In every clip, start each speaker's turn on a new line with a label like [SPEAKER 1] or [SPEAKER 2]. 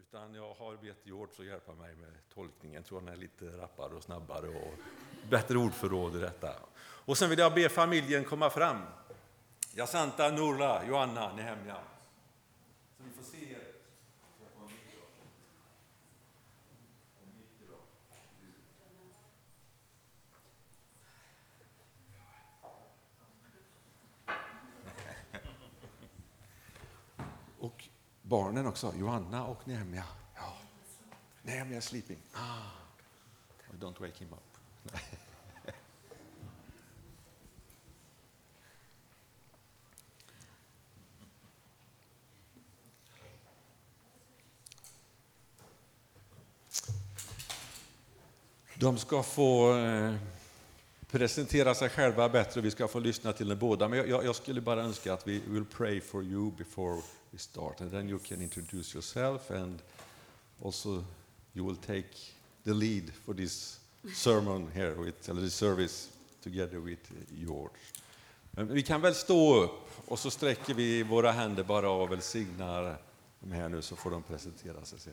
[SPEAKER 1] Utan jag har bett George att hjälpa mig med tolkningen. Jag tror han är lite rappare och snabbare och bättre ordförråd i detta. Och sen vill jag be familjen komma fram. Jacinta, Norla, Joanna, Nehemja. Så vi får se er.
[SPEAKER 2] Och barnen också, Johanna och Nehemja. Ja. Nehemja is sleeping. Ah. Don't wake him up. De ska få eh, presentera sig själva bättre och vi ska få lyssna till dem båda. Men jag- jag, jag skulle bara önska att vi will pray for you before we start and then you can introduce yourself and also you will take the lead for this sermon here with, eller this service together with George. Men vi kan väl stå upp och så sträcker vi våra händer bara och välsignar dem här nu så får de presentera sig sen.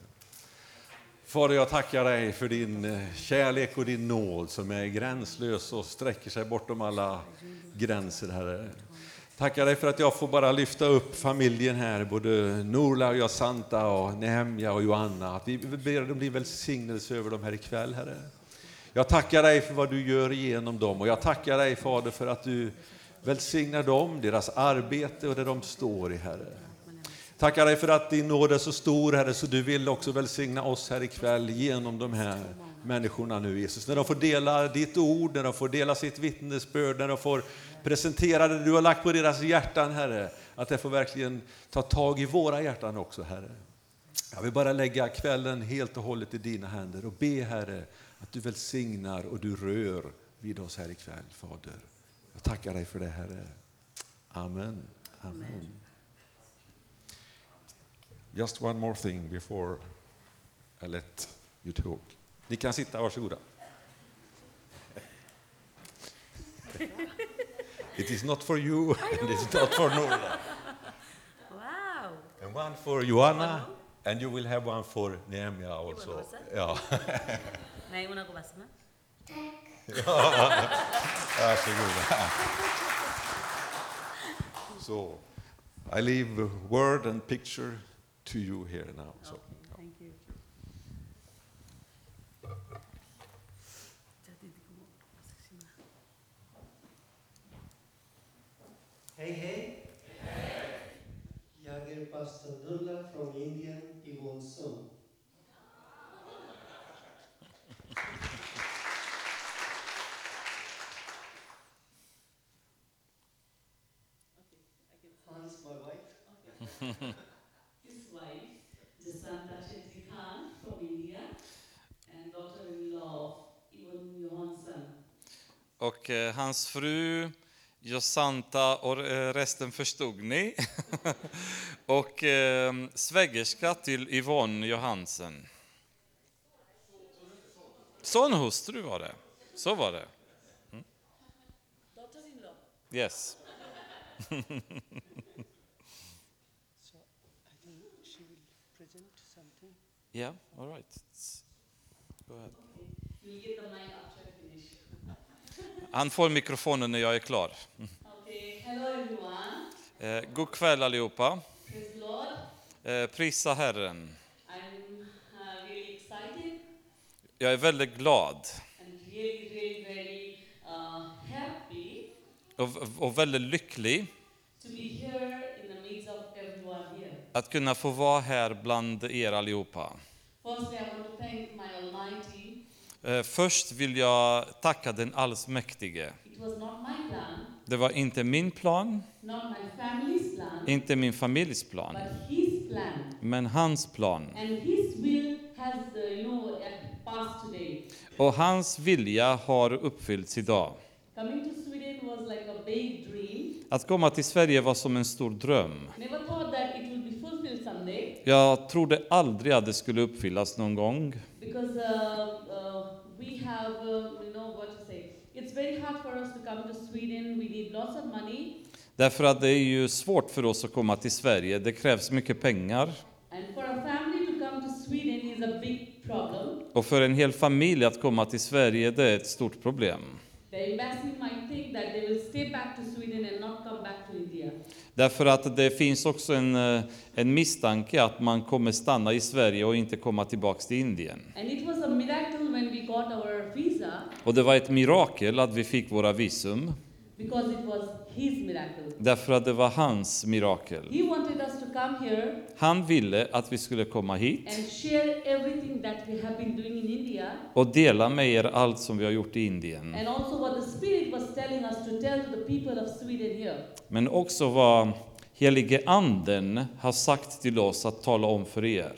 [SPEAKER 2] Fader, jag tackar dig för din eh, kärlek och din nåd som är gränslös och sträcker sig bortom alla gränser, Herre. Tackar dig för att jag får bara lyfta upp familjen här, både Norla och Jacinta och Nehemja och Joanna. Att vi ber om din välsignelse över dem här ikväll, Herre. Jag tackar dig för vad du gör genom dem och jag tackar dig, Fader, för att du välsignar dem, deras arbete och det de står i, Herre. Tackar dig för att din nåd är så stor, Herre, så du vill också välsigna oss här ikväll genom de här människorna nu, Jesus. När de får dela ditt ord, när de får dela sitt vittnesbörd, när de får presentera det du har lagt på deras hjärtan, Herre, att det får verkligen ta tag i våra hjärtan också, Herre. Jag vill bara lägga kvällen helt och hållet i dina händer och be, Herre, att du välsignar och du rör vid oss här ikväll, Fader. Jag tackar dig för det, Herre. Amen. Amen. Just one more thing before I let you talk. Ni kan sitta, varsågoda. It is not for you and it's not for Norla.
[SPEAKER 3] Wow!
[SPEAKER 1] And one for Johanna and you will have one for Nehemia also.
[SPEAKER 3] också?
[SPEAKER 1] Ja,
[SPEAKER 3] Nej, hon har basma.
[SPEAKER 1] varsågoda. So, I leave word and picture to you here now. So.
[SPEAKER 3] Thank you.
[SPEAKER 4] Hey, hey. Younger Pastor Durga from India, he wants some. Hans, my wife.
[SPEAKER 5] his wife, Jasanta Shetty Khan from India, and daughter-in-law, Ivan Johansson.
[SPEAKER 6] Och eh, hans fru Josanta och eh, resten förstod ni. och eh, svägerska till Yvonne Johansen. Sonhustru var det. Så var det.
[SPEAKER 5] Daughter-in-law.
[SPEAKER 6] Yes.
[SPEAKER 4] So I think she will present something.
[SPEAKER 6] Yeah, all right. It's- Go ahead.
[SPEAKER 5] You'll get the mic after I finish.
[SPEAKER 6] Han får mikrofonen när jag är klar.
[SPEAKER 5] Okay, hello everyone.
[SPEAKER 6] Eh, god kväll allihopa.
[SPEAKER 5] Praise the Lord.
[SPEAKER 6] Eh, prisa Herren.
[SPEAKER 5] I'm uh, really excited
[SPEAKER 6] Jag är väldigt glad
[SPEAKER 5] and really, really, very uh, happy
[SPEAKER 6] och, och väldigt lycklig
[SPEAKER 5] to be here in the midst of everyone here.
[SPEAKER 6] att kunna få vara här bland er allihopa.
[SPEAKER 5] Firstly, I want to thank my Almighty.
[SPEAKER 6] Eh, Först vill jag tacka den allsmäktige.
[SPEAKER 5] It was not my plan,
[SPEAKER 6] Det var inte min plan,
[SPEAKER 5] not my family's plan,
[SPEAKER 6] inte min familjs plan,
[SPEAKER 5] but His plan.
[SPEAKER 6] men hans plan.
[SPEAKER 5] And his will has, uh, you know, at- passed today.
[SPEAKER 6] Och hans vilja har uppfyllts idag.
[SPEAKER 5] Coming to Sweden was like a big dream.
[SPEAKER 6] Att komma till Sverige var som en stor dröm.
[SPEAKER 5] Never thought that it will be fulfilled someday
[SPEAKER 6] Jag trodde aldrig att det skulle uppfyllas någon gång.
[SPEAKER 5] because uh, uh, we have, uh, you know, what to say. It's very hard for us to come to Sweden. We need lots of money.
[SPEAKER 6] Därför att det är ju svårt för oss att komma till Sverige. Det krävs mycket pengar.
[SPEAKER 5] And for a family to come to is a big problem.
[SPEAKER 6] Och för en hel familj att komma till Sverige, det är ett stort problem.
[SPEAKER 5] The embassy might think that they will stay back to Sweden and not come back to India.
[SPEAKER 6] Därför att det finns också en, eh, en misstanke att man kommer stanna i Sverige och inte komma tillbaks till Indien.
[SPEAKER 5] And it was a miracle when we got our visa
[SPEAKER 6] Och det var ett mirakel att vi fick våra visum,
[SPEAKER 5] because it was his miracle.
[SPEAKER 6] därför att det var hans mirakel.
[SPEAKER 5] He wanted us to come here
[SPEAKER 6] Han ville att vi skulle komma hit
[SPEAKER 5] and share everything that we have been doing in India
[SPEAKER 6] och dela med er allt som vi har gjort i Indien.
[SPEAKER 5] and also what the Spirit was telling us to tell to the people of Sweden here.
[SPEAKER 6] Men också vad Helige Anden har sagt till oss att tala om för er.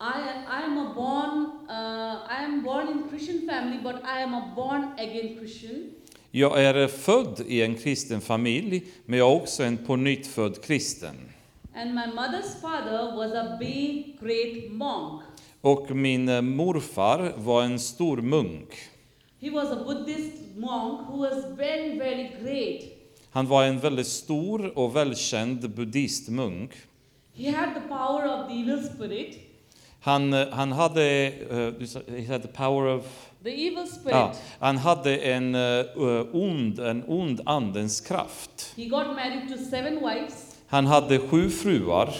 [SPEAKER 5] I, I am a born uh, I am born in Christian family, but I am a born again Christian.
[SPEAKER 6] Jag är född i en kristen familj, men jag är också en på nytt född kristen.
[SPEAKER 5] And my mother's father was a big great monk.
[SPEAKER 6] Och min eh, morfar var en stor munk.
[SPEAKER 5] He was a Buddhist monk who was very, very great.
[SPEAKER 6] Han var en väldigt stor och välkänd buddhistmunk.
[SPEAKER 5] He had the power of the evil spirit.
[SPEAKER 6] Han, eh, han hade, eh, du sa- he had the power of...
[SPEAKER 5] The evil spirit.
[SPEAKER 6] Ja, han hade en eh, ond, en ond andens kraft.
[SPEAKER 5] He got married to seven wives.
[SPEAKER 6] Han hade sju fruar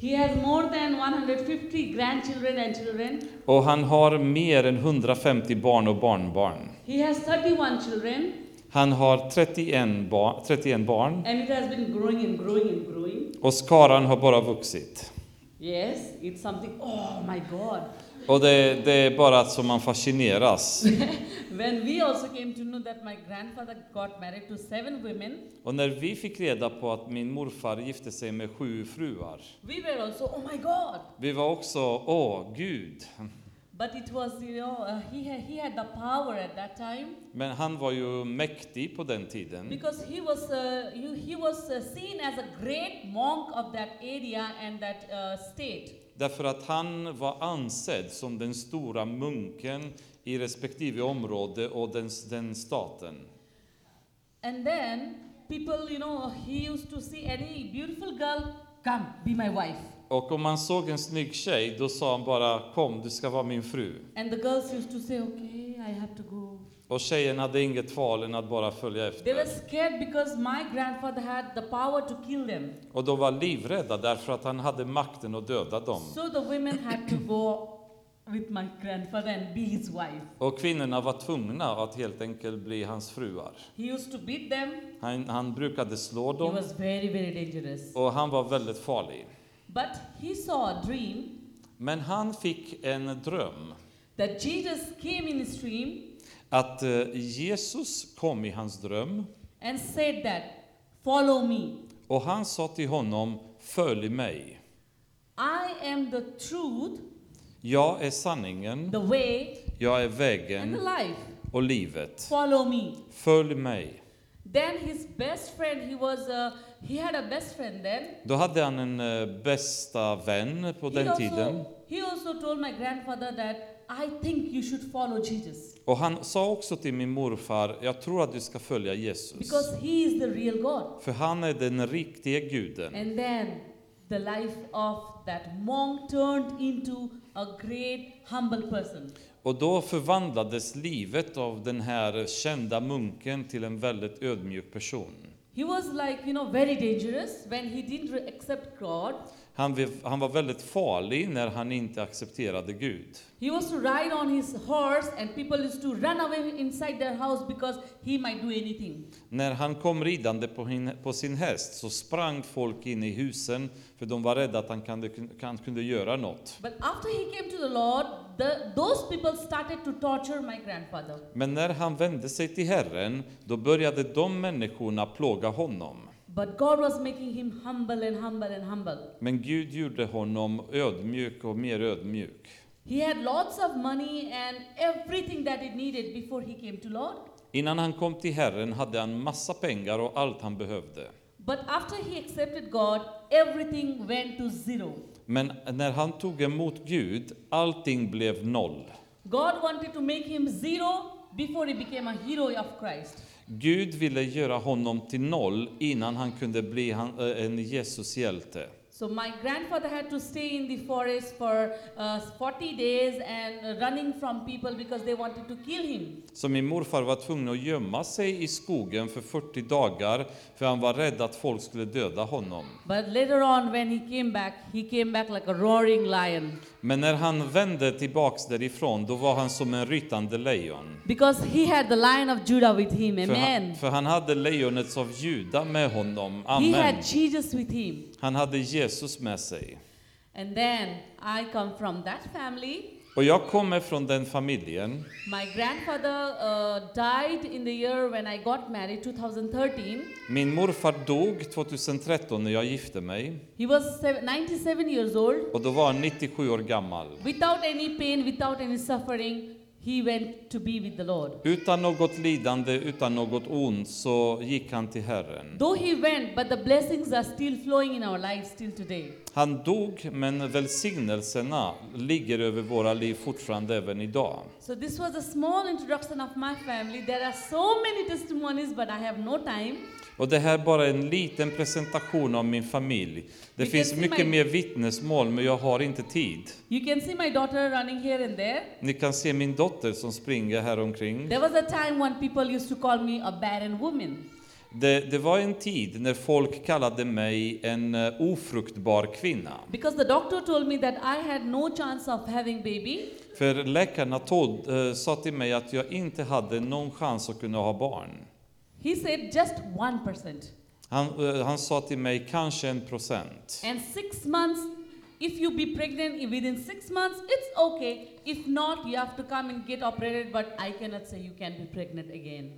[SPEAKER 5] He has more than 150 grandchildren and children.
[SPEAKER 6] och han har mer än 150 barn och barnbarn.
[SPEAKER 5] He has 31 children
[SPEAKER 6] Han har 31, ba- 31 barn
[SPEAKER 5] and it has been growing and growing and growing.
[SPEAKER 6] och skaran har bara vuxit.
[SPEAKER 5] Yes, it's something. Oh my God!
[SPEAKER 6] Och det, det är bara som man fascineras.
[SPEAKER 5] When we also came to know that my grandfather got married to seven women,
[SPEAKER 6] Och när vi fick reda på att min morfar gifte sig med sju fruar,
[SPEAKER 5] we were also, oh my God!
[SPEAKER 6] vi var också, åh gud.
[SPEAKER 5] But it was, you know, uh, he had, he had the power at that time
[SPEAKER 6] Men han var ju mäktig på den tiden.
[SPEAKER 5] because he was uh, you, he was uh, seen as a great monk of that area and that uh, state.
[SPEAKER 6] Därför att han var ansedd som den stora munken i respektive område och den, den staten.
[SPEAKER 5] And then people, you know, he used to see any beautiful girl, come, be my wife.
[SPEAKER 6] Och om man såg en snygg tjej, då sa han bara kom, du ska vara min fru.
[SPEAKER 5] And the girls used to say, okay, I have to go.
[SPEAKER 6] Och tjejen hade inget val än att bara följa
[SPEAKER 5] They were
[SPEAKER 6] efter.
[SPEAKER 5] scared because my grandfather had the power to kill them.
[SPEAKER 6] Och de var livrädda därför att han hade makten att döda dem.
[SPEAKER 5] So the women had to go with my grandfather and be his wife.
[SPEAKER 6] Och kvinnorna var tvungna att helt enkelt bli hans fruar.
[SPEAKER 5] He used to beat them.
[SPEAKER 6] Han, han brukade slå
[SPEAKER 5] He
[SPEAKER 6] dem
[SPEAKER 5] was very, very dangerous.
[SPEAKER 6] och han var väldigt farlig.
[SPEAKER 5] But he saw a dream
[SPEAKER 6] Men han fick en dröm
[SPEAKER 5] that Jesus came in his dream
[SPEAKER 6] att eh, Jesus kom i hans dröm
[SPEAKER 5] and said that, Follow me.
[SPEAKER 6] och han sa till honom Följ mig.
[SPEAKER 5] I am the truth,
[SPEAKER 6] Jag är sanningen,
[SPEAKER 5] the way,
[SPEAKER 6] jag är
[SPEAKER 5] and the
[SPEAKER 6] vägen
[SPEAKER 5] life.
[SPEAKER 6] och livet.
[SPEAKER 5] Follow me.
[SPEAKER 6] Följ mig.
[SPEAKER 5] Then his best friend, he was, uh, he had a best friend then.
[SPEAKER 6] Då hade han en eh, bästa vän på
[SPEAKER 5] he
[SPEAKER 6] den
[SPEAKER 5] also,
[SPEAKER 6] tiden
[SPEAKER 5] He also told my grandfather that I think you should follow Jesus
[SPEAKER 6] och han sa också till min morfar Jag tror att du ska följa Jesus.
[SPEAKER 5] because he is the real God.
[SPEAKER 6] För han är den riktiga guden.
[SPEAKER 5] And then the life of that monk turned into a great humble person.
[SPEAKER 6] Och då förvandlades livet av den här kända munken till en väldigt ödmjuk person.
[SPEAKER 5] He was like, you know, very dangerous when he didn't re- accept God.
[SPEAKER 6] Han, ve- han var väldigt farlig när han inte accepterade Gud.
[SPEAKER 5] He was to ride on his horse, and people used to run away inside their house because he might do anything.
[SPEAKER 6] När han kom ridande på, hin, på sin häst så sprang folk in i husen för de var rädda att han kunde, han kunde göra något.
[SPEAKER 5] But after he came to the Lord, the, those people started to torture my grandfather.
[SPEAKER 6] Men när han vände sig till Herren, då började de människorna plåga honom.
[SPEAKER 5] But God was making him humble and humble and humble.
[SPEAKER 6] Men Gud gjorde honom ödmjuk och mer ödmjuk.
[SPEAKER 5] He had lots of money and everything that he needed before he came to Lord.
[SPEAKER 6] Innan han kom till Herren hade han massa pengar och allt han behövde.
[SPEAKER 5] But after he accepted God, everything went to zero.
[SPEAKER 6] Men när han tog emot Gud, allting blev noll.
[SPEAKER 5] God wanted to make him zero before he became a hero of Christ.
[SPEAKER 6] Gud ville göra honom till noll innan han kunde bli han, eh, en Jesushjälte.
[SPEAKER 5] So my grandfather had to stay in the forest for uh, 40 days and uh, running from people because they wanted to kill him.
[SPEAKER 6] Så min morfar var tvungen att gömma sig i skogen för 40 dagar för han var rädd att folk skulle döda honom.
[SPEAKER 5] But later on, when he came back, he came back like a roaring lion
[SPEAKER 6] Men när han vände tillbaks därifrån, då var han som en rytande lejon.
[SPEAKER 5] because he had the lion of Judah with him.
[SPEAKER 6] För han,
[SPEAKER 5] Amen.
[SPEAKER 6] för han hade lejonet av Juda med honom.
[SPEAKER 5] He
[SPEAKER 6] Amen.
[SPEAKER 5] had Jesus with him.
[SPEAKER 6] Han hade Jesus med sig.
[SPEAKER 5] And then I come from that family.
[SPEAKER 6] Och jag kommer från den familjen.
[SPEAKER 5] My grandfather uh, died in the year when I got married, 2013.
[SPEAKER 6] Min morfar dog 2013 när jag gifte mig
[SPEAKER 5] He was sev- 97 years old.
[SPEAKER 6] och då var han 97 år gammal.
[SPEAKER 5] Without any pain, without any suffering, he went to be with the Lord.
[SPEAKER 6] Utan något lidande, utan något ont så gick han till Herren.
[SPEAKER 5] Though he went, but the blessings are still flowing in our lives till today.
[SPEAKER 6] Han dog, men välsignelserna ligger över våra liv fortfarande även idag.
[SPEAKER 5] So this was a small introduction of my family. There are so many testimonies, but I have no time.
[SPEAKER 6] Och det här är bara en liten presentation av min familj. Det
[SPEAKER 5] Vilken
[SPEAKER 6] finns
[SPEAKER 5] som
[SPEAKER 6] mycket
[SPEAKER 5] är-
[SPEAKER 6] mer vittnesmål, men jag har inte tid.
[SPEAKER 5] You can see my daughter running here and there.
[SPEAKER 6] Ni kan se min dotter som springer här omkring.
[SPEAKER 5] There was a time when people used to call me a barren woman.
[SPEAKER 6] Det, det var en tid när folk kallade mig en eh, ofruktbar kvinna.
[SPEAKER 5] Because the doctor told me that I had no chance of having baby.
[SPEAKER 6] För läkarna tog, eh, sa till mig att jag inte hade någon chans att kunna ha barn.
[SPEAKER 5] He said just 1%.
[SPEAKER 6] Han, eh, han sa till mig kanske en procent.
[SPEAKER 5] And six months, if you be pregnant i- within six months, it's okay. If not, you have to come and get operated, but I cannot say you can be pregnant again.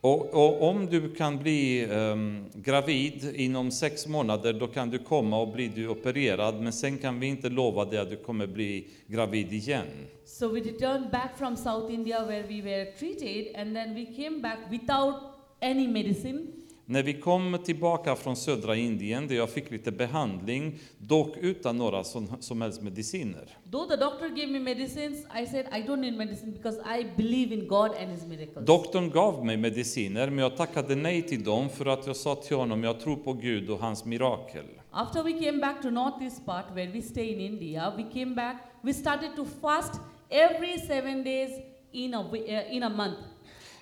[SPEAKER 6] Och, och om du kan bli ehm, gravid inom sex månader, då kan du komma och bli du opererad, men sen kan vi inte lova dig att du kommer bli gravid igen.
[SPEAKER 5] So we returned back from South India where we were treated, and then we came back without any medicine.
[SPEAKER 6] När vi kom tillbaka från södra Indien, där jag fick lite behandling, dock utan några som, som helst mediciner.
[SPEAKER 5] Though the doctor gave me medicines, I said I don't need medicine because I believe in God and His miracles.
[SPEAKER 6] Doktorn gav mig mediciner, men jag tackade nej till dem för att jag sa till honom, jag tror på Gud och hans mirakel.
[SPEAKER 5] After we came back to northeast part where we stay in India, we came back. We started to fast every seven days in a wi- uh, in a month.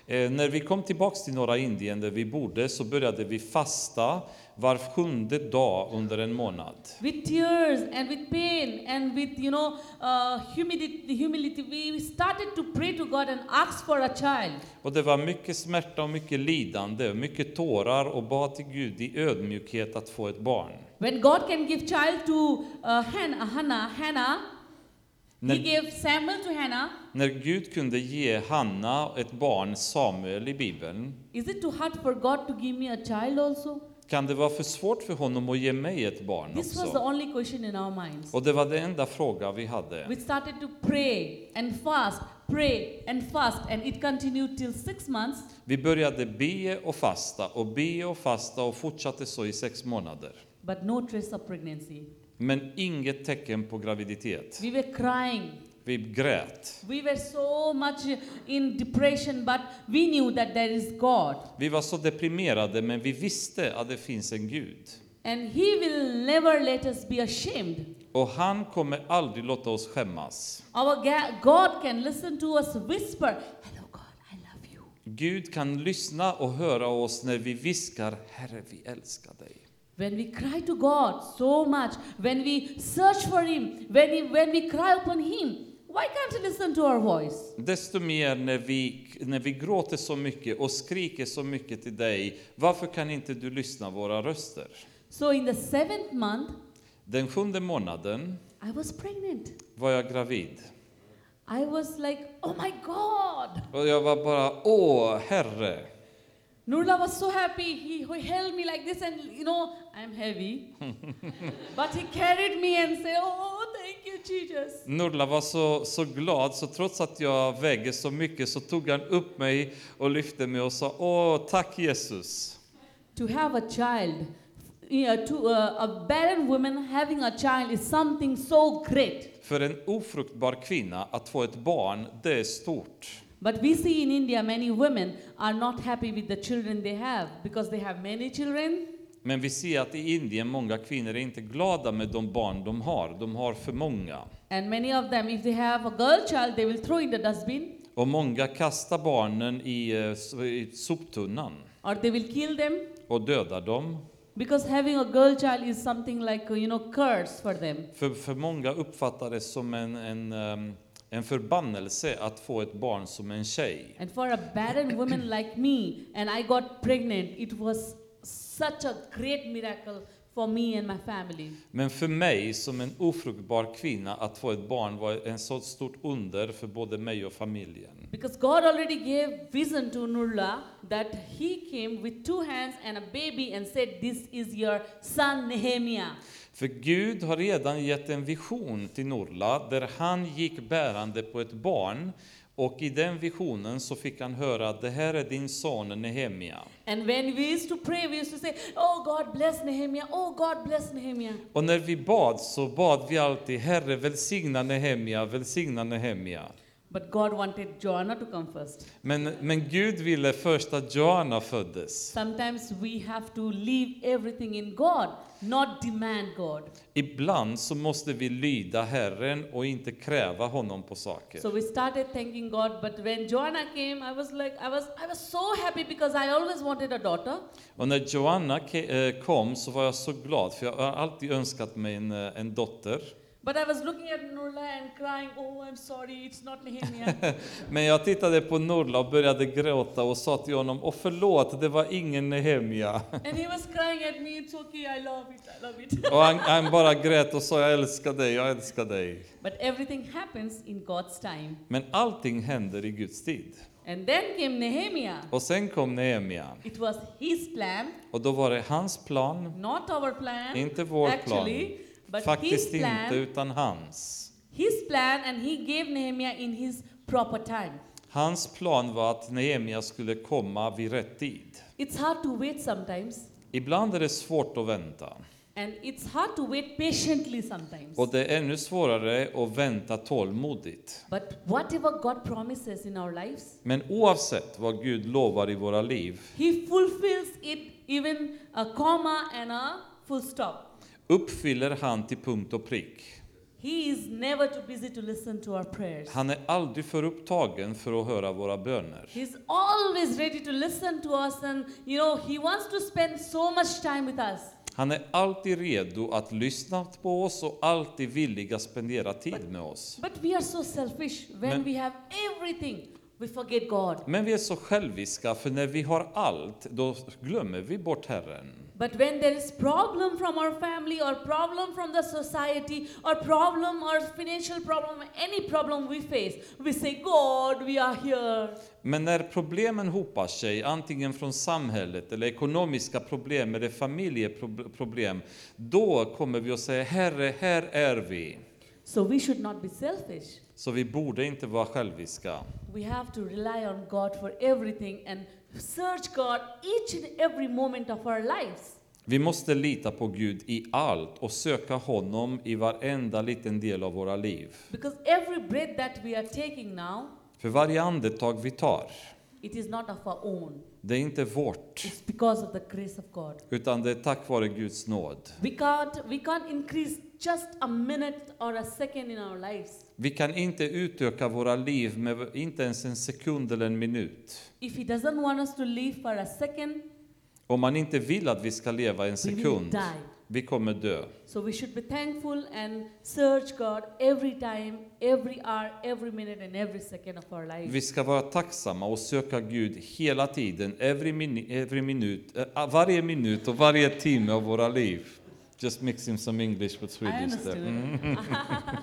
[SPEAKER 6] Eh, när vi kom tillbaks till norra Indien där vi bodde så började vi fasta var sjunde dag under en månad.
[SPEAKER 5] With tears and with pain and with you know uh, humidity, humility, we we started to pray to God and ask for a child.
[SPEAKER 6] Och det var mycket smärta och mycket lidande, mycket tårar och bad till Gud i ödmjukhet att få ett barn.
[SPEAKER 5] When God can give child to uh, Hannah, Hannah, Hannah, He
[SPEAKER 6] När,
[SPEAKER 5] gave Samuel to Hannah.
[SPEAKER 6] när Gud kunde ge Hanna ett barn, Samuel, i Bibeln,
[SPEAKER 5] Is it too hard for God to give me a child also?
[SPEAKER 6] kan det vara för svårt för honom att ge mig ett barn
[SPEAKER 5] This was the
[SPEAKER 6] också?
[SPEAKER 5] only question in our minds.
[SPEAKER 6] Och det var den enda fråga vi hade.
[SPEAKER 5] We started to pray and fast, pray and fast, and it continued till six months.
[SPEAKER 6] Vi började be och fasta och be och fasta och fortsatte så i sex månader.
[SPEAKER 5] But no trace of pregnancy.
[SPEAKER 6] Men inget tecken på graviditet.
[SPEAKER 5] We were crying.
[SPEAKER 6] Vi grät.
[SPEAKER 5] We were so much in depression, but we knew that there is God.
[SPEAKER 6] Vi var så deprimerade, men vi visste att det finns en Gud.
[SPEAKER 5] And He will never let us be ashamed.
[SPEAKER 6] Och han kommer aldrig låta oss skämmas.
[SPEAKER 5] Our ga- God can listen to us whisper, Hello, God, I love you.
[SPEAKER 6] Gud kan lyssna och höra oss när vi viskar ”Herre, vi älskar dig”.
[SPEAKER 5] When we cry to God so much, when we search for Him, when, he, when we cry upon Him, why can't He listen to our voice?
[SPEAKER 6] Desto mer när vi, när vi gråter så mycket och skriker så mycket till dig, varför kan inte du lyssna våra röster?
[SPEAKER 5] So in the seventh month,
[SPEAKER 6] Den sjunde månaden
[SPEAKER 5] I was pregnant.
[SPEAKER 6] var jag gravid.
[SPEAKER 5] I was like, oh my God!
[SPEAKER 6] Och jag var bara ”Åh, Herre!”
[SPEAKER 5] Nurla was so happy. He, he held me like this, and you know, I'm heavy. but he carried me and said, oh, thank you, Jesus.
[SPEAKER 6] Nurla var så, så glad, så trots att jag väger så mycket så tog han upp mig och lyfte mig och sa Åh, tack Jesus!
[SPEAKER 5] To have a child, yeah, to, uh, a barren woman having a child is something so great.
[SPEAKER 6] För en ofruktbar kvinna att få ett barn, det är stort.
[SPEAKER 5] But we see in India many women are not happy with the children they have because they have many children.
[SPEAKER 6] Men vi ser att i Indien många kvinnor är inte glada med de barn de har. De har för många.
[SPEAKER 5] And many of them, if they have a girl child, they will throw in the dustbin
[SPEAKER 6] Och många kastar barnen i, eh, s- i soptunnan
[SPEAKER 5] or they will kill them
[SPEAKER 6] och dödar dem.
[SPEAKER 5] because having a girl child is something like, uh, you know, curse for them.
[SPEAKER 6] För, för många uppfattar det som en, en, ehm, en förbannelse att få ett barn som en tjej.
[SPEAKER 5] And for a barren woman like me, and I got pregnant, it was such a great miracle for me and my family.
[SPEAKER 6] Men för mig som en ofruktbar kvinna att få ett barn var en så stort under för både mig och familjen.
[SPEAKER 5] Because God already gave vision to Nurla that he came with two hands and a baby and said, This is your son Nehemiah.
[SPEAKER 6] För Gud har redan gett en vision till Norla där han gick bärande på ett barn och i den visionen så fick han höra att det här är din son Nehemia.
[SPEAKER 5] And when we used to pray, we used to say, Oh God bless Nehemiah, oh God bless Nehemiah.
[SPEAKER 6] Och när vi bad så bad vi alltid Herre välsigna Nehemia, välsigna Nehemia.
[SPEAKER 5] But God wanted Joanna to come first.
[SPEAKER 6] Men, men Gud ville först att Joanna föddes.
[SPEAKER 5] Sometimes we have to leave everything in God, not demand God.
[SPEAKER 6] Ibland så måste vi lyda Herren och inte kräva honom på saker.
[SPEAKER 5] So we started thanking God, but when Joanna came, I was like, I was, I was so happy because I always wanted a daughter.
[SPEAKER 6] Och när Joanna ke- eh, kom så var jag så glad för jag har alltid önskat mig en, eh, en dotter.
[SPEAKER 5] But I was looking at Nurla and crying, oh, I'm sorry, it's not Nehemiah.
[SPEAKER 6] Men jag tittade på Norla och började gråta och sa till honom, åh förlåt, det var ingen Nehemia.
[SPEAKER 5] and he was crying at me, it's okay, I love it, I love it.
[SPEAKER 6] Och han, han bara grät och sa, jag älskar dig, jag älskar dig.
[SPEAKER 5] but everything happens in God's time.
[SPEAKER 6] Men allting händer i Guds tid.
[SPEAKER 5] And then came Nehemiah.
[SPEAKER 6] Och sen kom Nehemia.
[SPEAKER 5] It was his plan,
[SPEAKER 6] Och då var det hans plan,
[SPEAKER 5] not our plan.
[SPEAKER 6] inte vår
[SPEAKER 5] actually,
[SPEAKER 6] plan.
[SPEAKER 5] but
[SPEAKER 6] Faktiskt
[SPEAKER 5] his plan,
[SPEAKER 6] inte, utan hans.
[SPEAKER 5] his plan, and he gave Nehemiah in his proper time.
[SPEAKER 6] Hans plan var att Nehemia skulle komma vid rätt tid.
[SPEAKER 5] It's hard to wait sometimes,
[SPEAKER 6] Ibland är det svårt att vänta.
[SPEAKER 5] and it's hard to wait patiently sometimes.
[SPEAKER 6] Och det är ännu svårare att vänta tålmodigt.
[SPEAKER 5] But whatever God promises in our lives,
[SPEAKER 6] Men oavsett vad Gud lovar i våra liv,
[SPEAKER 5] He fulfills it even a comma and a full stop.
[SPEAKER 6] uppfyller han till punkt och prick.
[SPEAKER 5] He is never too busy to listen to our prayers.
[SPEAKER 6] Han är aldrig för upptagen för att höra våra böner.
[SPEAKER 5] He's always ready to listen to us, and you know, He wants to spend so much time with us.
[SPEAKER 6] Han är alltid redo att lyssna på oss och alltid villig att spendera tid med oss.
[SPEAKER 5] But we are so selfish. When
[SPEAKER 6] Men-
[SPEAKER 5] we have everything, we forget God.
[SPEAKER 6] Men vi är så själviska, för när vi har allt, då glömmer vi bort Herren.
[SPEAKER 5] But when there is problem from our family or problem from the society or problem or financial problem, any problem we face, we say, God, we are here.
[SPEAKER 6] Men när problemen hopar sig, antingen från samhället eller ekonomiska problem eller familjeproblem, då kommer vi att säga Herre, här är vi.
[SPEAKER 5] So we should not be selfish.
[SPEAKER 6] Så vi borde inte vara själviska.
[SPEAKER 5] We have to rely on God for everything and search God each and every moment of our lives.
[SPEAKER 6] Vi måste lita på Gud i allt och söka honom i varenda liten del av våra liv.
[SPEAKER 5] Because every breath that we are taking now,
[SPEAKER 6] För varje andetag vi tar,
[SPEAKER 5] it is not of our own.
[SPEAKER 6] det är inte vårt,
[SPEAKER 5] It's because of the grace of God.
[SPEAKER 6] utan det är tack vare Guds nåd.
[SPEAKER 5] We can't we can't increase just a minute or a second in our lives
[SPEAKER 6] Vi kan inte utöka våra liv med inte ens en sekund eller en minut.
[SPEAKER 5] if he doesn't want us to live for a second.
[SPEAKER 6] Om man inte vill att vi ska leva en sekund,
[SPEAKER 5] die.
[SPEAKER 6] vi kommer dö.
[SPEAKER 5] So we should be thankful and search God every time, every hour, every minute, and every second of our life.
[SPEAKER 6] Vi ska vara tacksamma och söka Gud hela tiden, every min, every minut, eh, varje minut och varje timme av våra liv. Just mixing some English with
[SPEAKER 5] I
[SPEAKER 6] Swedish there. Mm.
[SPEAKER 5] understood.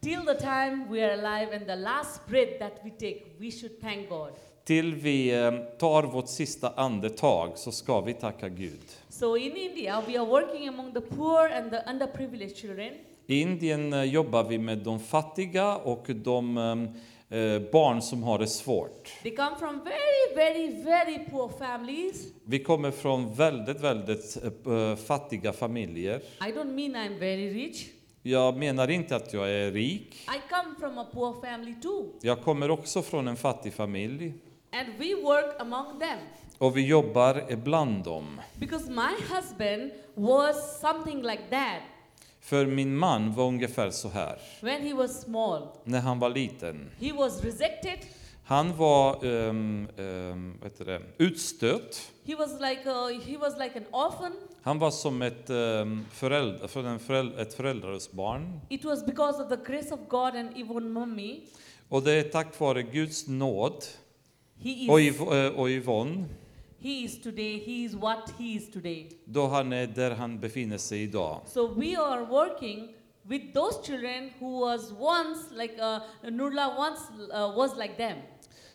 [SPEAKER 5] Till the time we are alive and the last breath that we take, we should thank God.
[SPEAKER 6] Till vi eh, tar vårt sista andetag så ska vi tacka Gud.
[SPEAKER 5] So in India, we are working among the poor and the underprivileged children.
[SPEAKER 6] I Indien eh, jobbar vi med de fattiga och de eh, eh, barn som har det svårt.
[SPEAKER 5] They come from very, very, very poor families.
[SPEAKER 6] Vi kommer från väldigt, väldigt eh, fattiga familjer.
[SPEAKER 5] I don't mean I'm very rich.
[SPEAKER 6] Jag menar inte att jag är rik.
[SPEAKER 5] I come from a poor family too,
[SPEAKER 6] Jag kommer också från en fattig familj
[SPEAKER 5] and we work among them.
[SPEAKER 6] och vi jobbar ibland dem.
[SPEAKER 5] Because my husband was something like that
[SPEAKER 6] För min man var ungefär så här
[SPEAKER 5] when he was small.
[SPEAKER 6] när han var liten.
[SPEAKER 5] He was rejected.
[SPEAKER 6] Han var um, um, vad heter det? utstött.
[SPEAKER 5] He was like a, he was like an orphan.
[SPEAKER 6] Han var som ett, um, föräldra, för en föräldra, ett föräldralöst barn.
[SPEAKER 5] It was because of the grace of God and Yvonne mommy.
[SPEAKER 6] Och det är tack vare Guds nåd
[SPEAKER 5] He is
[SPEAKER 6] och, Yv- eh, och Yvonne,
[SPEAKER 5] he is today. He is what he is today.
[SPEAKER 6] då han är där han befinner sig idag.
[SPEAKER 5] So we are working with those children who was once like uh, Nurla once uh, was like them.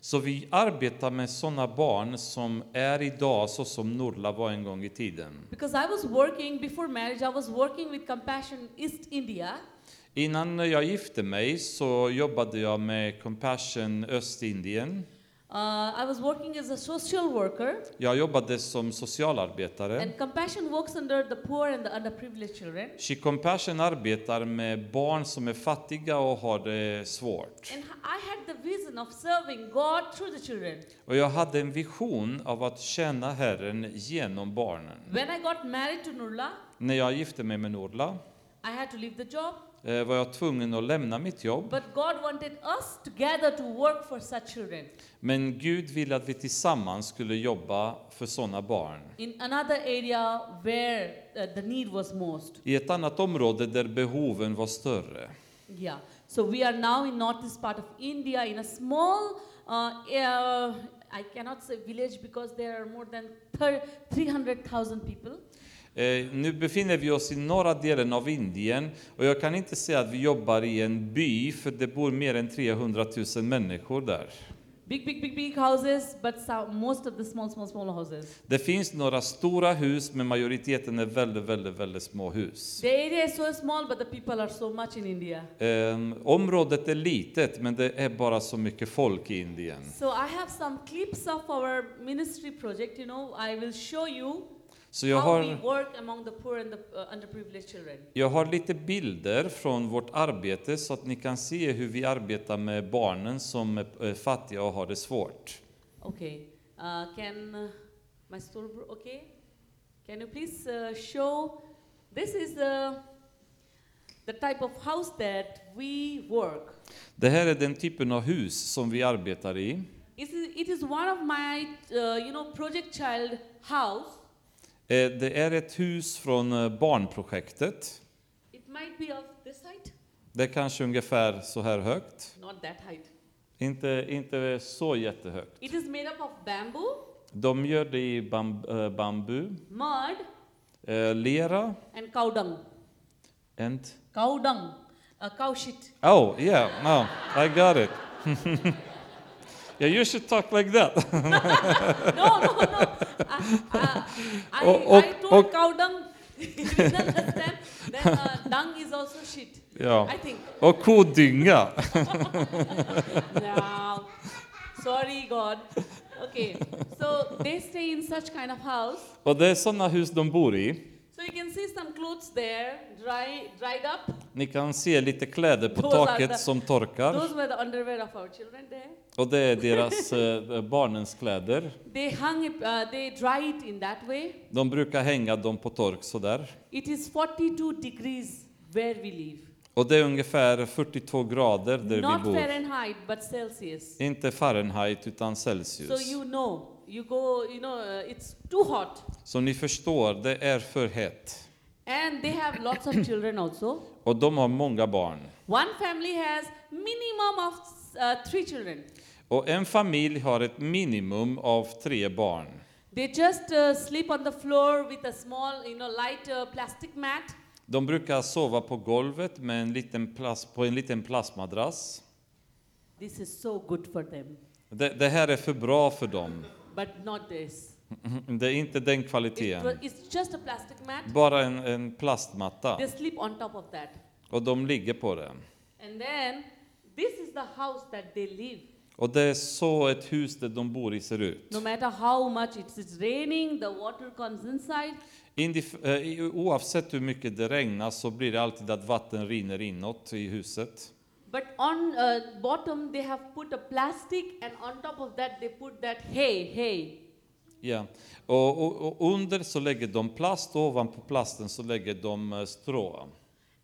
[SPEAKER 6] Så vi arbetar med sådana barn som är idag så som Norla var en gång i tiden.
[SPEAKER 5] Because I was working before marriage, I was working with Compassion East India.
[SPEAKER 6] Innan jag gifte mig så jobbade jag med Compassion Östindien.
[SPEAKER 5] Uh, I was working as a social worker,
[SPEAKER 6] Jag jobbade som socialarbetare.
[SPEAKER 5] and Compassion works under the poor and the underprivileged children.
[SPEAKER 6] She Compassion arbetar med barn som är fattiga och har det svårt.
[SPEAKER 5] And I had the vision of serving God through the children.
[SPEAKER 6] Och jag hade en vision av att tjäna Herren genom barnen.
[SPEAKER 5] When I got married to Nurla,
[SPEAKER 6] När jag gifte mig med Norla
[SPEAKER 5] I had to leave the job,
[SPEAKER 6] eh, var jag tvungen att lämna mitt jobb.
[SPEAKER 5] but God wanted us together to work for such children.
[SPEAKER 6] Men Gud ville att vi tillsammans skulle jobba för sådana barn.
[SPEAKER 5] in another area where uh, the need was most.
[SPEAKER 6] I ett annat område där behoven var större.
[SPEAKER 5] Yeah. So we are now in northeast part of India in a small, uh, uh, I cannot say village because there are more than thir- 300,000 people.
[SPEAKER 6] Eh, nu befinner vi oss i norra delen av Indien och jag kan inte säga att vi jobbar i en by för det bor mer än 300 000 människor där.
[SPEAKER 5] Big, big, big, big houses, but some, most of the small, small, small houses.
[SPEAKER 6] Det finns några stora hus men majoriteten är väldigt, väldigt, väldigt små hus.
[SPEAKER 5] The area is so small, but the people are so much in India.
[SPEAKER 6] Eh, området är litet men det är bara så mycket folk i Indien.
[SPEAKER 5] So I have some clips of our ministry project. You know, I will show you
[SPEAKER 6] Så jag
[SPEAKER 5] how we
[SPEAKER 6] har,
[SPEAKER 5] work among the poor and the uh, underprivileged children.
[SPEAKER 6] jag har lite bilder från vårt arbete så att ni kan se hur vi arbetar med barnen som är eh, fattiga och har det svårt.
[SPEAKER 5] Okay. Uh, can uh, my store bro- okay? Can you please uh, show? This is the the type of house that we work.
[SPEAKER 6] Det här är den typen av hus som vi arbetar i.
[SPEAKER 5] It is, it is one of my uh, you know project child house.
[SPEAKER 6] Eh, Det är ett hus från eh, barnprojektet.
[SPEAKER 5] It might be of this height,
[SPEAKER 6] Det är kanske ungefär så här högt.
[SPEAKER 5] not that height.
[SPEAKER 6] Inte, inte så jättehögt.
[SPEAKER 5] It is made up of bamboo,
[SPEAKER 6] De gör det i bam, eh, bambu,
[SPEAKER 5] mud,
[SPEAKER 6] eh, lera
[SPEAKER 5] and cow dung.
[SPEAKER 6] and...
[SPEAKER 5] Cow dung, uh, cow shit.
[SPEAKER 6] Oh, yeah, no, I got it. yeah, you should talk like that.
[SPEAKER 5] No, no, no. I, I, I,
[SPEAKER 6] Oh, oh,
[SPEAKER 5] I told
[SPEAKER 6] oh.
[SPEAKER 5] cow dung. you didn't understand. Then uh, dung is also shit.
[SPEAKER 6] Ja.
[SPEAKER 5] I think.
[SPEAKER 6] Och kodynga.
[SPEAKER 5] No. Sorry, God. Okay. So they stay in such kind of house.
[SPEAKER 6] Och det är sådana hus de bor i.
[SPEAKER 5] So you can see some clothes there, dry, dried up.
[SPEAKER 6] Ni kan se lite kläder på
[SPEAKER 5] Those are the-
[SPEAKER 6] taket som torkar.
[SPEAKER 5] Those were the underwear of our children there.
[SPEAKER 6] Och det är deras, eh, barnens kläder.
[SPEAKER 5] They hung it, uh, they dry it in that way.
[SPEAKER 6] De brukar hänga dem på tork sådär.
[SPEAKER 5] It is 42 degrees where we
[SPEAKER 6] Och det är ungefär 42 grader
[SPEAKER 5] live.
[SPEAKER 6] där
[SPEAKER 5] Not
[SPEAKER 6] vi bor.
[SPEAKER 5] Fahrenheit, but Celsius.
[SPEAKER 6] Inte Fahrenheit utan
[SPEAKER 5] So
[SPEAKER 6] Celsius.
[SPEAKER 5] you know, you go, you know, uh, it's too hot.
[SPEAKER 6] Som ni förstår, det är för hett.
[SPEAKER 5] And they have lots of children also.
[SPEAKER 6] Och de har många barn.
[SPEAKER 5] One family has minimum of uh, three children.
[SPEAKER 6] Och en familj har ett minimum av tre barn.
[SPEAKER 5] They just uh, sleep on the floor with a small, you know, light uh, plastic mat.
[SPEAKER 6] De brukar sova på golvet med en liten plas- på en liten plastmadrass.
[SPEAKER 5] This is so good for them,
[SPEAKER 6] Det, det här är för bra för dem.
[SPEAKER 5] but not this.
[SPEAKER 6] Det är inte den
[SPEAKER 5] It wa-
[SPEAKER 6] kvaliteten.
[SPEAKER 5] it's just a plastic mat.
[SPEAKER 6] Bara en, en plastmatta.
[SPEAKER 5] They sleep on top of that.
[SPEAKER 6] Och de ligger på den.
[SPEAKER 5] And then this is the house that they live.
[SPEAKER 6] Och det är så ett hus där de bor i ser ut.
[SPEAKER 5] No matter how much it's, it's raining, the water comes inside.
[SPEAKER 6] Indif- eh, i- oavsett hur mycket det regnar så blir det alltid att vatten rinner inåt i huset.
[SPEAKER 5] But on uh, bottom they have put a plastic and on top of that they put that hay, hay.
[SPEAKER 6] Ja. Och, och, och under så lägger de plast och ovanpå plasten så lägger de eh, strå.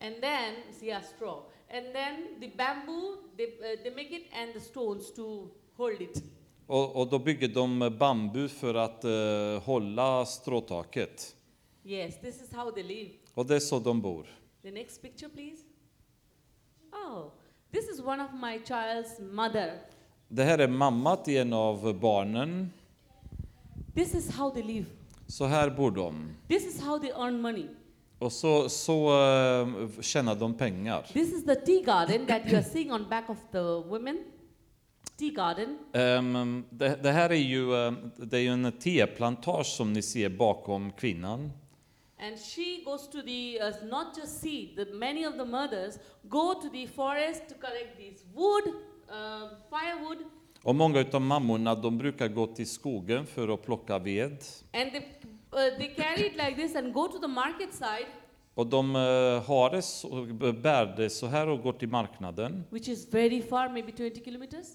[SPEAKER 5] And then, yeah, straw. And then the bamboo, they, uh, they make it and the stones to hold it.
[SPEAKER 6] Och, och då bygger de eh, bambu för att eh, hålla stråtaket.
[SPEAKER 5] Yes, this is how they live.
[SPEAKER 6] Och det är så de bor.
[SPEAKER 5] The next picture, please. Oh, this is one of my child's mother.
[SPEAKER 6] Det här är mamma till en av barnen.
[SPEAKER 5] This is how they live.
[SPEAKER 6] Så här bor de.
[SPEAKER 5] This is how they earn money.
[SPEAKER 6] Och så, så eh, tjänar de pengar.
[SPEAKER 5] This is the tea garden that you are seeing on back of the women. Tea garden.
[SPEAKER 6] Ehm, det, det här är ju, eh, det är ju en teplantage som ni ser bakom kvinnan.
[SPEAKER 5] And she goes to the, uh, not just seed, the, many of the mothers go to the forest to collect these wood, uh, firewood,
[SPEAKER 6] Och många av mammorna de brukar gå till skogen för att plocka ved.
[SPEAKER 5] and they, uh, they carry it like this and go to the market side,
[SPEAKER 6] Och de eh, har det så, bär det så här och går till marknaden.
[SPEAKER 5] which is very far, maybe 20 kilometers.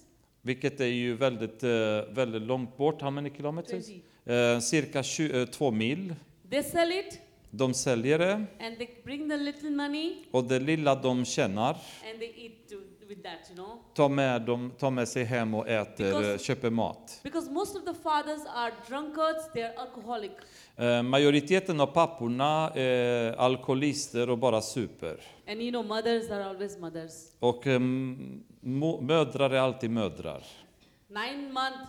[SPEAKER 6] Vilket är ju väldigt, eh, väldigt långt bort. How many kilometers?
[SPEAKER 5] 20.
[SPEAKER 6] Eh, cirka 20, eh, två mil.
[SPEAKER 5] They sell it
[SPEAKER 6] De säljer det
[SPEAKER 5] and they bring the little money
[SPEAKER 6] och det lilla de tjänar
[SPEAKER 5] and they eat to, with that, you know.
[SPEAKER 6] tar med, de tar med sig hem och äter,
[SPEAKER 5] Because-
[SPEAKER 6] eh, köper mat.
[SPEAKER 5] Because most of the fathers are drunkards, they are alcoholic.
[SPEAKER 6] Eh, majoriteten av papporna är alkoholister och bara super.
[SPEAKER 5] And you know, mothers are always mothers.
[SPEAKER 6] Och eh, mo- mödrar är alltid mödrar.
[SPEAKER 5] Nine month,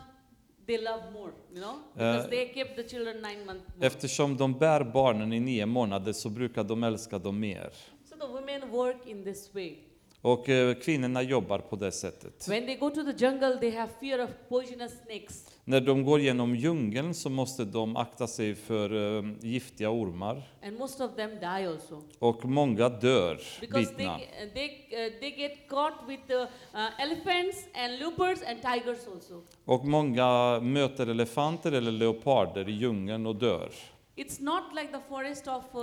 [SPEAKER 5] they love more, you know, because
[SPEAKER 6] Uh,
[SPEAKER 5] they kept the children nine month. More.
[SPEAKER 6] Eftersom de bär barnen i nio månader så brukar de älska dem mer.
[SPEAKER 5] So the women work in this way.
[SPEAKER 6] Och eh, kvinnorna jobbar på det sättet.
[SPEAKER 5] When they go to the jungle, they have fear of poisonous snakes.
[SPEAKER 6] När de går genom djungeln så måste de akta sig för eh, giftiga ormar.
[SPEAKER 5] And most of them die also
[SPEAKER 6] Och många dör
[SPEAKER 5] because they
[SPEAKER 6] bitna.
[SPEAKER 5] uh, they uh, they get caught with the uh, elephants and leopards and tigers also.
[SPEAKER 6] Och många möter elefanter eller leoparder i djungeln och dör.
[SPEAKER 5] It's not like the forest of uh,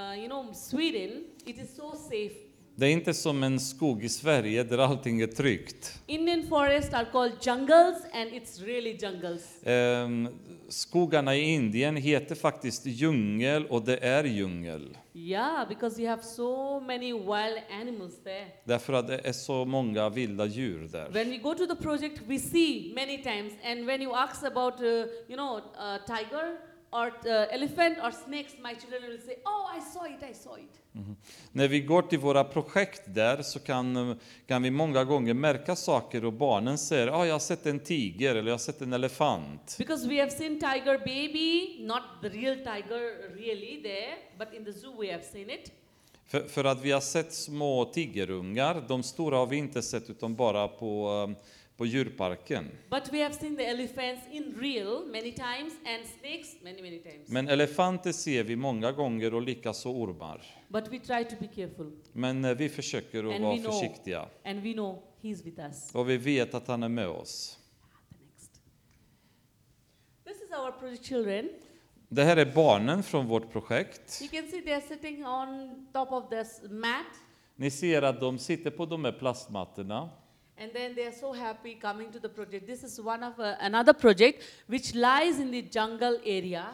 [SPEAKER 5] uh, you know Sweden. It is so safe.
[SPEAKER 6] Det är inte som en skog i Sverige där allting är tryggt.
[SPEAKER 5] Indian forests are called jungles, and it's really jungles.
[SPEAKER 6] Ehm, skogarna i Indien heter faktiskt djungel och det är djungel.
[SPEAKER 5] Yeah, because you have so many wild animals there.
[SPEAKER 6] Därför att det är så många vilda djur där.
[SPEAKER 5] When we go to the project, we see many times, and when you ask about, uh, you know, uh, tiger or uh, elephant or snakes, my children will say, "Oh, I saw it, I saw it."
[SPEAKER 6] När vi går till våra projekt där så kan, eh, kan vi många gånger märka saker och barnen säger ah, jag har sett en tiger eller jag har sett en elefant.
[SPEAKER 5] Because we have seen tiger baby, not the real tiger really there, but in the zoo we have seen it.
[SPEAKER 6] För, för att vi har sett små tigerungar, de stora har vi inte sett utan bara på, eh, på djurparken.
[SPEAKER 5] But we have seen the elephants in real many times, and snakes many many times.
[SPEAKER 6] Men elefanter ser vi många gånger och likaså ormar.
[SPEAKER 5] But we try to be careful,
[SPEAKER 6] Men eh, vi försöker att
[SPEAKER 5] And
[SPEAKER 6] vara
[SPEAKER 5] we know.
[SPEAKER 6] försiktiga.
[SPEAKER 5] and we know he's with us.
[SPEAKER 6] Och vi vet att han är med oss.
[SPEAKER 5] The next. This is our project children.
[SPEAKER 6] Det här är barnen från vårt projekt.
[SPEAKER 5] You can see they are sitting on top of this mat,
[SPEAKER 6] Ni ser att de sitter på de här plastmattorna.
[SPEAKER 5] and then they are so happy coming to the project. This is one of uh, another project which lies in the jungle area.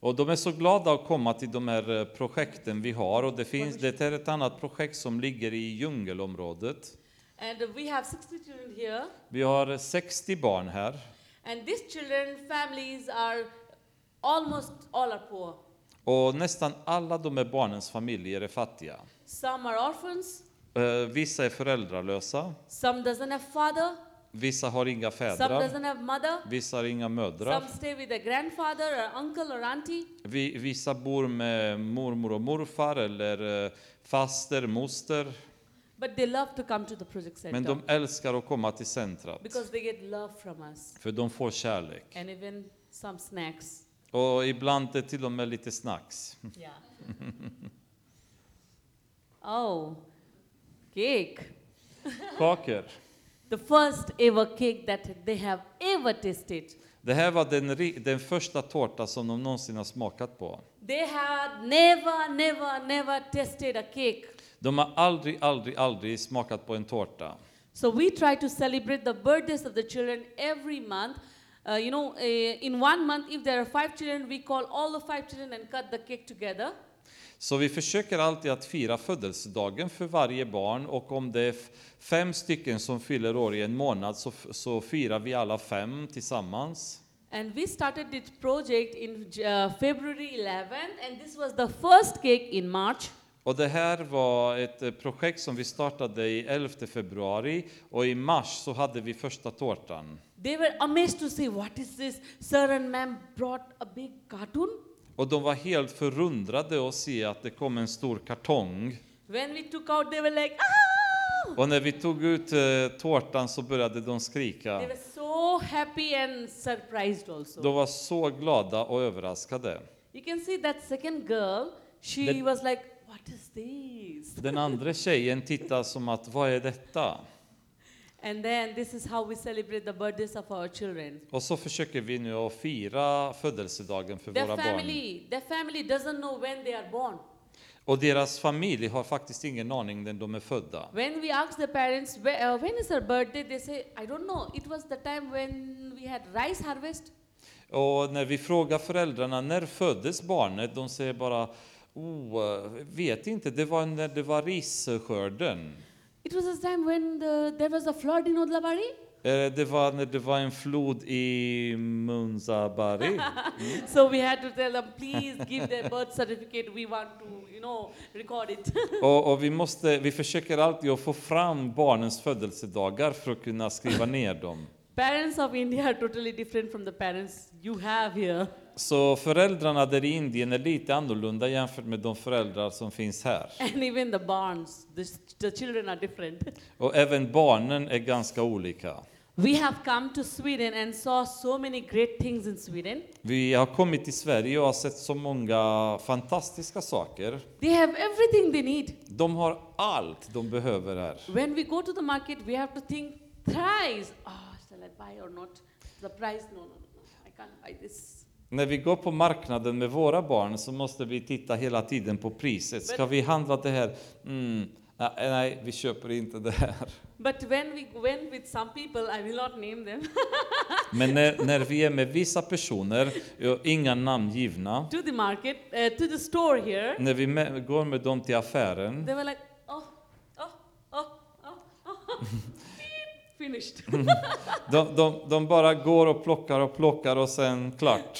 [SPEAKER 6] Och de är så glada att komma till de här eh, projekten vi har. Och det, finns, det är ett annat projekt som ligger i djungelområdet.
[SPEAKER 5] And we have 60 children here,
[SPEAKER 6] Vi har 60 barn här.
[SPEAKER 5] and these children families are almost all are poor.
[SPEAKER 6] Och nästan alla de här barnens familjer är fattiga.
[SPEAKER 5] Some are orphans,
[SPEAKER 6] Eh, Vissa är föräldralösa.
[SPEAKER 5] some doesn't have father,
[SPEAKER 6] Vissa har inga
[SPEAKER 5] some
[SPEAKER 6] fäder.
[SPEAKER 5] doesn't have mother,
[SPEAKER 6] Vissa har inga mödrar.
[SPEAKER 5] some stay with their grandfather or uncle or auntie.
[SPEAKER 6] Vi, vissa bor med mormor och morfar eller eh, faster, moster.
[SPEAKER 5] But they love to come to the project center
[SPEAKER 6] Men de älskar att komma till centrat.
[SPEAKER 5] because they get love from us
[SPEAKER 6] För de får kärlek.
[SPEAKER 5] and even some snacks.
[SPEAKER 6] Och ibland är till och med lite snacks.
[SPEAKER 5] Yeah. oh, cake.
[SPEAKER 6] Kakor.
[SPEAKER 5] The first ever cake that they have ever tasted.
[SPEAKER 6] Det här var den, ri- den första tårta som de någonsin har smakat på.
[SPEAKER 5] They had never, never, never tasted a cake.
[SPEAKER 6] De har aldrig, aldrig, aldrig smakat på en tårta.
[SPEAKER 5] So we try to celebrate the birthdays of the children every month uh, you know, uh, in one month, if there are five children, we call all the five children and cut the cake together.
[SPEAKER 6] Så vi försöker alltid att fira födelsedagen för varje barn och om det är f- fem stycken som fyller år i en månad så, f- så firar vi alla fem tillsammans.
[SPEAKER 5] And we started this project in J- uh, February 11th, and this was the first cake in March.
[SPEAKER 6] Och det här var ett eh, projekt som vi startade i 11 februari och i mars så hade vi första tårtan.
[SPEAKER 5] They were amazed to see what is this. Sir and ma'am brought a big cartoon.
[SPEAKER 6] Och de var helt förundrade att se att det kom en stor kartong.
[SPEAKER 5] When we took out, they were like, ah!
[SPEAKER 6] Och när vi tog ut eh, tårtan så började de
[SPEAKER 5] They
[SPEAKER 6] skrika.
[SPEAKER 5] were so happy and surprised also.
[SPEAKER 6] De var så glada och överraskade.
[SPEAKER 5] You can see that second girl, she
[SPEAKER 6] That-
[SPEAKER 5] was like, What is this?
[SPEAKER 6] Den andra tjejen tittade som att, vad är detta?
[SPEAKER 5] And then this is how we celebrate the birthdays of our children.
[SPEAKER 6] Och så försöker vi nu att fira födelsedagen för
[SPEAKER 5] Their
[SPEAKER 6] våra barn.
[SPEAKER 5] family, their family doesn't know when they are born.
[SPEAKER 6] Och deras familj har faktiskt ingen aning när de är födda.
[SPEAKER 5] When we ask the parents, "Wh- uh, when is her birthday? They say, I don't know. It was the time when we had rice harvest.
[SPEAKER 6] Och när vi frågar föräldrarna, när föddes barnet? De säger bara, oh, vet inte, det var när det var risskörden.
[SPEAKER 5] It was the time when the, there was a flood in Odlabari.
[SPEAKER 6] Eh, Det var när det var en flod i Munzabari.
[SPEAKER 5] So we had to tell them, please give their birth certificate. We want to, you know, record it.
[SPEAKER 6] Och, och vi, måste, vi försöker alltid att få fram barnens födelsedagar för att kunna skriva ner dem.
[SPEAKER 5] parents of India are totally different from the parents you have here.
[SPEAKER 6] Så föräldrarna där i Indien är lite annorlunda jämfört med de föräldrar som finns här.
[SPEAKER 5] And even the barns, the, s- the children are different.
[SPEAKER 6] Och även barnen är ganska olika.
[SPEAKER 5] We have come to Sweden and saw so many great things in Sweden.
[SPEAKER 6] Vi har kommit till Sverige och har sett så många fantastiska saker.
[SPEAKER 5] They have everything they need.
[SPEAKER 6] De har allt de behöver här.
[SPEAKER 5] When we go to the market, we have to think thrice. Oh, shall I buy or not? The price, no, no, no, no. I can't buy this.
[SPEAKER 6] När vi går på marknaden med våra barn så måste vi titta hela tiden på priset. Ska vi handla det här? Mm, nej, nej, vi köper inte det här.
[SPEAKER 5] But when we went with some people, I will not name them,
[SPEAKER 6] Men när, när vi är med vissa personer, ja, inga namn givna,
[SPEAKER 5] to the market, uh, to the store here,
[SPEAKER 6] när vi med, går med dem till affären
[SPEAKER 5] they were like, oh, oh, oh, oh, oh. Finished.
[SPEAKER 6] De, de, de bara går och plockar och plockar och sen klart.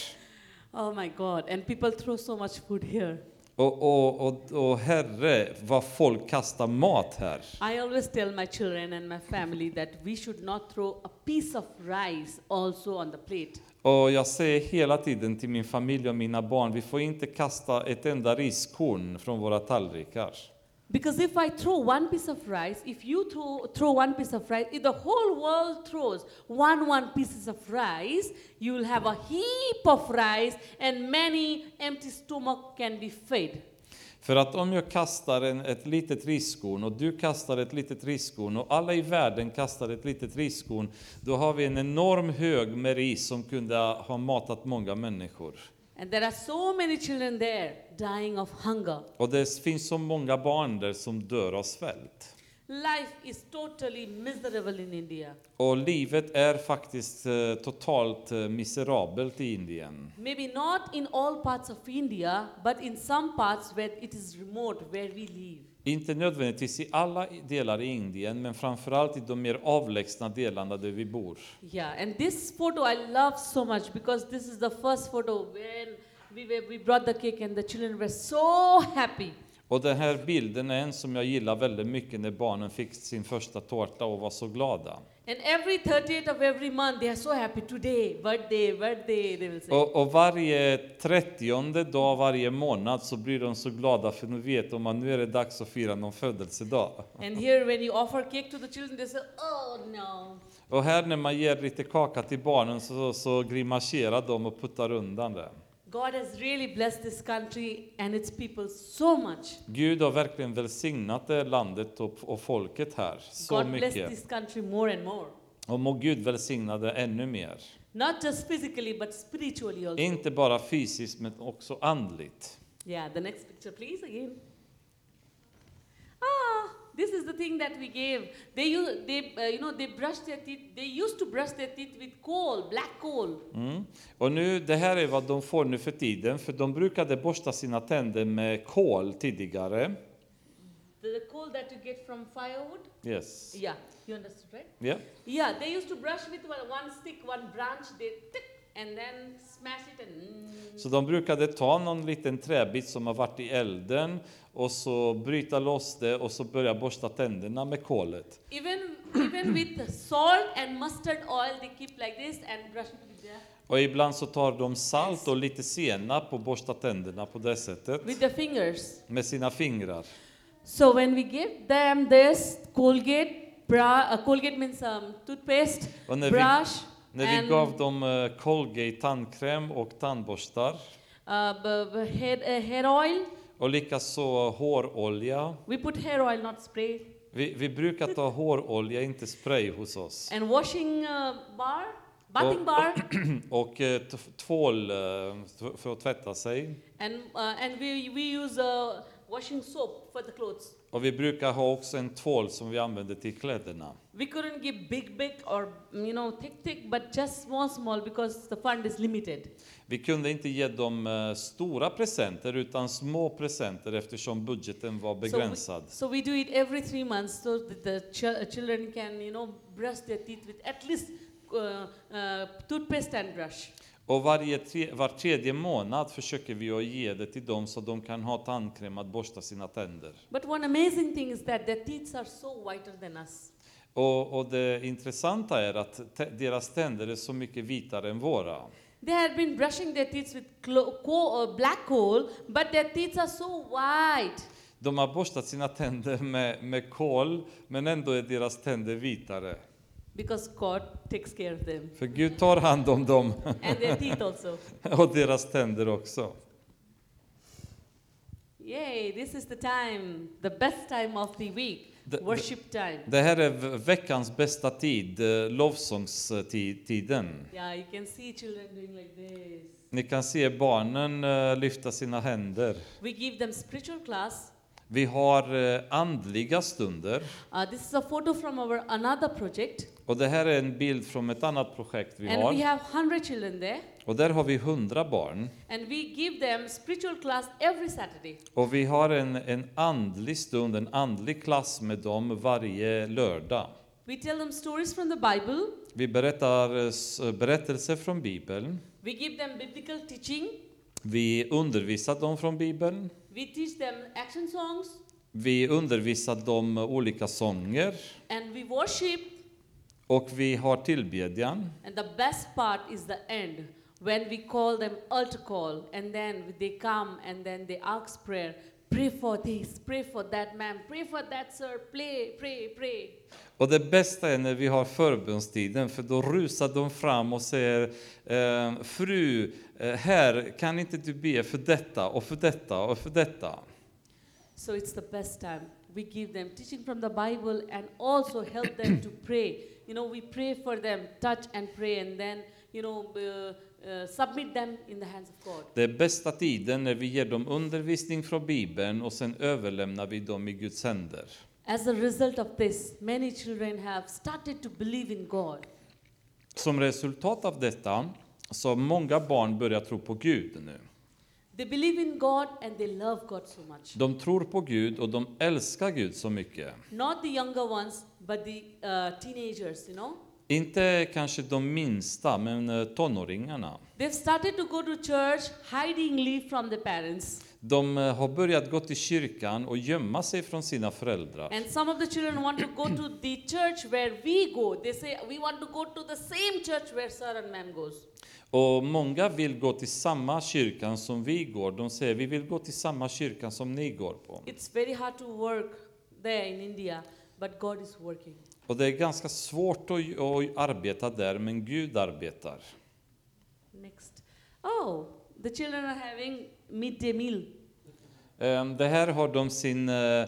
[SPEAKER 5] oh my God. And people throw so much food here.
[SPEAKER 6] Och, och, och, och herre, vad folk kastar mat här.
[SPEAKER 5] I always tell my children and my family that we should not throw a piece of rice also on the plate.
[SPEAKER 6] Och jag säger hela tiden till min familj och mina barn, vi får inte kasta ett enda riskorn från våra tallrikar.
[SPEAKER 5] Because if I throw one piece of rice, if you throw, throw one piece of rice, if the whole world throws one one pieces of rice, you will have a heap of rice and many empty stomach can be fed.
[SPEAKER 6] För att om jag kastar en, ett litet riskorn och du kastar ett litet riskorn och alla i världen kastar ett litet riskorn, då har vi en enorm hög med ris som kunde ha matat många människor.
[SPEAKER 5] And there are so many children there dying of hunger.
[SPEAKER 6] Och det finns så många barn där som dör av svält.
[SPEAKER 5] Life is totally miserable in India.
[SPEAKER 6] Och livet är faktiskt eh, totalt eh, miserabelt i Indien.
[SPEAKER 5] Maybe not in all parts of India, but in some parts where it is remote, where we live.
[SPEAKER 6] Inte nödvändigtvis i alla delar i Indien, men framförallt i de mer avlägsna delarna där vi bor.
[SPEAKER 5] Yeah, and this photo I love so much because this is the first photo when we, were, we brought the cake and the children were so happy.
[SPEAKER 6] Och den här bilden är en som jag gillar väldigt mycket när barnen fick sin första tårta och var så glada.
[SPEAKER 5] And every 30th of every month, they are so happy. Today, birthday, birthday, they will say.
[SPEAKER 6] Och, och varje trettionde dag varje månad så blir de så glada för nu vet de att nu är det dags att fira någon födelsedag.
[SPEAKER 5] And here, when you offer cake to the children, they say, oh no.
[SPEAKER 6] Och här när man ger lite kaka till barnen så, så grimaserar de och puttar undan den.
[SPEAKER 5] God has really blessed this country and its people so much.
[SPEAKER 6] Gud har verkligen välsignat det landet och, och folket här så
[SPEAKER 5] God bless
[SPEAKER 6] mycket.
[SPEAKER 5] this country more and more.
[SPEAKER 6] Och må Gud välsigna det ännu mer.
[SPEAKER 5] Not just physically, but spiritually also.
[SPEAKER 6] Inte bara fysiskt men också andligt.
[SPEAKER 5] Yeah, the next picture, please, again. Ah, This is the thing that we gave. They, u- they uh, you know, they brush their teeth. They used to brush their teeth with coal, black coal.
[SPEAKER 6] Mm. Och nu, det här är vad de får nu för tiden, för de brukade borsta sina tänder med kol tidigare.
[SPEAKER 5] The coal that you get from firewood.
[SPEAKER 6] Yes.
[SPEAKER 5] Yeah, you understood, right?
[SPEAKER 6] Yeah.
[SPEAKER 5] Yeah, they used to brush with one, one stick, one branch. They tick and then smash it and.
[SPEAKER 6] Så de brukade ta någon liten träbit som har varit i elden och så bryta loss det och så börja borsta tänderna med kolet.
[SPEAKER 5] Even even with salt and mustard oil, they keep like this and brush it with their
[SPEAKER 6] Och ibland så tar de salt och lite senap och borstar tänderna på det sättet
[SPEAKER 5] with their fingers.
[SPEAKER 6] med sina fingrar.
[SPEAKER 5] So when we give them this Colgate bra, uh, Colgate means um, toothpaste,
[SPEAKER 6] Och när vi,
[SPEAKER 5] brush,
[SPEAKER 6] när vi
[SPEAKER 5] and
[SPEAKER 6] gav dem eh, Colgate tandkräm och tandborstar
[SPEAKER 5] uh, b- b- hair, uh, hair oil.
[SPEAKER 6] och likaså hårolja.
[SPEAKER 5] We put hair oil, not spray.
[SPEAKER 6] Vi, vi brukar ta hårolja, inte spray hos oss.
[SPEAKER 5] And washing uh, bar, bathing
[SPEAKER 6] Oh.
[SPEAKER 5] bar, Mm.
[SPEAKER 6] Och eh, t- tvål eh, t- för att tvätta sig.
[SPEAKER 5] and uh, and we we use uh, washing soap for the clothes.
[SPEAKER 6] Och vi brukar ha också en tvål som vi använder till kläderna.
[SPEAKER 5] We couldn't give big, big or you know thick, thick, but just small, small because the fund is limited.
[SPEAKER 6] Vi kunde inte ge dem eh, stora presenter utan små presenter eftersom budgeten var begränsad.
[SPEAKER 5] So we do it every three months so that the ch- children can, you know, brush their teeth with at least uh, uh, toothpaste and brush.
[SPEAKER 6] Och varje tre, var tredje månad försöker vi att ge det till dem så de kan ha tandkräm att borsta sina tänder.
[SPEAKER 5] But one amazing thing is that their teeth are so whiter than us.
[SPEAKER 6] Och, och det intressanta är att tä- deras tänder är så mycket vitare än våra.
[SPEAKER 5] They had been brushing their teeth with clo- co- uh, black coal, but their teeth are so white.
[SPEAKER 6] De har borstat sina tänder med, med kol, men ändå är deras tänder vitare.
[SPEAKER 5] Because God takes care of them
[SPEAKER 6] För Gud tar hand om dem
[SPEAKER 5] and their teeth also.
[SPEAKER 6] och deras tänder också.
[SPEAKER 5] Yay, this is the time, the best time of the week,
[SPEAKER 6] The- the-
[SPEAKER 5] worship time.
[SPEAKER 6] Det här är v- veckans bästa tid, eh, lovsångstiden.
[SPEAKER 5] Yeah, you can see children doing like this.
[SPEAKER 6] Ni kan se barnen eh, lyfta sina händer.
[SPEAKER 5] We give them spiritual class.
[SPEAKER 6] Vi har eh, andliga stunder.
[SPEAKER 5] Uh, this is a photo from our another project,
[SPEAKER 6] Och det här är en bild från ett annat projekt vi
[SPEAKER 5] and we
[SPEAKER 6] har.
[SPEAKER 5] have hundred children there,
[SPEAKER 6] Och där har vi hundra barn.
[SPEAKER 5] and we give them spiritual class every Saturday.
[SPEAKER 6] Och vi har en, en andlig stund, en andlig klass med dem varje lördag.
[SPEAKER 5] We tell them stories from the Bible.
[SPEAKER 6] Vi berättar eh, s- berättelser från Bibeln.
[SPEAKER 5] We give them biblical teaching.
[SPEAKER 6] Vi undervisar dem från Bibeln.
[SPEAKER 5] We teach them action songs,
[SPEAKER 6] Vi undervisar dem olika sånger
[SPEAKER 5] and we worship.
[SPEAKER 6] och vi har tillbedjan.
[SPEAKER 5] And the best part is the end when we call them altar call, and then they come and then they ask prayer. Pray for this, pray for that, ma'am, pray for that, sir, pray, pray, pray.
[SPEAKER 6] Och det bästa är när vi har förbönstiden, för då rusar de fram och säger eh, Fru, eh, här kan inte du be för detta och för detta och för detta?
[SPEAKER 5] So it's the best time. We give them teaching from the Bible and also help them to pray. You know, we pray for them, touch and pray, and then, you know, uh, uh, submit them in the hands of God.
[SPEAKER 6] Det är bästa tiden när vi ger dem undervisning från Bibeln och sen överlämnar vi dem i Guds händer.
[SPEAKER 5] As a result of this, many children have started to believe in God.
[SPEAKER 6] Som resultat av detta så har många barn börjat tro på Gud nu.
[SPEAKER 5] They believe in God and they love God so much.
[SPEAKER 6] De tror på Gud och de älskar Gud så mycket.
[SPEAKER 5] Not the younger ones, but the uh, teenagers, you know.
[SPEAKER 6] Inte kanske de minsta, men eh, tonåringarna.
[SPEAKER 5] They've started to go to church hidingly from their parents.
[SPEAKER 6] De eh, har börjat gå till kyrkan och gömma sig från sina föräldrar.
[SPEAKER 5] And some of the children want to go to the church where we go. They say, We want to go to the same church where sir and ma'am goes.
[SPEAKER 6] Och många vill gå till samma kyrkan som vi går. De säger vi vill gå till samma kyrkan som ni går på.
[SPEAKER 5] It's very hard to work there in India, but God is working.
[SPEAKER 6] Och det är ganska svårt att, att arbeta där, men Gud arbetar.
[SPEAKER 5] Next. Oh, the children are having midday meal.
[SPEAKER 6] Ehm, Det här har de sin eh,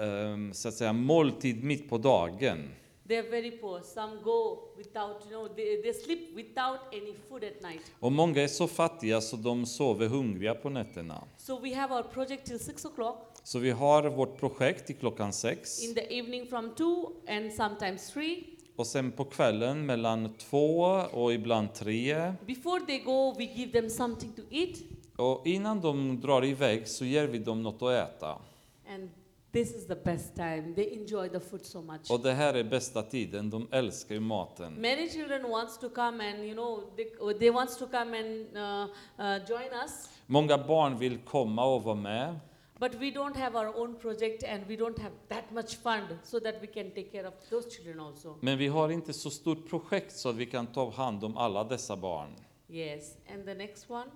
[SPEAKER 6] ehm, så att säga, måltid mitt på dagen.
[SPEAKER 5] They're very poor. Some go without, you know, they, they sleep without any food at night.
[SPEAKER 6] Och många är så fattiga så de sover hungriga på nätterna.
[SPEAKER 5] So we have our project till 6 o'clock
[SPEAKER 6] Så vi har vårt projekt till klockan sex
[SPEAKER 5] in the evening from 2 and sometimes 3.
[SPEAKER 6] och sen på kvällen mellan två och ibland tre.
[SPEAKER 5] Before they go, we give them something to eat,
[SPEAKER 6] Och innan de drar iväg så ger vi dem något att äta.
[SPEAKER 5] and this is the best time. They enjoy the food so much.
[SPEAKER 6] Och det här är bästa tiden, de älskar ju maten.
[SPEAKER 5] Many children wants to come and you know they, they wants to come and uh, uh, join us,
[SPEAKER 6] Många barn vill komma och vara med,
[SPEAKER 5] but we don't have our own project and we don't have that much fund so that we can take care of those children also.
[SPEAKER 6] men vi har inte så stort projekt så att vi kan ta hand om alla dessa barn.
[SPEAKER 5] Yes, and the next one.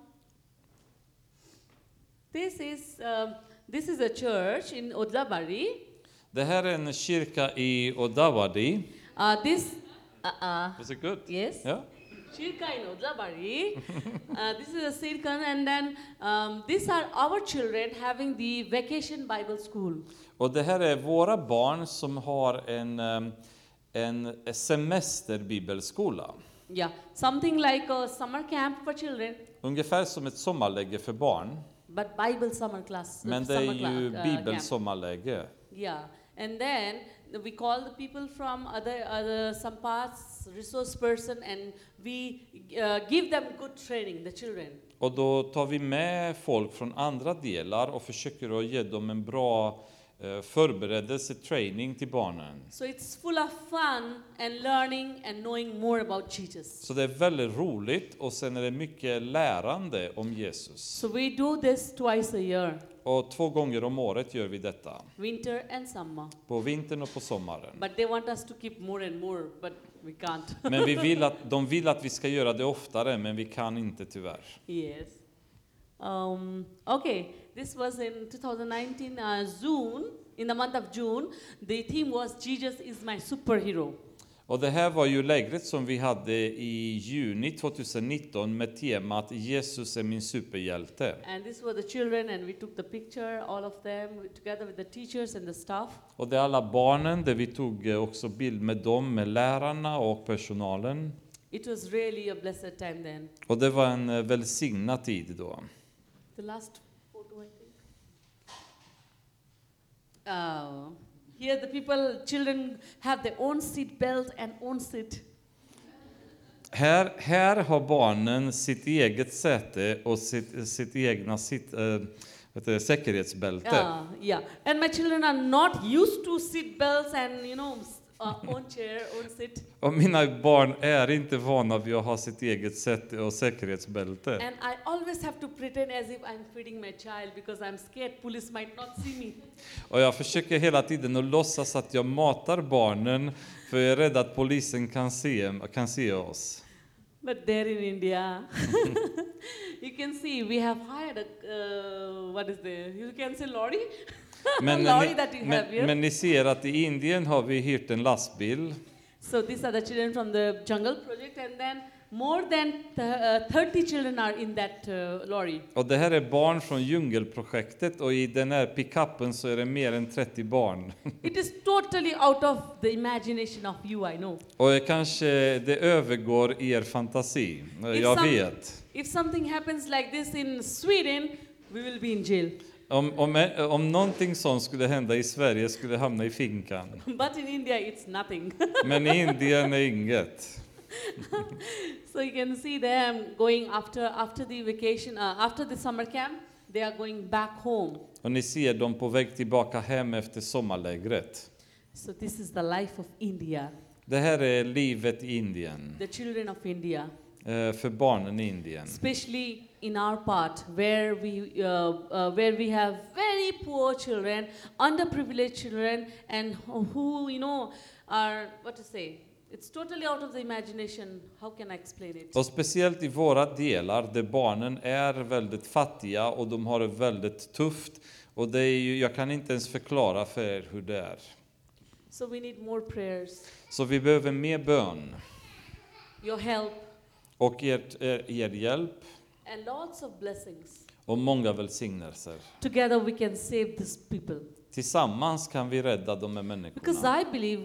[SPEAKER 5] This is um, this is a church in Odlabari.
[SPEAKER 6] Det här är en kyrka i Odawadi.
[SPEAKER 5] Uh, this uh, uh,
[SPEAKER 6] Was it good?
[SPEAKER 5] yes.
[SPEAKER 6] Ja.
[SPEAKER 5] Shirka in Odlabari. uh, this is a Shirkan, and then um, these are our children having the vacation Bible school.
[SPEAKER 6] Och det här är våra barn som har en, ehm, en semesterbibelskola.
[SPEAKER 5] Yeah, something like a summer camp for children,
[SPEAKER 6] Ungefär som ett sommarläge för barn,
[SPEAKER 5] but Bible summer class.
[SPEAKER 6] men det
[SPEAKER 5] summer
[SPEAKER 6] är ju
[SPEAKER 5] cla- uh, camp.
[SPEAKER 6] bibelsommarläge.
[SPEAKER 5] Yeah, and then we call the people from other other some parts resource person, and we uh, give them good training. The children.
[SPEAKER 6] Och då tar vi med folk från andra delar och försöker att ge dem en bra eh, förberedelse, training till barnen.
[SPEAKER 5] So it's full of fun and learning and knowing more about Jesus.
[SPEAKER 6] Så det är väldigt roligt och sen är det mycket lärande om Jesus.
[SPEAKER 5] So we do this twice a year,
[SPEAKER 6] Och två gånger om året gör vi detta,
[SPEAKER 5] winter and summer.
[SPEAKER 6] på vintern och på sommaren.
[SPEAKER 5] But they want us to keep more and more, but we can't.
[SPEAKER 6] Men vi vill att, de vill att vi ska göra det oftare, men vi kan inte tyvärr.
[SPEAKER 5] Yes. Um, okay, this was in 2019, uh, June, in the month of June. The theme was Jesus is my superhero.
[SPEAKER 6] Och det här var ju lägret som vi hade i juni 2019 med temat Jesus är min superhjälte.
[SPEAKER 5] And these were the children, and we took the picture, all of them, together with the teachers and the staff.
[SPEAKER 6] Och det är alla barnen, där vi tog eh, också bild med dem, med lärarna och personalen.
[SPEAKER 5] It was really a blessed time then.
[SPEAKER 6] Och det var en eh, välsignad tid då.
[SPEAKER 5] The last photo, I think. Uh, here, the people, children have their own seat belt and own seat.
[SPEAKER 6] Här, här har barnen sitt eget säte och sitt, sitt egna sitt, eh, vet du, säkerhetsbälte.
[SPEAKER 5] Uh, yeah, and my children are not used to seat belts and you know s- uh, own chair, own seat.
[SPEAKER 6] Och mina barn är inte vana vid att ha sitt eget säte och säkerhetsbälte.
[SPEAKER 5] And I always have to pretend as if I'm feeding my child because I'm scared police might not see me.
[SPEAKER 6] Och jag försöker hela tiden att låtsas att jag matar barnen för jag är rädd att polisen kan se, kan se oss.
[SPEAKER 5] But there in India, you can see we have hired a uh, what is the you can say lorry,
[SPEAKER 6] Men,
[SPEAKER 5] lorry
[SPEAKER 6] ni,
[SPEAKER 5] that we have here.
[SPEAKER 6] men, men ni ser att i Indien har vi hyrt en lastbil
[SPEAKER 5] so these are the children from the jungle project, and then more than th- uh, 30 children are in that uh, lorry.
[SPEAKER 6] och det här är barn från djungelprojektet och i den här pickuppen så är det mer än 30 barn.
[SPEAKER 5] It is totally out of the imagination of you, I know.
[SPEAKER 6] Och det kanske det övergår er fantasi, jag
[SPEAKER 5] some-
[SPEAKER 6] vet.
[SPEAKER 5] If something happens like this in Sweden, we will be in jail.
[SPEAKER 6] Om, om, om någonting sånt skulle hända i Sverige skulle det hamna i finkan.
[SPEAKER 5] But in India, it's nothing.
[SPEAKER 6] Men i Indien är inget.
[SPEAKER 5] so you can see them going after after the vacation, uh, after the summer camp, they are going back home.
[SPEAKER 6] Och ni ser dem på väg tillbaka hem efter sommarlägret.
[SPEAKER 5] So this is the life of India,
[SPEAKER 6] Det här är livet i Indien,
[SPEAKER 5] the children of India,
[SPEAKER 6] eh, för barnen i Indien.
[SPEAKER 5] especially in our part where we uh, uh, where we have very poor children, underprivileged children, and who- who you know are what to say. It's totally out of the imagination. How can I explain it?
[SPEAKER 6] Och speciellt i våra delar där barnen är väldigt fattiga och de har det väldigt tufft. Och det är ju, jag kan inte ens förklara för er hur det är.
[SPEAKER 5] So we need more prayers,
[SPEAKER 6] Så vi behöver mer bön
[SPEAKER 5] your help,
[SPEAKER 6] och ert, er, er hjälp
[SPEAKER 5] and lots of blessings.
[SPEAKER 6] och många välsignelser.
[SPEAKER 5] Together we can save these people.
[SPEAKER 6] Tillsammans kan vi rädda de här
[SPEAKER 5] Because
[SPEAKER 6] människorna.
[SPEAKER 5] I believe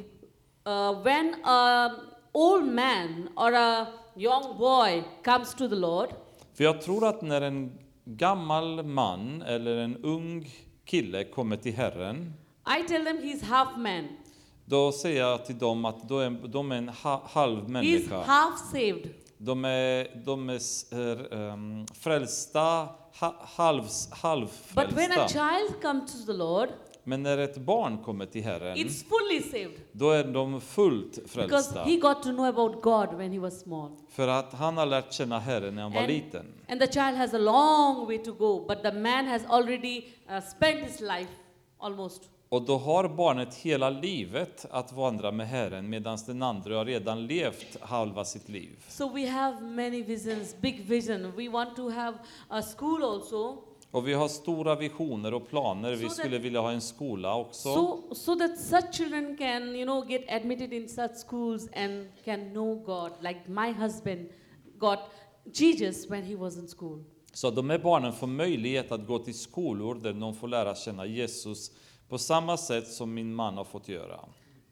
[SPEAKER 5] uh, when an old man or a young boy comes to the Lord,
[SPEAKER 6] För jag tror att när en gammal man eller en ung kille kommer till Herren,
[SPEAKER 5] I tell them he's half man,
[SPEAKER 6] då säger jag till dem att då är, de är en ha, halv
[SPEAKER 5] he's
[SPEAKER 6] människa.
[SPEAKER 5] half saved.
[SPEAKER 6] De är, de är s- är, ehm, frälsta, ha, halvs,
[SPEAKER 5] But when a
[SPEAKER 6] halvfrälsta.
[SPEAKER 5] child comes to the Lord,
[SPEAKER 6] Men när ett barn kommer till Herren,
[SPEAKER 5] it's fully saved
[SPEAKER 6] då är de fullt
[SPEAKER 5] because
[SPEAKER 6] frälsta.
[SPEAKER 5] he got to know about God when he was small.
[SPEAKER 6] För att han har lärt känna Herren när han var
[SPEAKER 5] And,
[SPEAKER 6] liten.
[SPEAKER 5] and the child has a long way to go, but the man has already uh, spent his life almost.
[SPEAKER 6] Och då har barnet hela livet att vandra med Herren medan den andra har redan levt halva sitt liv.
[SPEAKER 5] So we have many visions, big vision. We want to have a school also,
[SPEAKER 6] Och vi har stora visioner och planer. Vi
[SPEAKER 5] Så det-
[SPEAKER 6] skulle vilja ha en skola också.
[SPEAKER 5] so so that such children can you know get admitted in such schools and can know God. Like my husband got Jesus when he was in school.
[SPEAKER 6] Så att de här barnen får möjlighet att gå till skolor där de får lära känna Jesus på samma sätt som min man har fått göra.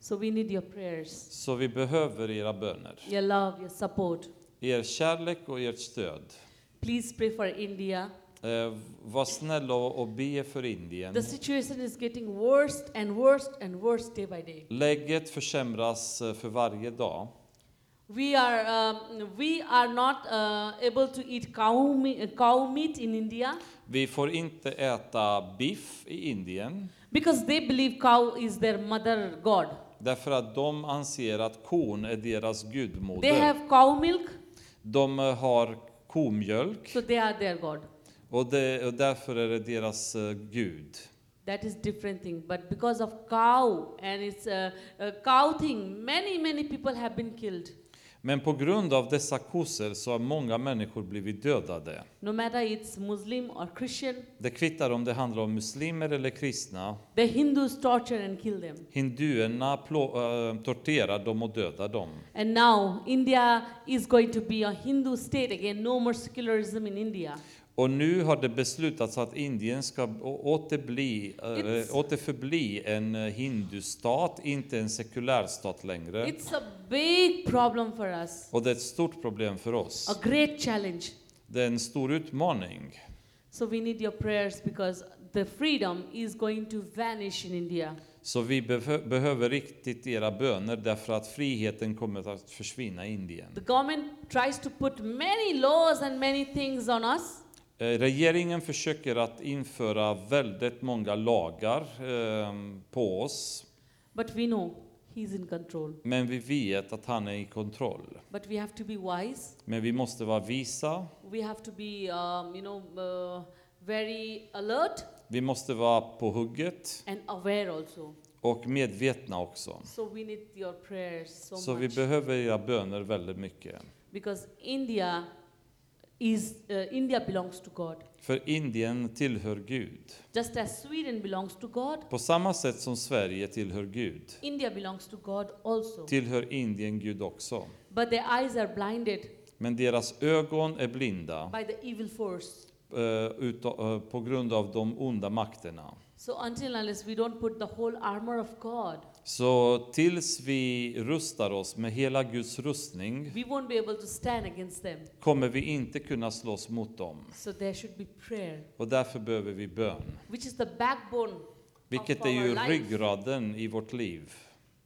[SPEAKER 5] So we need your prayers,
[SPEAKER 6] Så vi behöver era böner,
[SPEAKER 5] your love, your support.
[SPEAKER 6] er kärlek och ert stöd.
[SPEAKER 5] Please pray for India.
[SPEAKER 6] Eh, var snälla och, och be för Indien.
[SPEAKER 5] The situation is getting worse and worse and worse day by day.
[SPEAKER 6] Läget försämras eh, för varje dag.
[SPEAKER 5] We are um, we are not uh, able to eat cow, me- uh, cow meat in India
[SPEAKER 6] Vi får inte äta biff i Indien
[SPEAKER 5] because they believe cow is their mother god.
[SPEAKER 6] därför att de anser att kon är deras
[SPEAKER 5] They
[SPEAKER 6] gudmoder.
[SPEAKER 5] have cow milk,
[SPEAKER 6] De eh, har komjölk
[SPEAKER 5] so they are their god.
[SPEAKER 6] och, det, och därför är det deras eh, gud.
[SPEAKER 5] That is different thing. But because of cow and it's a, a cow thing, many many people have been killed.
[SPEAKER 6] Men på grund av dessa kossor så har många människor blivit dödade.
[SPEAKER 5] No matter it's Muslim or Christian,
[SPEAKER 6] Det kvittar om det handlar om muslimer eller kristna.
[SPEAKER 5] the Hindus torture and kill them.
[SPEAKER 6] Hinduerna plå, eh, torterar dem och dödar dem.
[SPEAKER 5] And now India is going to be a Hindu state again. No more secularism in India.
[SPEAKER 6] Och nu har det beslutats att Indien ska å- åter, bli, eh,
[SPEAKER 5] It's-
[SPEAKER 6] åter förbli en eh, hindustat, inte en sekulär stat längre.
[SPEAKER 5] It's a big problem for us,
[SPEAKER 6] Och det är ett stort problem för
[SPEAKER 5] a
[SPEAKER 6] oss.
[SPEAKER 5] great challenge.
[SPEAKER 6] Det är en stor utmaning.
[SPEAKER 5] So we need your prayers because the freedom is going to vanish in India.
[SPEAKER 6] Så vi behö- behöver riktigt era böner därför att friheten kommer att försvinna i Indien.
[SPEAKER 5] The government tries to put many laws and many things on us,
[SPEAKER 6] Eh, Regeringen försöker att införa väldigt många lagar ehm, på oss,
[SPEAKER 5] but we know he's in control.
[SPEAKER 6] men vi vet att han är i kontroll.
[SPEAKER 5] But we have to be wise.
[SPEAKER 6] Men vi måste vara visa,
[SPEAKER 5] We have to be, um, you know, uh, very alert
[SPEAKER 6] vi måste vara på hugget
[SPEAKER 5] and aware also.
[SPEAKER 6] och medvetna också.
[SPEAKER 5] So we need your prayers so,
[SPEAKER 6] Så vi
[SPEAKER 5] much
[SPEAKER 6] behöver era böner väldigt mycket.
[SPEAKER 5] because India is uh, India belongs to God.
[SPEAKER 6] För Indien tillhör Gud.
[SPEAKER 5] Just as Sweden belongs to God,
[SPEAKER 6] På samma sätt som Sverige tillhör Gud,
[SPEAKER 5] India belongs to God also.
[SPEAKER 6] tillhör Indien Gud också.
[SPEAKER 5] But their eyes are blinded
[SPEAKER 6] Men deras ögon är blinda
[SPEAKER 5] by the evil force.
[SPEAKER 6] eh, uta- eh, på grund av de onda makterna.
[SPEAKER 5] So until unless we don't put the whole armor of God,
[SPEAKER 6] Så tills vi rustar oss med hela Guds rustning
[SPEAKER 5] we won't be able to stand against them.
[SPEAKER 6] kommer vi inte kunna slåss mot dem.
[SPEAKER 5] So there should be prayer,
[SPEAKER 6] Och därför behöver vi bön.
[SPEAKER 5] which is the backbone,
[SPEAKER 6] Vilket
[SPEAKER 5] Of
[SPEAKER 6] är
[SPEAKER 5] our
[SPEAKER 6] ju
[SPEAKER 5] life.
[SPEAKER 6] ryggraden i vårt liv.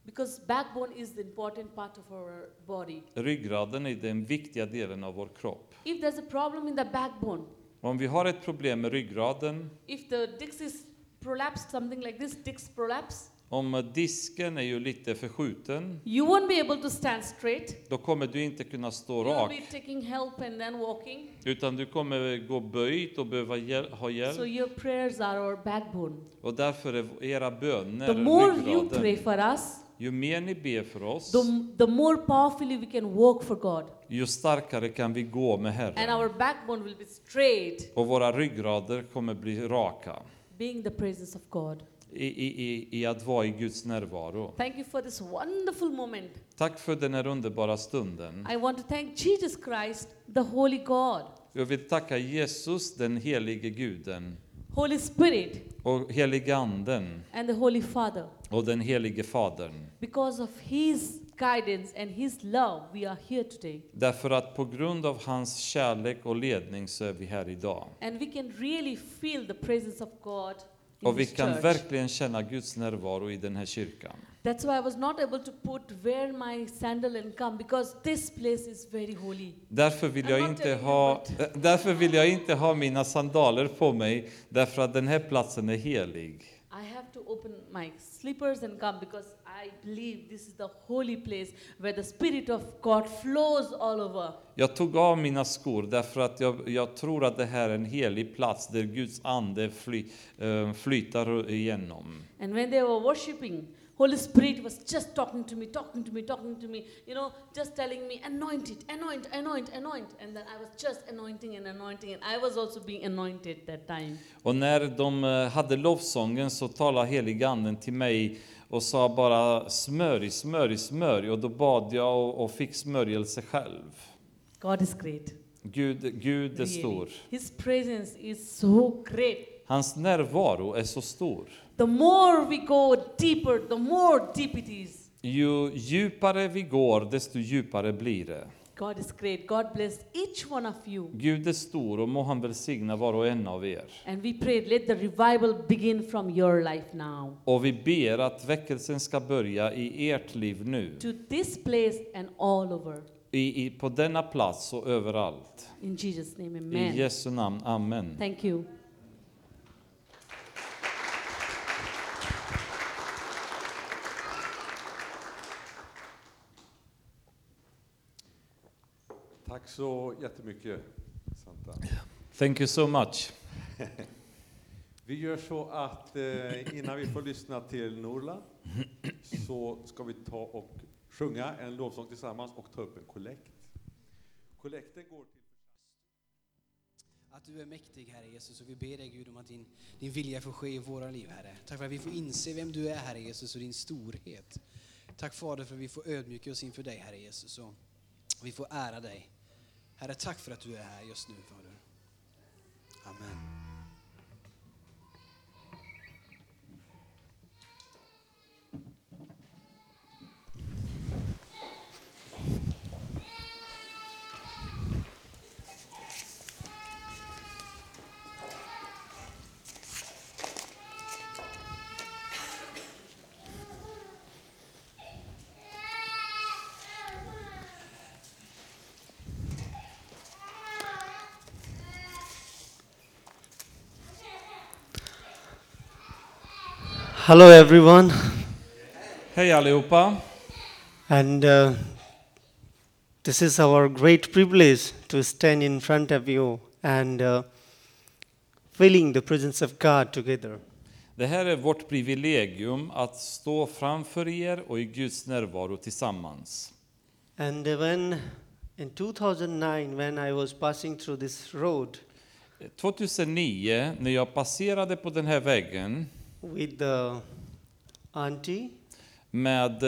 [SPEAKER 5] because backbone is the important part of our body.
[SPEAKER 6] Ryggraden är den viktiga delen av vår kropp.
[SPEAKER 5] If there's a problem in the backbone,
[SPEAKER 6] Om vi har ett problem med ryggraden,
[SPEAKER 5] if the disc is prolapsed, something like this, disc prolapse,
[SPEAKER 6] om disken är ju lite förskjuten,
[SPEAKER 5] you won't be able to stand straight.
[SPEAKER 6] då kommer du inte kunna stå
[SPEAKER 5] You'll be
[SPEAKER 6] rak,
[SPEAKER 5] taking help and then walking.
[SPEAKER 6] utan du kommer gå böjt och behöva hjäl- ha
[SPEAKER 5] So
[SPEAKER 6] hjälp.
[SPEAKER 5] your prayers are our backbone.
[SPEAKER 6] Och därför är era böner
[SPEAKER 5] The more you pray
[SPEAKER 6] ryggraden.
[SPEAKER 5] for us,
[SPEAKER 6] Ju mer ni ber för oss,
[SPEAKER 5] the, the more powerfully we can walk for God.
[SPEAKER 6] ju starkare kan vi gå med
[SPEAKER 5] And
[SPEAKER 6] Herren.
[SPEAKER 5] our backbone will be straight,
[SPEAKER 6] Och våra ryggrader kommer bli raka
[SPEAKER 5] being the presence of God.
[SPEAKER 6] i, i, i, i att vara i Guds närvaro.
[SPEAKER 5] Thank you for this wonderful moment.
[SPEAKER 6] Tack för den här underbara stunden.
[SPEAKER 5] I want to thank Jesus Christ, the Holy God,
[SPEAKER 6] Jag vill tacka Jesus, den helige guden,
[SPEAKER 5] Holy Spirit,
[SPEAKER 6] och heliganden
[SPEAKER 5] and the Holy Father.
[SPEAKER 6] och den helige Fadern.
[SPEAKER 5] Because of His guidance and His love, we are here today.
[SPEAKER 6] Därför att på grund av hans kärlek och ledning så är vi här idag.
[SPEAKER 5] And we can really feel the presence of God in
[SPEAKER 6] Och vi
[SPEAKER 5] this
[SPEAKER 6] kan
[SPEAKER 5] church.
[SPEAKER 6] verkligen känna Guds närvaro i den här kyrkan.
[SPEAKER 5] That's why I was not able to put where my sandal and come because this place is very holy.
[SPEAKER 6] Därför vill,
[SPEAKER 5] I'm
[SPEAKER 6] jag
[SPEAKER 5] not
[SPEAKER 6] inte
[SPEAKER 5] telling you
[SPEAKER 6] ha, eh, därför vill jag inte ha mina sandaler på mig, därför att den här platsen är helig.
[SPEAKER 5] I have to open my slippers and come because I believe this is the holy place where the Spirit of God flows all over.
[SPEAKER 6] Jag tog av mina skor därför att jag, jag tror att det här är en helig plats där Guds ande fly, eh, flyter igenom.
[SPEAKER 5] And when they were worshiping, Holy Spirit was just talking to me, talking to me, talking to me, you know, just telling me, anoint it, anoint, anoint, anoint. And then I was just anointing and anointing, and I was also being anointed that time.
[SPEAKER 6] Och när de eh, hade lovsången så talade heliganden till mig och sa bara smörj, smörj, smörj. Och då bad jag och, och fick smörjelse själv.
[SPEAKER 5] God is great.
[SPEAKER 6] Gud, Gud är
[SPEAKER 5] really.
[SPEAKER 6] stor.
[SPEAKER 5] His presence is so great.
[SPEAKER 6] Hans närvaro är så stor.
[SPEAKER 5] The more we go deeper, the more deep it is.
[SPEAKER 6] Ju djupare vi går, desto djupare blir det.
[SPEAKER 5] God is great. God bless each one of you.
[SPEAKER 6] Gud är stor och må han välsigna var och en av er.
[SPEAKER 5] And we pray, let the revival begin from your life now.
[SPEAKER 6] Och vi ber att väckelsen ska börja i ert liv nu.
[SPEAKER 5] To this place and all over.
[SPEAKER 6] I, i, på denna plats och överallt.
[SPEAKER 5] In Jesus' name,
[SPEAKER 6] I
[SPEAKER 5] amen.
[SPEAKER 6] Jesu namn, amen.
[SPEAKER 5] Thank you.
[SPEAKER 2] Tack så jättemycket, Santa.
[SPEAKER 6] Thank you so much.
[SPEAKER 2] Vi gör så att eh, innan vi får lyssna till Norla så ska vi ta och sjunga en lovsång tillsammans och ta upp en kollekt. Kollekten går till
[SPEAKER 4] Att du är mäktig, Herre Jesus, och vi ber dig, Gud, om att din, din vilja får ske i våra liv, Herre. Tack för att vi får inse vem du är, Herre Jesus, och din storhet. Tack, Fader, för att vi får ödmjuka oss inför dig, Herre Jesus, och vi får ära dig. Herre, tack för att du är här just nu, Fader. Amen.
[SPEAKER 7] Hello, everyone,
[SPEAKER 6] Hej allihopa!
[SPEAKER 7] and uh, this is our great privilege to stand in front of you and uh, feeling the presence of God together.
[SPEAKER 6] Det här är vårt privilegium att stå framför er och i Guds närvaro tillsammans.
[SPEAKER 7] And when in 2009, when I was passing through this road
[SPEAKER 6] 2009, när jag passerade på den här vägen
[SPEAKER 7] with the auntie,
[SPEAKER 6] med eh,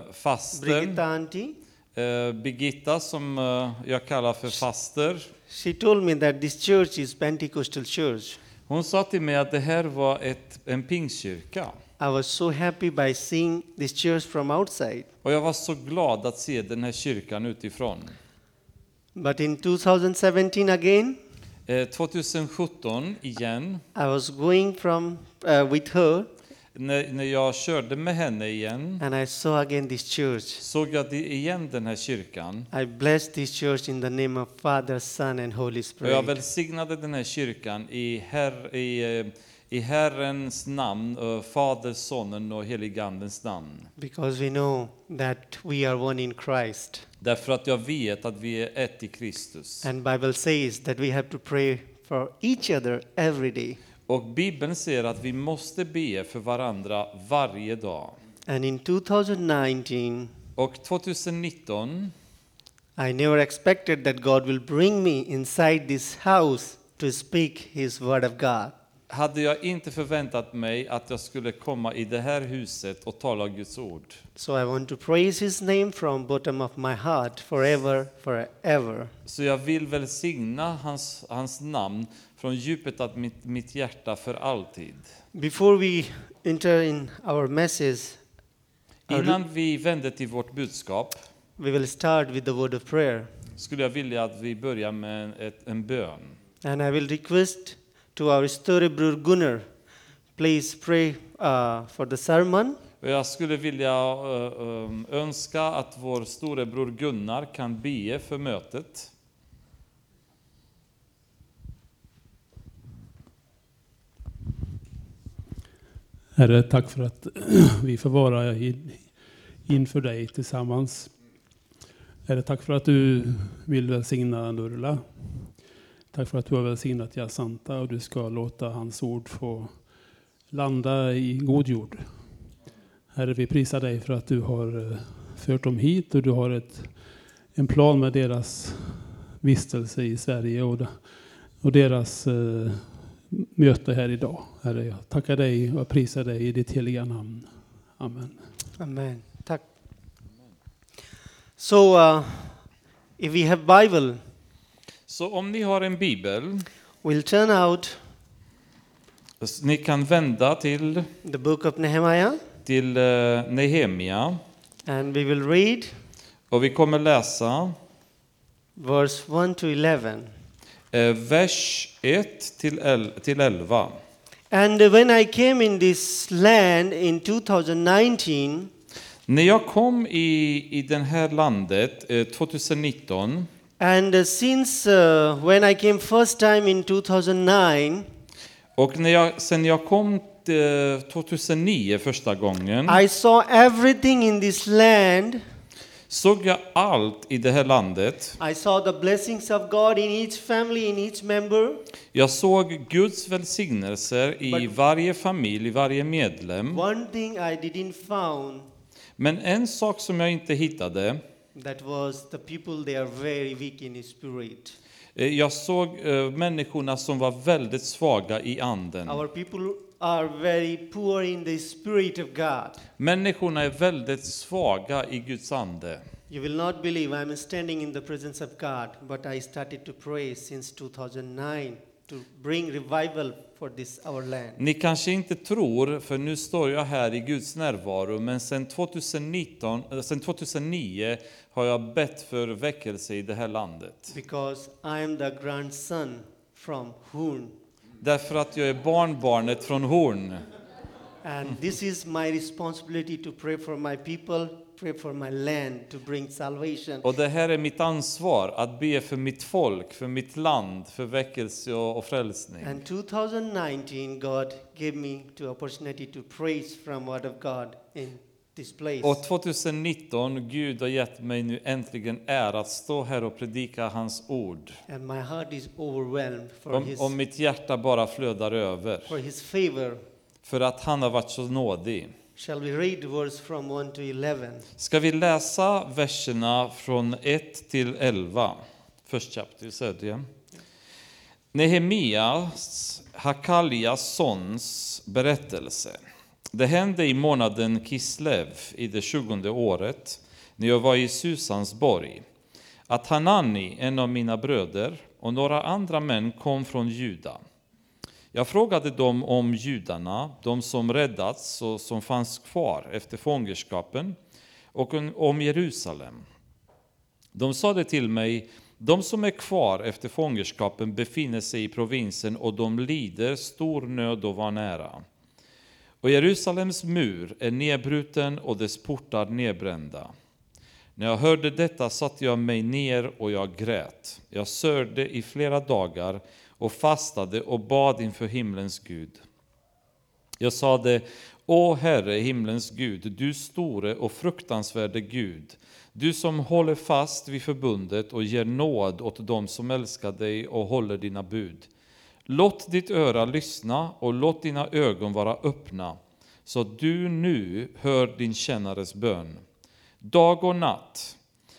[SPEAKER 7] Brigitte
[SPEAKER 6] faster,
[SPEAKER 7] auntie,
[SPEAKER 6] eh, Birgitta som eh, jag kallar för faster.
[SPEAKER 7] she told me that this church is Pentecostal church.
[SPEAKER 6] Hon sa till mig att det här var ett, en pingstkyrka.
[SPEAKER 7] I was so happy by seeing this church from outside.
[SPEAKER 6] Och jag var så glad att se den här kyrkan utifrån.
[SPEAKER 7] But in 2017 again,
[SPEAKER 6] Eh, 2017 igen,
[SPEAKER 7] I was going from uh, with her,
[SPEAKER 6] när, när jag körde med henne igen,
[SPEAKER 7] and I saw again this church.
[SPEAKER 6] såg jag det igen den här kyrkan.
[SPEAKER 7] I bless this church in the name of Father, Son, and Holy
[SPEAKER 6] Och jag
[SPEAKER 7] Spirit.
[SPEAKER 6] välsignade den här kyrkan i, herr, i, eh, i Herrens namn, eh, Faderns, Sonen och Heligandens namn.
[SPEAKER 7] Because we know that we are one in Christ,
[SPEAKER 6] Därför att jag vet att vi är ett i Kristus.
[SPEAKER 7] and Bible says that we have to pray for each other every day.
[SPEAKER 6] Och Bibeln säger att vi måste be för varandra varje dag.
[SPEAKER 7] And in 2019,
[SPEAKER 6] Och 2019
[SPEAKER 7] I never expected that God will bring me inside this house to speak His Word of God.
[SPEAKER 6] hade jag inte förväntat mig att jag skulle komma i det här huset och tala Guds ord.
[SPEAKER 7] So I want to praise his name from bottom of my heart forever, forever.
[SPEAKER 6] Så jag vill välsigna hans, hans namn från djupet av mitt, mitt hjärta för alltid.
[SPEAKER 7] Before we enter in our message, Har du-
[SPEAKER 6] Innan vi vänder till vårt budskap
[SPEAKER 7] we will start with the word of prayer.
[SPEAKER 6] skulle jag vilja att vi börjar med ett, en bön.
[SPEAKER 7] And I will request to our Storybror Gunnar, please pray uh, for the sermon.
[SPEAKER 6] Och jag skulle vilja eh, eh, önska att vår storebror Gunnar kan be för mötet.
[SPEAKER 8] Herre, tack för att vi får vara i- inför dig tillsammans. Herre, tack för att du vill välsigna Nurla. Tack för att du har välsignat Jasanta och du ska låta hans ord få landa i god jord. Herre, vi prisar dig för att du har eh, fört dem hit och du har ett, en plan med deras vistelse i Sverige och, de- och deras eh, möte här idag. Herre, jag tackar dig och jag prisar dig i ditt heliga namn. Amen.
[SPEAKER 7] Amen. Tack. So, uh, if we have Bible,
[SPEAKER 6] Så om ni har en bibel,
[SPEAKER 7] we'll turn out
[SPEAKER 6] s- ni kan vända till,
[SPEAKER 7] the book of Nehemiah
[SPEAKER 6] till eh, Nehemia
[SPEAKER 7] and we will read
[SPEAKER 6] och vi kommer läsa
[SPEAKER 7] verse 1 to 11.
[SPEAKER 6] eh, vers 1 till el- till 11.
[SPEAKER 7] And when I came in this land in 2019,
[SPEAKER 6] När jag kom i, i det här landet eh, 2019
[SPEAKER 7] and uh, since uh, when I came first time in 2009,
[SPEAKER 6] och när jag, sen jag kom eh, 2009 första gången
[SPEAKER 7] I saw everything in this land.
[SPEAKER 6] såg jag allt i det här landet.
[SPEAKER 7] I saw the blessings of God in each family, in each member.
[SPEAKER 6] Jag såg Guds välsignelser i varje familj, i varje medlem.
[SPEAKER 7] One thing I didn't found
[SPEAKER 6] Men en sak som jag inte hittade,
[SPEAKER 7] that was the people they are very weak in spirit.
[SPEAKER 6] eh, jag såg eh, människorna som var väldigt svaga i anden.
[SPEAKER 7] Our people are very poor in the spirit of God.
[SPEAKER 6] Människorna är väldigt svaga i Guds ande.
[SPEAKER 7] You will not believe I'm standing in the presence of God, but I started to pray since 2009 to bring revival for this our land.
[SPEAKER 6] Ni kanske inte tror, för nu står jag här i Guds närvaro, men sedan 2019, eh, sedan 2009 har jag bett för väckelse i det här landet.
[SPEAKER 7] Because I am the grandson from Hoon,
[SPEAKER 6] Därför att jag är barnbarnet från Horn.
[SPEAKER 7] and this is my responsibility to pray for my people, pray for my land, to bring salvation.
[SPEAKER 6] Och det här är mitt ansvar, att be för mitt folk, för mitt land, för väckelse och, och frälsning.
[SPEAKER 7] And 2019, God gave me the opportunity to praise from Word of God in this place.
[SPEAKER 6] Och 2019, Gud har gett mig nu äntligen ära att stå här och predika hans ord.
[SPEAKER 7] And my heart is overwhelmed for
[SPEAKER 6] Om,
[SPEAKER 7] His,
[SPEAKER 6] om mitt hjärta bara flödar över.
[SPEAKER 7] for his favor.
[SPEAKER 6] För att han har varit så nådig.
[SPEAKER 7] Shall we read verse from 1 to 11?
[SPEAKER 6] Ska vi läsa verserna från 1 till 11? First chapter, said yeah. Nehemias, Hakaljas sons berättelse. Det hände i månaden Kislev i det tjugonde året, när jag var i Susansborg, att Hanani, en av mina bröder, och några andra män kom från Juda. Jag frågade dem om judarna, de som räddats och som fanns kvar efter fångenskapen, och om Jerusalem. De sade till mig, de som är kvar efter fångenskapen befinner sig i provinsen och de lider stor nöd och var nära. Och Jerusalems mur är nedbruten och dess portar nedbrända. När jag hörde detta satte jag mig ner och jag grät. Jag sörjde i flera dagar och fastade och bad inför himlens Gud. Jag sade, Å Herre, himlens Gud, du store och fruktansvärde Gud, du som håller fast vid förbundet och ger nåd åt dem som älskar dig och håller dina bud. Låt ditt öra lyssna och låt dina ögon vara öppna, så att du nu hör din tjänares bön. Dag och natt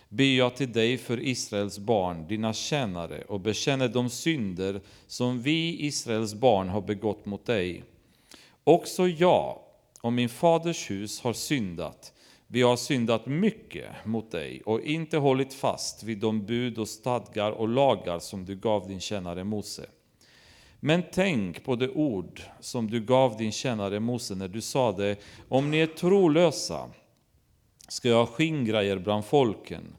[SPEAKER 6] ber jag till dig för Israels barn, dina tjänare, och bekänner de synder som vi, Israels barn, har begått mot dig. Också jag och min faders hus har syndat. Vi har syndat mycket mot dig och inte hållit fast vid de bud och stadgar och lagar som du gav din tjänare Mose. Men tänk på de ord som du gav din tjänare Mose när du sade, om ni är trolösa ska jag skingra er bland folken.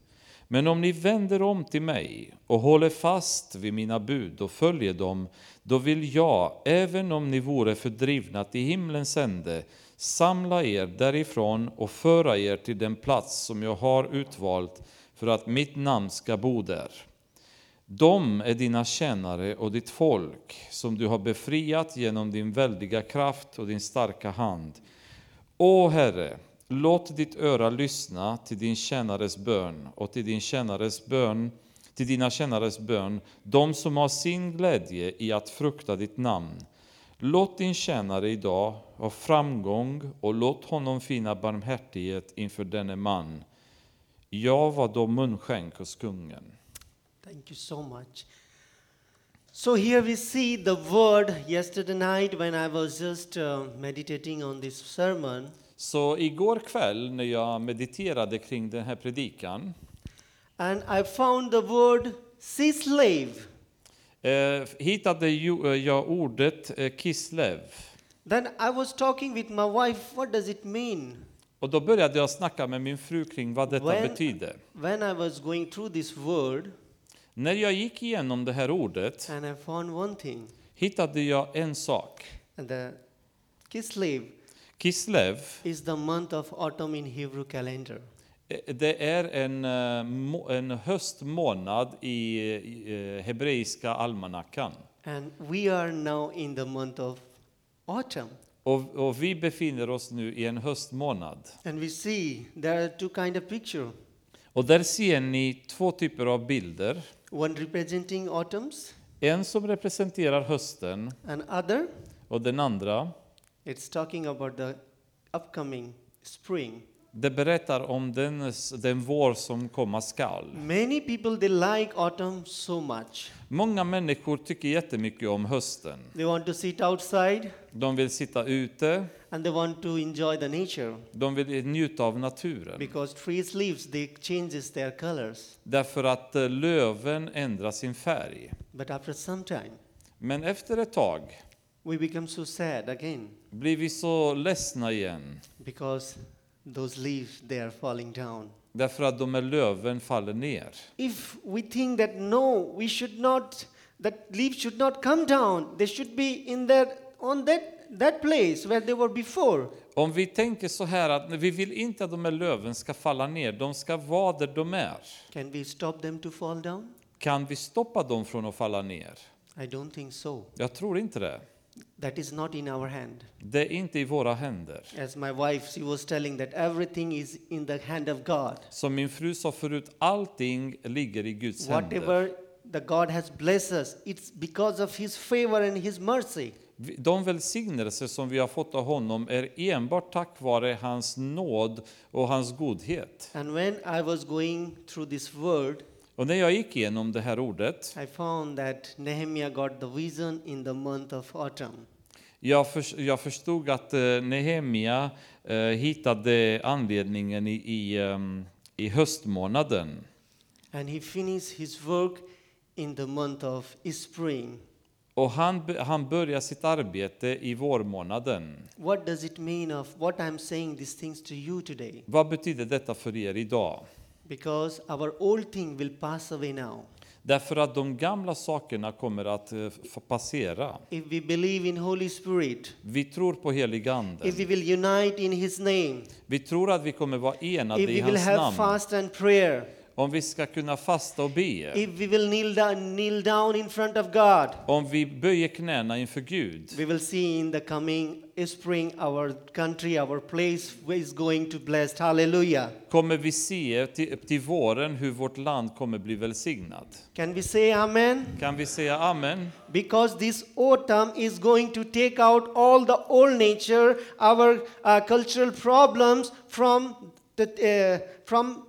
[SPEAKER 6] Men om ni vänder om till mig och håller fast vid mina bud och följer dem, då vill jag, även om ni vore fördrivna till himlens ände, samla er därifrån och föra er till den plats som jag har utvalt för att mitt namn ska bo där. De är dina tjänare och ditt folk, som du har befriat genom din väldiga kraft och din starka hand. O Herre, låt ditt öra lyssna till din tjänares bön och till din tjänares bön, till dina tjänares bön, de som har sin glädje i att frukta ditt namn. Låt din tjänare idag ha framgång och låt honom finna barmhärtighet inför denne man. Jag var då munskänk hos kungen.
[SPEAKER 7] Thank you so much. So here we see the word yesterday night when I was just uh, meditating on this sermon.
[SPEAKER 6] Så igår kväll när jag mediterade kring den här predikan
[SPEAKER 7] And I found the word sea slave.
[SPEAKER 6] eh, hittade ju- eh, jag ordet eh, Kislev.
[SPEAKER 7] Then I was talking with my wife, what does it mean?
[SPEAKER 6] Och då började jag snacka med min fru kring vad detta
[SPEAKER 7] When-
[SPEAKER 6] betyder.
[SPEAKER 7] When I was going through this word,
[SPEAKER 6] När jag gick igenom det här ordet
[SPEAKER 7] and I found one thing,
[SPEAKER 6] hittade jag en sak.
[SPEAKER 7] and the Kislev
[SPEAKER 6] Kislev,
[SPEAKER 7] is the month of autumn in Hebrew calendar.
[SPEAKER 6] eh, det är en, eh, må- en höstmånad i eh, hebreiska almanackan.
[SPEAKER 7] And we are now in the month of autumn.
[SPEAKER 6] Och, och vi befinner oss nu i en höstmånad.
[SPEAKER 7] And we see there are two kind of picture.
[SPEAKER 6] Och där ser ni två typer av bilder.
[SPEAKER 7] One representing autumns
[SPEAKER 6] En som representerar hösten
[SPEAKER 7] and other
[SPEAKER 6] och den andra,
[SPEAKER 7] it's talking about the upcoming spring.
[SPEAKER 6] det berättar om den, den vår som komma skall.
[SPEAKER 7] Many people they like autumn so much.
[SPEAKER 6] Många människor tycker jättemycket om hösten.
[SPEAKER 7] They want to sit outside
[SPEAKER 6] De vill sitta ute,
[SPEAKER 7] and they want to enjoy the nature
[SPEAKER 6] de vill njuta av naturen.
[SPEAKER 7] because trees leaves they changes their colors.
[SPEAKER 6] Därför att eh, löven ändrar sin färg.
[SPEAKER 7] But after some time
[SPEAKER 6] Men efter ett tag
[SPEAKER 7] we become so sad again
[SPEAKER 6] blir vi så ledsna igen.
[SPEAKER 7] because those leaves they are falling down.
[SPEAKER 6] Därför att de här löven faller ner.
[SPEAKER 7] if we think that no we should not that leaves should not come down they should be in their on that that place where they were before
[SPEAKER 6] Om vi tänker så här att vi vill inte att de här löven ska falla ner, de ska vara där de är.
[SPEAKER 7] can we stop them to fall down
[SPEAKER 6] Kan vi stoppa dem från att falla ner?
[SPEAKER 7] i don't think so
[SPEAKER 6] Jag tror inte det.
[SPEAKER 7] that is not in our hand
[SPEAKER 6] Det är inte i våra händer.
[SPEAKER 7] as my wife she was telling that everything is in the hand of god
[SPEAKER 6] Som min fru sa förut, allting ligger i Guds händer.
[SPEAKER 7] whatever the god has blessed us it's because of his favor and his mercy
[SPEAKER 6] Vi- De välsignelser som vi har fått av honom är enbart tack vare hans nåd och hans godhet.
[SPEAKER 7] and when i was going through this word
[SPEAKER 6] Och när jag gick igenom det här ordet,
[SPEAKER 7] i found that nehemiah got the vision in the month of autumn
[SPEAKER 6] jag, förs- jag förstod att eh, Nehemia eh, hittade anledningen i, i, ehm, i höstmånaden.
[SPEAKER 7] And he finished his work in the month of spring.
[SPEAKER 6] Och han, b- han började sitt arbete i vårmånaden.
[SPEAKER 7] What does it mean of what I'm saying these things to you today?
[SPEAKER 6] Vad betyder detta för er idag?
[SPEAKER 7] Because our old thing will pass away now.
[SPEAKER 6] Därför att de gamla sakerna kommer att eh, få passera.
[SPEAKER 7] If we believe in Holy Spirit,
[SPEAKER 6] Vi tror på helig Ande.
[SPEAKER 7] if we will unite in his name,
[SPEAKER 6] Vi tror att vi kommer vara enade
[SPEAKER 7] if
[SPEAKER 6] i
[SPEAKER 7] we will
[SPEAKER 6] hans
[SPEAKER 7] have
[SPEAKER 6] namn.
[SPEAKER 7] fast and prayer,
[SPEAKER 6] Om vi ska kunna fasta och be.
[SPEAKER 7] if we will kneel down, kneel down in front of God,
[SPEAKER 6] Om vi böjer knäna inför Gud.
[SPEAKER 7] we will see in the coming spring our country, our place is going to blessed. Hallelujah.
[SPEAKER 6] Kommer vi se till, till våren hur vårt land kommer bli välsignat.
[SPEAKER 7] Can we say amen?
[SPEAKER 6] Kan vi säga amen?
[SPEAKER 7] Because this autumn is going to take out all the old nature, our uh, cultural problems from the uh, from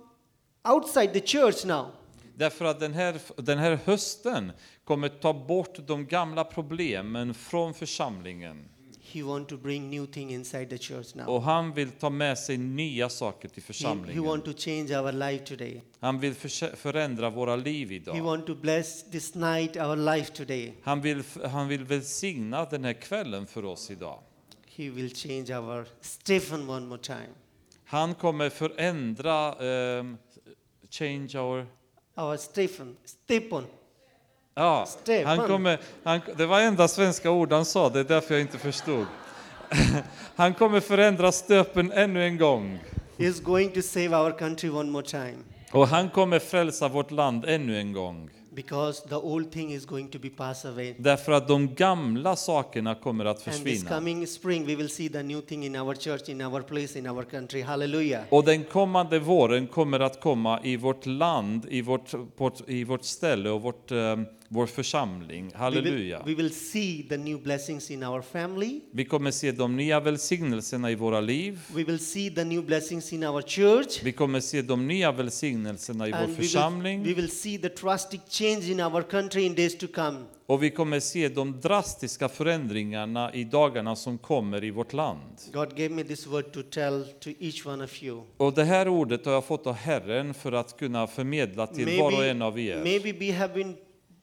[SPEAKER 7] outside the church now.
[SPEAKER 6] Därför att den här, den här hösten kommer ta bort de gamla problemen från församlingen.
[SPEAKER 7] He want to bring new thing inside the church now.
[SPEAKER 6] Och han vill ta med sig nya saker till
[SPEAKER 7] He, he
[SPEAKER 6] församlingen.
[SPEAKER 7] want to change our life today.
[SPEAKER 6] Han vill försä- förändra våra liv
[SPEAKER 7] He
[SPEAKER 6] idag.
[SPEAKER 7] want to bless this night, our life today.
[SPEAKER 6] Han vill, han vill välsigna den här kvällen för oss idag.
[SPEAKER 7] He will change our Stephen one more time.
[SPEAKER 6] Han kommer förändra, ehm, change our...
[SPEAKER 7] Our Stephen, Stephen.
[SPEAKER 6] Ja,
[SPEAKER 7] Stefan.
[SPEAKER 6] han kommer, han, det var enda svenska ord han sa, det är därför jag inte förstod. Han kommer förändra stöpen ännu en gång.
[SPEAKER 7] is going to save our country one more time
[SPEAKER 6] Och han kommer frälsa vårt land ännu en gång.
[SPEAKER 7] because the old thing is going to be passed away.
[SPEAKER 6] Därför att de gamla sakerna kommer att
[SPEAKER 7] And this
[SPEAKER 6] försvinna.
[SPEAKER 7] coming spring, we will see the new thing in our church, in our place, in our country. Hallelujah.
[SPEAKER 6] Och den kommande våren kommer att komma i vårt land, i vårt, vårt, i vårt ställe och vårt, eh, vår församling.
[SPEAKER 7] We will-
[SPEAKER 6] Halleluja.
[SPEAKER 7] We will see the new blessings in our family.
[SPEAKER 6] Vi kommer se de nya välsignelserna i våra liv.
[SPEAKER 7] We will see the new blessings in our church.
[SPEAKER 6] Vi kommer se de nya välsignelserna i vår
[SPEAKER 7] And we will, we
[SPEAKER 6] församling.
[SPEAKER 7] will see the drastic change in our country in days to come.
[SPEAKER 6] Och vi kommer se de drastiska förändringarna i dagarna som kommer i vårt land.
[SPEAKER 7] God gave me this word to tell to each one of you.
[SPEAKER 6] Och det här ordet har jag fått av Herren för att kunna förmedla till var och en av er.
[SPEAKER 7] maybe we have been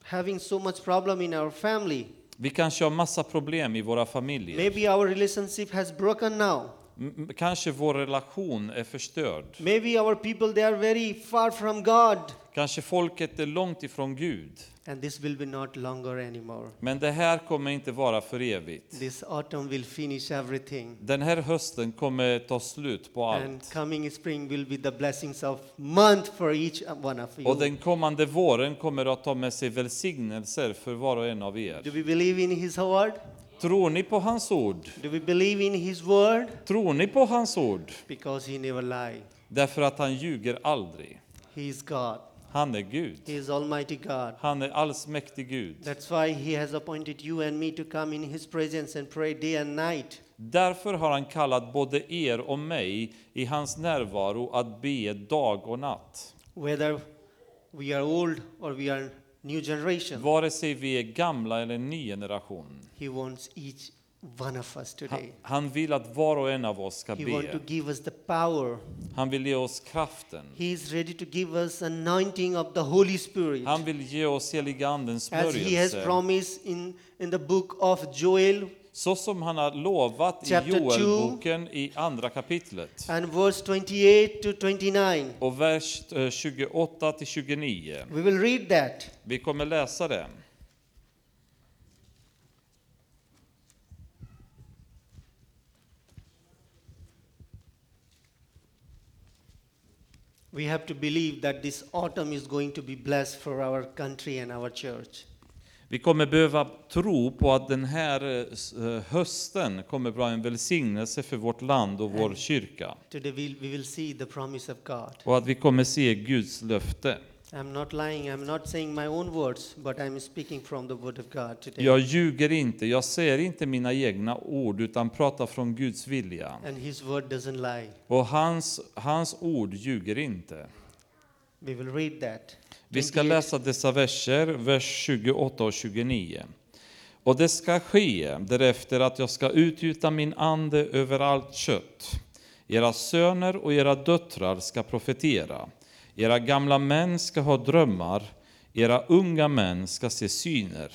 [SPEAKER 7] having so much problem in our family.
[SPEAKER 6] Vi kanske har massa problem i våra familjer.
[SPEAKER 7] Maybe our relationship has broken now.
[SPEAKER 6] M- m- Kanske vår relation är förstörd.
[SPEAKER 7] Maybe our people they are very far from God
[SPEAKER 6] Kanske folket är långt ifrån Gud.
[SPEAKER 7] and this will be not longer anymore.
[SPEAKER 6] Men det här kommer inte vara för evigt.
[SPEAKER 7] This autumn will finish everything
[SPEAKER 6] Den här hösten kommer ta slut på
[SPEAKER 7] and
[SPEAKER 6] allt.
[SPEAKER 7] coming spring will be the blessings of month for each one of
[SPEAKER 6] Och
[SPEAKER 7] you.
[SPEAKER 6] den kommande våren kommer att ta med sig välsignelser för var och en av
[SPEAKER 7] Do
[SPEAKER 6] er.
[SPEAKER 7] we believe in his word?
[SPEAKER 6] Tror ni på hans ord?
[SPEAKER 7] Do we believe in his word?
[SPEAKER 6] Tror ni på hans ord?
[SPEAKER 7] Because he never lie.
[SPEAKER 6] Därför att han ljuger aldrig.
[SPEAKER 7] He is God.
[SPEAKER 6] Han är Gud.
[SPEAKER 7] He is almighty God.
[SPEAKER 6] Han är allsmäktig Gud.
[SPEAKER 7] That's why he has appointed you and me to come in his presence and pray day and night.
[SPEAKER 6] Därför har han kallat både er och mig i hans närvaro att be dag och natt.
[SPEAKER 7] Whether we are old or we are new generation.
[SPEAKER 6] Vare sig vi är gamla eller en ny generation.
[SPEAKER 7] He wants each one of us
[SPEAKER 6] Han,
[SPEAKER 7] today.
[SPEAKER 6] han vill att var och en av oss ska
[SPEAKER 7] He wants to
[SPEAKER 6] be.
[SPEAKER 7] give us the power.
[SPEAKER 6] Han vill ge oss kraften.
[SPEAKER 7] He is ready to give us anointing of the Holy Spirit.
[SPEAKER 6] Han vill ge oss heliga andens
[SPEAKER 7] As he has
[SPEAKER 6] smörjelse.
[SPEAKER 7] promised in, in the book of Joel
[SPEAKER 6] Så som han har lovat i
[SPEAKER 7] Chapter two.
[SPEAKER 6] Joelboken i andra kapitlet.
[SPEAKER 7] and verse 28 to 29.
[SPEAKER 6] Och vers eh, 28 till 29.
[SPEAKER 7] We will read that.
[SPEAKER 6] Vi kommer läsa det.
[SPEAKER 7] We have to believe that this autumn is going to be blessed for our country and our church.
[SPEAKER 6] Vi kommer behöva tro på att den här eh, s- eh, hösten kommer vara en välsignelse för vårt land och vår kyrka.
[SPEAKER 7] Today we'll, we will see the promise of God.
[SPEAKER 6] Och att vi kommer se Guds löfte.
[SPEAKER 7] I'm not lying, I'm not saying my own words, but I'm speaking from the word of God today.
[SPEAKER 6] Jag ljuger inte, jag säger inte mina egna ord utan pratar från Guds vilja.
[SPEAKER 7] And his word doesn't lie.
[SPEAKER 6] Och hans, hans ord ljuger inte.
[SPEAKER 7] We will read that.
[SPEAKER 6] Vi ska
[SPEAKER 7] 28.
[SPEAKER 6] läsa dessa verser, vers 28 och 29. Och det ska ske därefter att jag ska utgjuta min ande över allt kött. Era söner och era döttrar ska profetera. Era gamla män ska ha drömmar, era unga män ska se syner.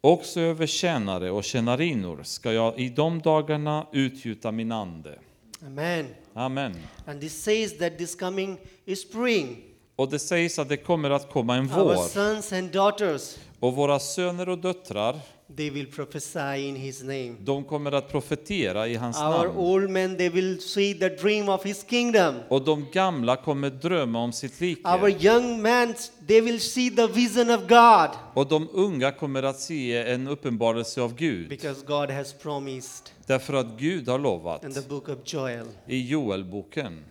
[SPEAKER 6] Också över tjänare och tjänarinnor ska jag i de dagarna utgjuta min ande.
[SPEAKER 7] Amen.
[SPEAKER 6] Amen.
[SPEAKER 7] And this says that this coming spring,
[SPEAKER 6] Och det sägs att det kommer att komma en
[SPEAKER 7] our
[SPEAKER 6] vår
[SPEAKER 7] sons and daughters,
[SPEAKER 6] och våra söner och döttrar
[SPEAKER 7] they will prophesy in his name.
[SPEAKER 6] De kommer att profetera i hans
[SPEAKER 7] Our
[SPEAKER 6] namn.
[SPEAKER 7] old men, they will see the dream of his kingdom.
[SPEAKER 6] Och de gamla kommer drömma om sitt
[SPEAKER 7] Our
[SPEAKER 6] rike.
[SPEAKER 7] young men, they will see the vision of God
[SPEAKER 6] Och de unga kommer att se en uppenbarelse av Gud.
[SPEAKER 7] because God has promised
[SPEAKER 6] Därför att Gud har lovat
[SPEAKER 7] in the book of Joel.
[SPEAKER 6] i Joelboken.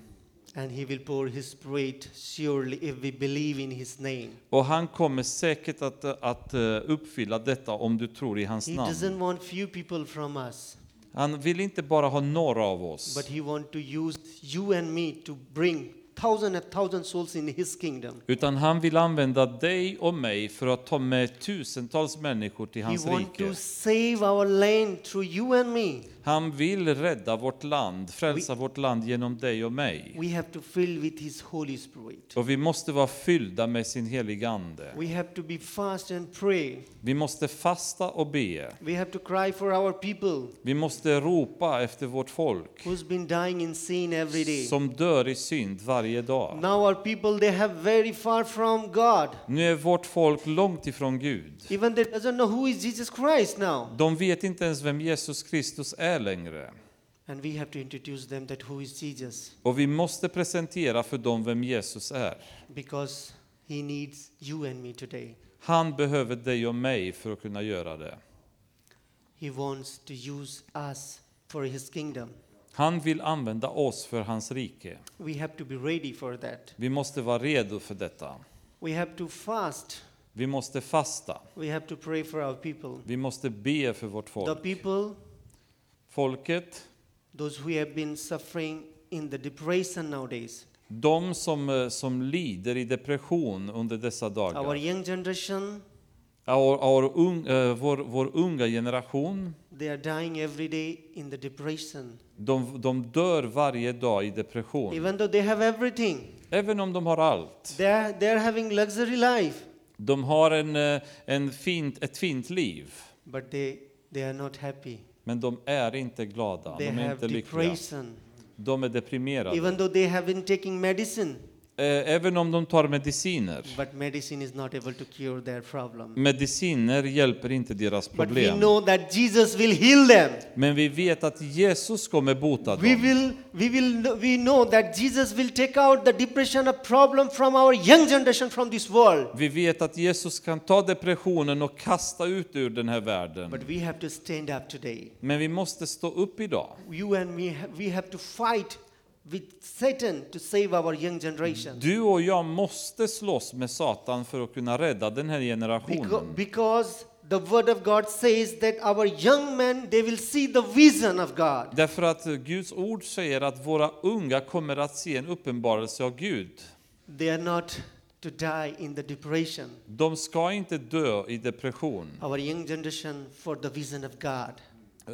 [SPEAKER 7] And he will pour his spirit surely if we believe in his name.
[SPEAKER 6] Och han kommer säkert att, att eh, uppfylla detta om du tror i hans
[SPEAKER 7] He
[SPEAKER 6] namn.
[SPEAKER 7] doesn't want few people from us,
[SPEAKER 6] Han vill inte bara ha några av
[SPEAKER 7] but
[SPEAKER 6] oss.
[SPEAKER 7] he wants to use you and me to bring thousand and thousand souls in his kingdom.
[SPEAKER 6] Utan han vill använda dig och mig för att ta med tusentals människor till
[SPEAKER 7] He
[SPEAKER 6] hans
[SPEAKER 7] wants
[SPEAKER 6] rike.
[SPEAKER 7] to save our land through you and me.
[SPEAKER 6] Han vill rädda vårt land, frälsa vårt land genom dig och mig.
[SPEAKER 7] We have to fill with his Holy Spirit.
[SPEAKER 6] Och vi måste vara fyllda med sin heliga Ande.
[SPEAKER 7] We have to be fast and pray.
[SPEAKER 6] Vi måste fasta och be.
[SPEAKER 7] We have to cry for our people
[SPEAKER 6] Vi måste ropa efter vårt folk
[SPEAKER 7] who's been dying in sin every day.
[SPEAKER 6] som dör i synd varje dag.
[SPEAKER 7] Now our people they have very far from God.
[SPEAKER 6] Nu är vårt folk långt ifrån Gud.
[SPEAKER 7] Even they doesn't know who is Jesus Christ now.
[SPEAKER 6] De vet inte ens vem Jesus Kristus är längre.
[SPEAKER 7] And we have to introduce them that who is Jesus
[SPEAKER 6] Och vi måste presentera för dem vem Jesus är.
[SPEAKER 7] because he needs you and me today.
[SPEAKER 6] Han behöver dig och mig för att kunna göra det.
[SPEAKER 7] He wants to use us for his kingdom.
[SPEAKER 6] Han vill använda oss för hans rike.
[SPEAKER 7] We have to be ready for that.
[SPEAKER 6] Vi måste vara redo för detta.
[SPEAKER 7] We have to fast.
[SPEAKER 6] Vi måste fasta.
[SPEAKER 7] We have to pray for our people.
[SPEAKER 6] Vi måste be för vårt
[SPEAKER 7] The
[SPEAKER 6] folk.
[SPEAKER 7] people,
[SPEAKER 6] Folket,
[SPEAKER 7] those who have been suffering in the depression nowadays,
[SPEAKER 6] de som, eh, som lider i depression under dessa
[SPEAKER 7] our
[SPEAKER 6] dagar.
[SPEAKER 7] young generation,
[SPEAKER 6] Our, our ung, eh, vår, vår unga generation,
[SPEAKER 7] they are dying every day in the depression.
[SPEAKER 6] de, de dör varje dag i depression.
[SPEAKER 7] Even though they have everything,
[SPEAKER 6] Även om de har allt.
[SPEAKER 7] they are, they are having luxury life,
[SPEAKER 6] De har en, eh, en fint, ett fint liv,
[SPEAKER 7] but they, they are not happy.
[SPEAKER 6] men de är inte glada.
[SPEAKER 7] They
[SPEAKER 6] de är
[SPEAKER 7] have
[SPEAKER 6] inte lyckliga.
[SPEAKER 7] depression.
[SPEAKER 6] De är deprimerade.
[SPEAKER 7] Even though they have been taking medicine,
[SPEAKER 6] Eh, Även om de tar mediciner.
[SPEAKER 7] but medicine is not able to cure their problem.
[SPEAKER 6] Mediciner hjälper inte deras
[SPEAKER 7] But we
[SPEAKER 6] Mm. problem.
[SPEAKER 7] know that Jesus will heal them.
[SPEAKER 6] Men vi vet att Jesus kommer bota
[SPEAKER 7] we
[SPEAKER 6] dem.
[SPEAKER 7] will we will kn- we know that jesus will take out the depression a problem from our young generation from this world
[SPEAKER 6] Vi vet att Jesus kan ta depressionen och kasta ut ur den här världen.
[SPEAKER 7] but we have to stand up today
[SPEAKER 6] Men vi måste stå upp idag.
[SPEAKER 7] you and me ha- we have to fight with satan to save our young generation
[SPEAKER 6] Du och jag måste slåss med Satan för att kunna rädda den här
[SPEAKER 7] Beca-
[SPEAKER 6] generationen.
[SPEAKER 7] because the word of god says that our young men they will see the vision of god
[SPEAKER 6] Därför att Guds ord säger att våra unga kommer att se en uppenbarelse av Gud.
[SPEAKER 7] they are not to die in the depression
[SPEAKER 6] De ska inte dö i depression.
[SPEAKER 7] our young generation for the vision of god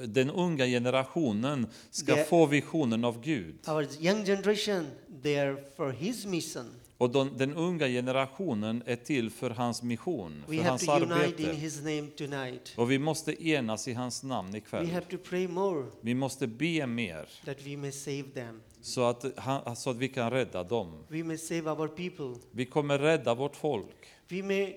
[SPEAKER 6] Den unga generationen ska
[SPEAKER 7] Det-
[SPEAKER 6] få visionen av Gud.
[SPEAKER 7] our young generation they are for his mission
[SPEAKER 6] Och de, den unga generationen är till för hans mission,
[SPEAKER 7] We
[SPEAKER 6] för
[SPEAKER 7] have
[SPEAKER 6] hans
[SPEAKER 7] to unite in
[SPEAKER 6] arbete.
[SPEAKER 7] His name tonight.
[SPEAKER 6] Och vi måste enas i hans namn
[SPEAKER 7] We
[SPEAKER 6] ikväll.
[SPEAKER 7] have to pray more
[SPEAKER 6] Vi måste be mer
[SPEAKER 7] that we may save them.
[SPEAKER 6] så att, han, så att vi kan rädda dem.
[SPEAKER 7] We may save our people.
[SPEAKER 6] Vi kommer rädda vårt folk.
[SPEAKER 7] We may,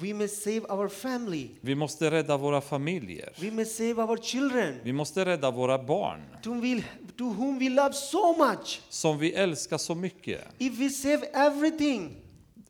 [SPEAKER 7] we may save our family.
[SPEAKER 6] Vi måste rädda våra familjer.
[SPEAKER 7] We may save our children
[SPEAKER 6] Vi måste rädda våra barn.
[SPEAKER 7] to, we, to whom we love so much.
[SPEAKER 6] som vi älskar så mycket.
[SPEAKER 7] If we save everything,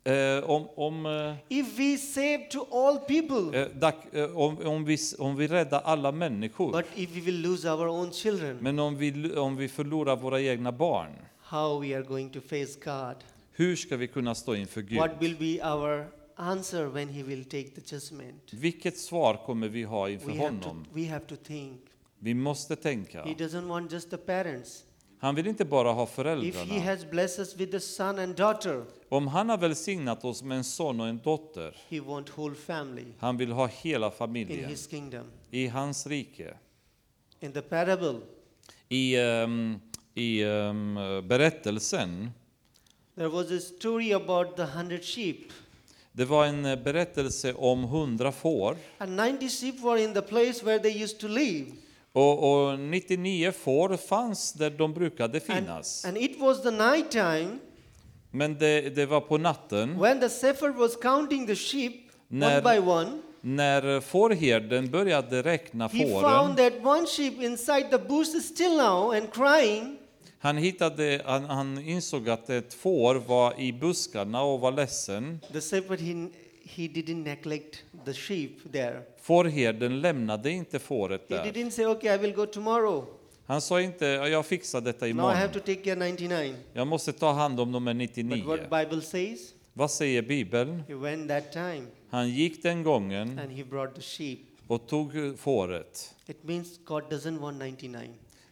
[SPEAKER 6] Eh, om, om, eh,
[SPEAKER 7] if we save to all people,
[SPEAKER 6] eh, dack, eh, om, om, vi, s- om vi räddar alla människor,
[SPEAKER 7] but if we will lose our own children,
[SPEAKER 6] men om vi, lu- om vi förlorar våra egna barn,
[SPEAKER 7] how we are going to face God?
[SPEAKER 6] hur ska vi kunna stå inför Gud?
[SPEAKER 7] What will be our answer when He will take the judgment?
[SPEAKER 6] Vilket svar kommer vi ha inför
[SPEAKER 7] We have to,
[SPEAKER 6] honom?
[SPEAKER 7] we have to think.
[SPEAKER 6] Vi måste tänka.
[SPEAKER 7] He doesn't want just the parents.
[SPEAKER 6] Han vill inte bara ha
[SPEAKER 7] If he
[SPEAKER 6] föräldrarna.
[SPEAKER 7] has blessed us with a son and daughter,
[SPEAKER 6] Om han har välsignat oss med en son och en dotter,
[SPEAKER 7] he wants whole family
[SPEAKER 6] han vill ha hela
[SPEAKER 7] in
[SPEAKER 6] familjen
[SPEAKER 7] his kingdom.
[SPEAKER 6] i hans rike.
[SPEAKER 7] In the parable,
[SPEAKER 6] I, ehm, i ehm, berättelsen
[SPEAKER 7] there was a story about the hundred sheep,
[SPEAKER 6] Det var en eh, berättelse om hundra får
[SPEAKER 7] and ninety sheep were in the place where they used to live,
[SPEAKER 6] och, och 99 får fanns där de brukade
[SPEAKER 7] and,
[SPEAKER 6] finnas.
[SPEAKER 7] and it was the night time
[SPEAKER 6] Men det, det var på natten
[SPEAKER 7] when the shepherd was counting the sheep
[SPEAKER 6] När-
[SPEAKER 7] one by one.
[SPEAKER 6] när eh, fårherden började räkna
[SPEAKER 7] He found
[SPEAKER 6] fåren.
[SPEAKER 7] that one sheep inside the bush is still now and crying.
[SPEAKER 6] Han, hittade, han, han insåg att ett får var i buskarna och var ledsen.
[SPEAKER 7] The shepherd he, he didn't neglect the sheep there.
[SPEAKER 6] Fårherden lämnade inte fåret
[SPEAKER 7] He
[SPEAKER 6] där.
[SPEAKER 7] didn't say, "Okay, I will go tomorrow."
[SPEAKER 6] Han sa inte "Ja, jag fixar detta
[SPEAKER 7] Now I have
[SPEAKER 6] imorgon.
[SPEAKER 7] to take care 99.
[SPEAKER 6] Jag måste ta hand om nummer
[SPEAKER 7] But
[SPEAKER 6] 99.
[SPEAKER 7] what Bible says,
[SPEAKER 6] Vad säger Bibeln?
[SPEAKER 7] he went that time
[SPEAKER 6] Han gick den gången
[SPEAKER 7] and he brought the sheep.
[SPEAKER 6] och tog eh, fåret.
[SPEAKER 7] It means God doesn't want 99.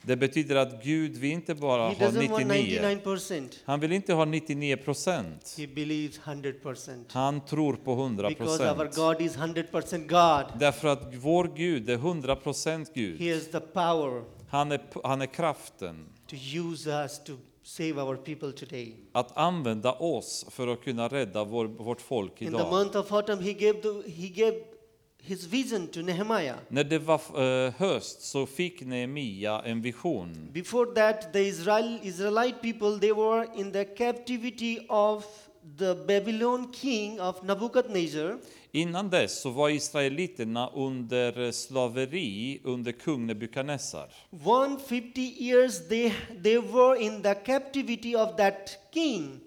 [SPEAKER 6] Det betyder att Gud vill inte bara
[SPEAKER 7] He
[SPEAKER 6] ha
[SPEAKER 7] doesn't want
[SPEAKER 6] 99.
[SPEAKER 7] 99%.
[SPEAKER 6] Han vill inte ha 99 procent.
[SPEAKER 7] He believes 100%.
[SPEAKER 6] Han tror på 100
[SPEAKER 7] Because our
[SPEAKER 6] procent.
[SPEAKER 7] God is 100% God.
[SPEAKER 6] Därför att vår Gud är 100 procent
[SPEAKER 7] He
[SPEAKER 6] Gud.
[SPEAKER 7] has the power
[SPEAKER 6] Han är, han är kraften
[SPEAKER 7] to use us to save our people today.
[SPEAKER 6] att använda oss för att kunna rädda vår, vårt folk
[SPEAKER 7] In the
[SPEAKER 6] idag.
[SPEAKER 7] month of autumn, he gave, the, he gave his vision to Nehemiah.
[SPEAKER 6] När det var eh, höst så fick Nehemia en vision.
[SPEAKER 7] Before that, the Israel, Israelite people, they were in the captivity of the Babylon king of Nebuchadnezzar.
[SPEAKER 6] Innan dess så var israeliterna under slaveri under kung Nebukadnessar.
[SPEAKER 7] 150 years they, they were in the captivity of that king.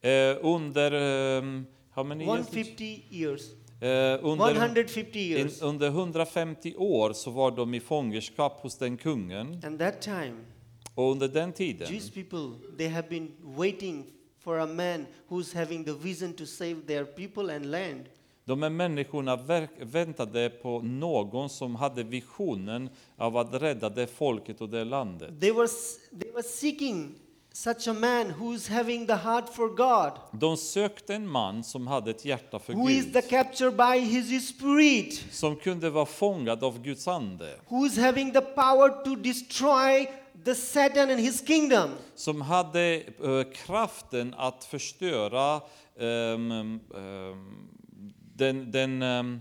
[SPEAKER 6] Eh, under... ehm, how many years?
[SPEAKER 7] 150 years.
[SPEAKER 6] Eh, under,
[SPEAKER 7] 150
[SPEAKER 6] in, oh.
[SPEAKER 7] years.
[SPEAKER 6] under 150 år så var de i fångenskap hos den kungen.
[SPEAKER 7] And that time,
[SPEAKER 6] Och under den tiden
[SPEAKER 7] Jewish people, they have been waiting for a man who's having the vision to save their people and land.
[SPEAKER 6] De här människorna verk, väntade på någon som hade visionen av att rädda det folket och det landet.
[SPEAKER 7] They were, s- they were seeking such a man who's having the heart for God,
[SPEAKER 6] De sökte en man som hade ett hjärta för
[SPEAKER 7] who is
[SPEAKER 6] Gud,
[SPEAKER 7] the captured by his spirit,
[SPEAKER 6] som kunde vara fångad av Guds ande,
[SPEAKER 7] who's having the power to destroy the Satan and his kingdom.
[SPEAKER 6] som hade eh, kraften att förstöra ehm, ehm, den, den ehm,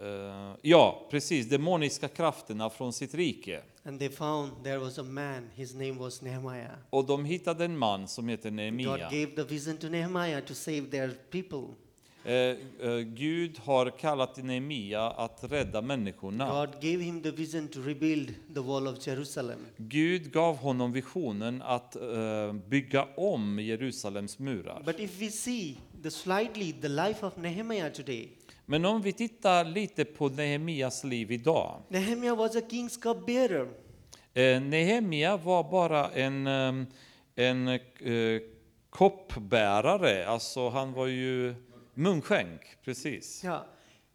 [SPEAKER 6] eh, ja, precis, demoniska krafterna från sitt rike.
[SPEAKER 7] And they found there was a man, his name was Nehemiah.
[SPEAKER 6] Och de hittade en man som heter
[SPEAKER 7] God
[SPEAKER 6] Nehemia.
[SPEAKER 7] gave the vision to Nehemiah to save their people.
[SPEAKER 6] Eh, eh, Gud har kallat Nehemia att rädda människorna.
[SPEAKER 7] God gave him the vision to rebuild the wall of Jerusalem.
[SPEAKER 6] Gud gav honom visionen att eh, bygga om Jerusalems murar.
[SPEAKER 7] But if we see the slightly the life of Nehemiah today,
[SPEAKER 6] Men om vi tittar lite på Nehemias liv idag.
[SPEAKER 7] Nehemiah was a king's cupbearer.
[SPEAKER 6] Eh, Nehemia var bara en, eh, en eh, koppbärare, alltså han var ju munskänk, precis.
[SPEAKER 7] Yeah.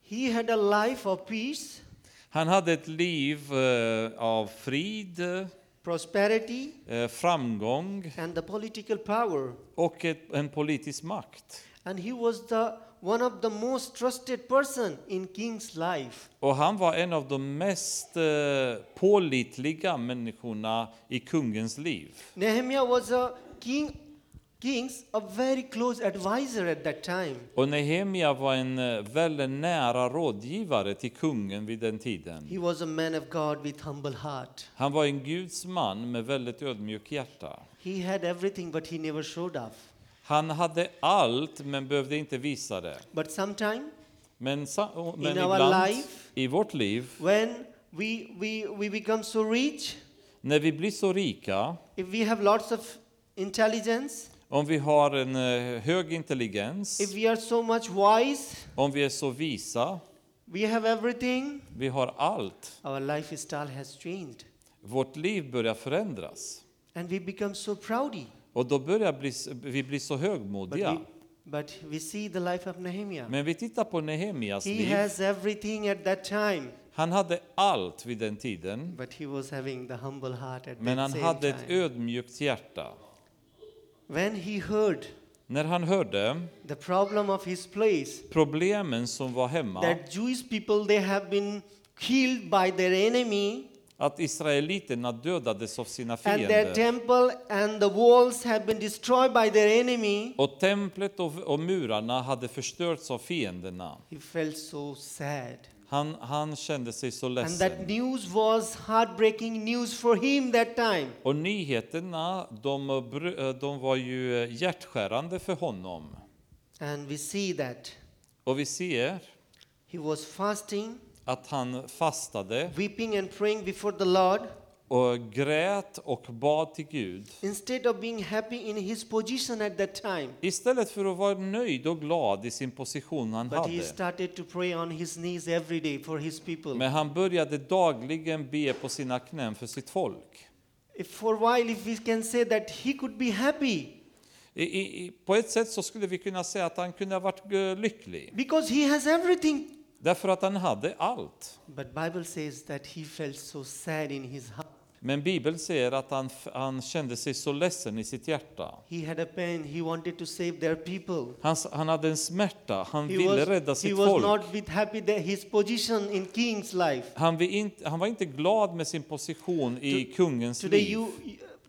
[SPEAKER 7] He had a life of peace,
[SPEAKER 6] Han hade ett liv eh, av frid,
[SPEAKER 7] prosperity,
[SPEAKER 6] eh, framgång
[SPEAKER 7] and the political power.
[SPEAKER 6] och ett, en politisk makt.
[SPEAKER 7] And he was the one of the most trusted person in king's life.
[SPEAKER 6] Och han var en av de mest eh, pålitliga människorna i kungens liv.
[SPEAKER 7] Nehemiah was a king, king's a very close advisor at that time.
[SPEAKER 6] Och Nehemia var en eh, väldigt nära rådgivare till kungen vid den
[SPEAKER 7] He
[SPEAKER 6] tiden.
[SPEAKER 7] was a man of God with humble heart.
[SPEAKER 6] Han var en Guds man med väldigt ödmjuk hjärta.
[SPEAKER 7] He had everything, but he never showed off.
[SPEAKER 6] Han hade allt men behövde inte visa det.
[SPEAKER 7] But sometime
[SPEAKER 6] Men, sa- och- men
[SPEAKER 7] In our
[SPEAKER 6] ibland
[SPEAKER 7] life-
[SPEAKER 6] i vårt liv,
[SPEAKER 7] when we, we, we become so rich,
[SPEAKER 6] när vi blir så rika,
[SPEAKER 7] if we have lots of intelligence,
[SPEAKER 6] om vi har en eh, hög intelligens,
[SPEAKER 7] if we are so much wise,
[SPEAKER 6] om vi är så visa,
[SPEAKER 7] we have everything,
[SPEAKER 6] vi har allt.
[SPEAKER 7] our lifestyle has changed.
[SPEAKER 6] Vårt liv börjar förändras.
[SPEAKER 7] And we become so proudy.
[SPEAKER 6] Och då börjar bli, vi bli så
[SPEAKER 7] But,
[SPEAKER 6] högmodiga.
[SPEAKER 7] we, but we see the life of Nehemiah.
[SPEAKER 6] Men vi tittar på Nehemias
[SPEAKER 7] He
[SPEAKER 6] liv.
[SPEAKER 7] has everything at that time,
[SPEAKER 6] Han hade allt vid den tiden,
[SPEAKER 7] but he was having the humble heart at
[SPEAKER 6] men
[SPEAKER 7] that
[SPEAKER 6] han
[SPEAKER 7] same
[SPEAKER 6] hade ett
[SPEAKER 7] time.
[SPEAKER 6] ödmjukt hjärta.
[SPEAKER 7] When he heard
[SPEAKER 6] När han hörde
[SPEAKER 7] the problem of his place,
[SPEAKER 6] problemen som var hemma,
[SPEAKER 7] that Jewish people they have been killed by their enemy
[SPEAKER 6] att israeliterna dödades av sina
[SPEAKER 7] and their
[SPEAKER 6] fiender
[SPEAKER 7] temple and the walls have been destroyed by their enemy
[SPEAKER 6] och templet och, och murarna hade förstörts av fienderna.
[SPEAKER 7] he felt so sad
[SPEAKER 6] Han, han kände sig så
[SPEAKER 7] and that
[SPEAKER 6] ledsen.
[SPEAKER 7] news was heartbreaking news for him that time
[SPEAKER 6] Och nyheterna, de, br- de var ju hjärtskärande för honom.
[SPEAKER 7] and we see that
[SPEAKER 6] Och vi ser
[SPEAKER 7] he was fasting
[SPEAKER 6] att han fastade
[SPEAKER 7] weeping and praying before the lord
[SPEAKER 6] och grät och bad till Gud.
[SPEAKER 7] instead of being happy in his position at that time
[SPEAKER 6] Istället för att vara nöjd och glad i sin position han
[SPEAKER 7] but he
[SPEAKER 6] hade.
[SPEAKER 7] started to pray on his knees every day for his people
[SPEAKER 6] Men han började dagligen be på sina knän för sitt folk.
[SPEAKER 7] if for a while if we can say that he could be happy
[SPEAKER 6] I, i, i- på ett sätt så skulle vi kunna säga att han kunde ha varit eh, lycklig.
[SPEAKER 7] because he has everything
[SPEAKER 6] Därför att han hade allt.
[SPEAKER 7] But Bible says that he felt so sad in his heart.
[SPEAKER 6] Men Bibeln säger att han, han kände sig så ledsen i sitt hjärta.
[SPEAKER 7] He had a pain. He wanted to save their people.
[SPEAKER 6] Han, han hade en smärta, han
[SPEAKER 7] He
[SPEAKER 6] ville
[SPEAKER 7] was,
[SPEAKER 6] rädda
[SPEAKER 7] he
[SPEAKER 6] sitt
[SPEAKER 7] was
[SPEAKER 6] folk.
[SPEAKER 7] not with happy that his position in king's life.
[SPEAKER 6] Han, vill inte, han var inte glad med sin position i kungens
[SPEAKER 7] Today
[SPEAKER 6] liv.
[SPEAKER 7] you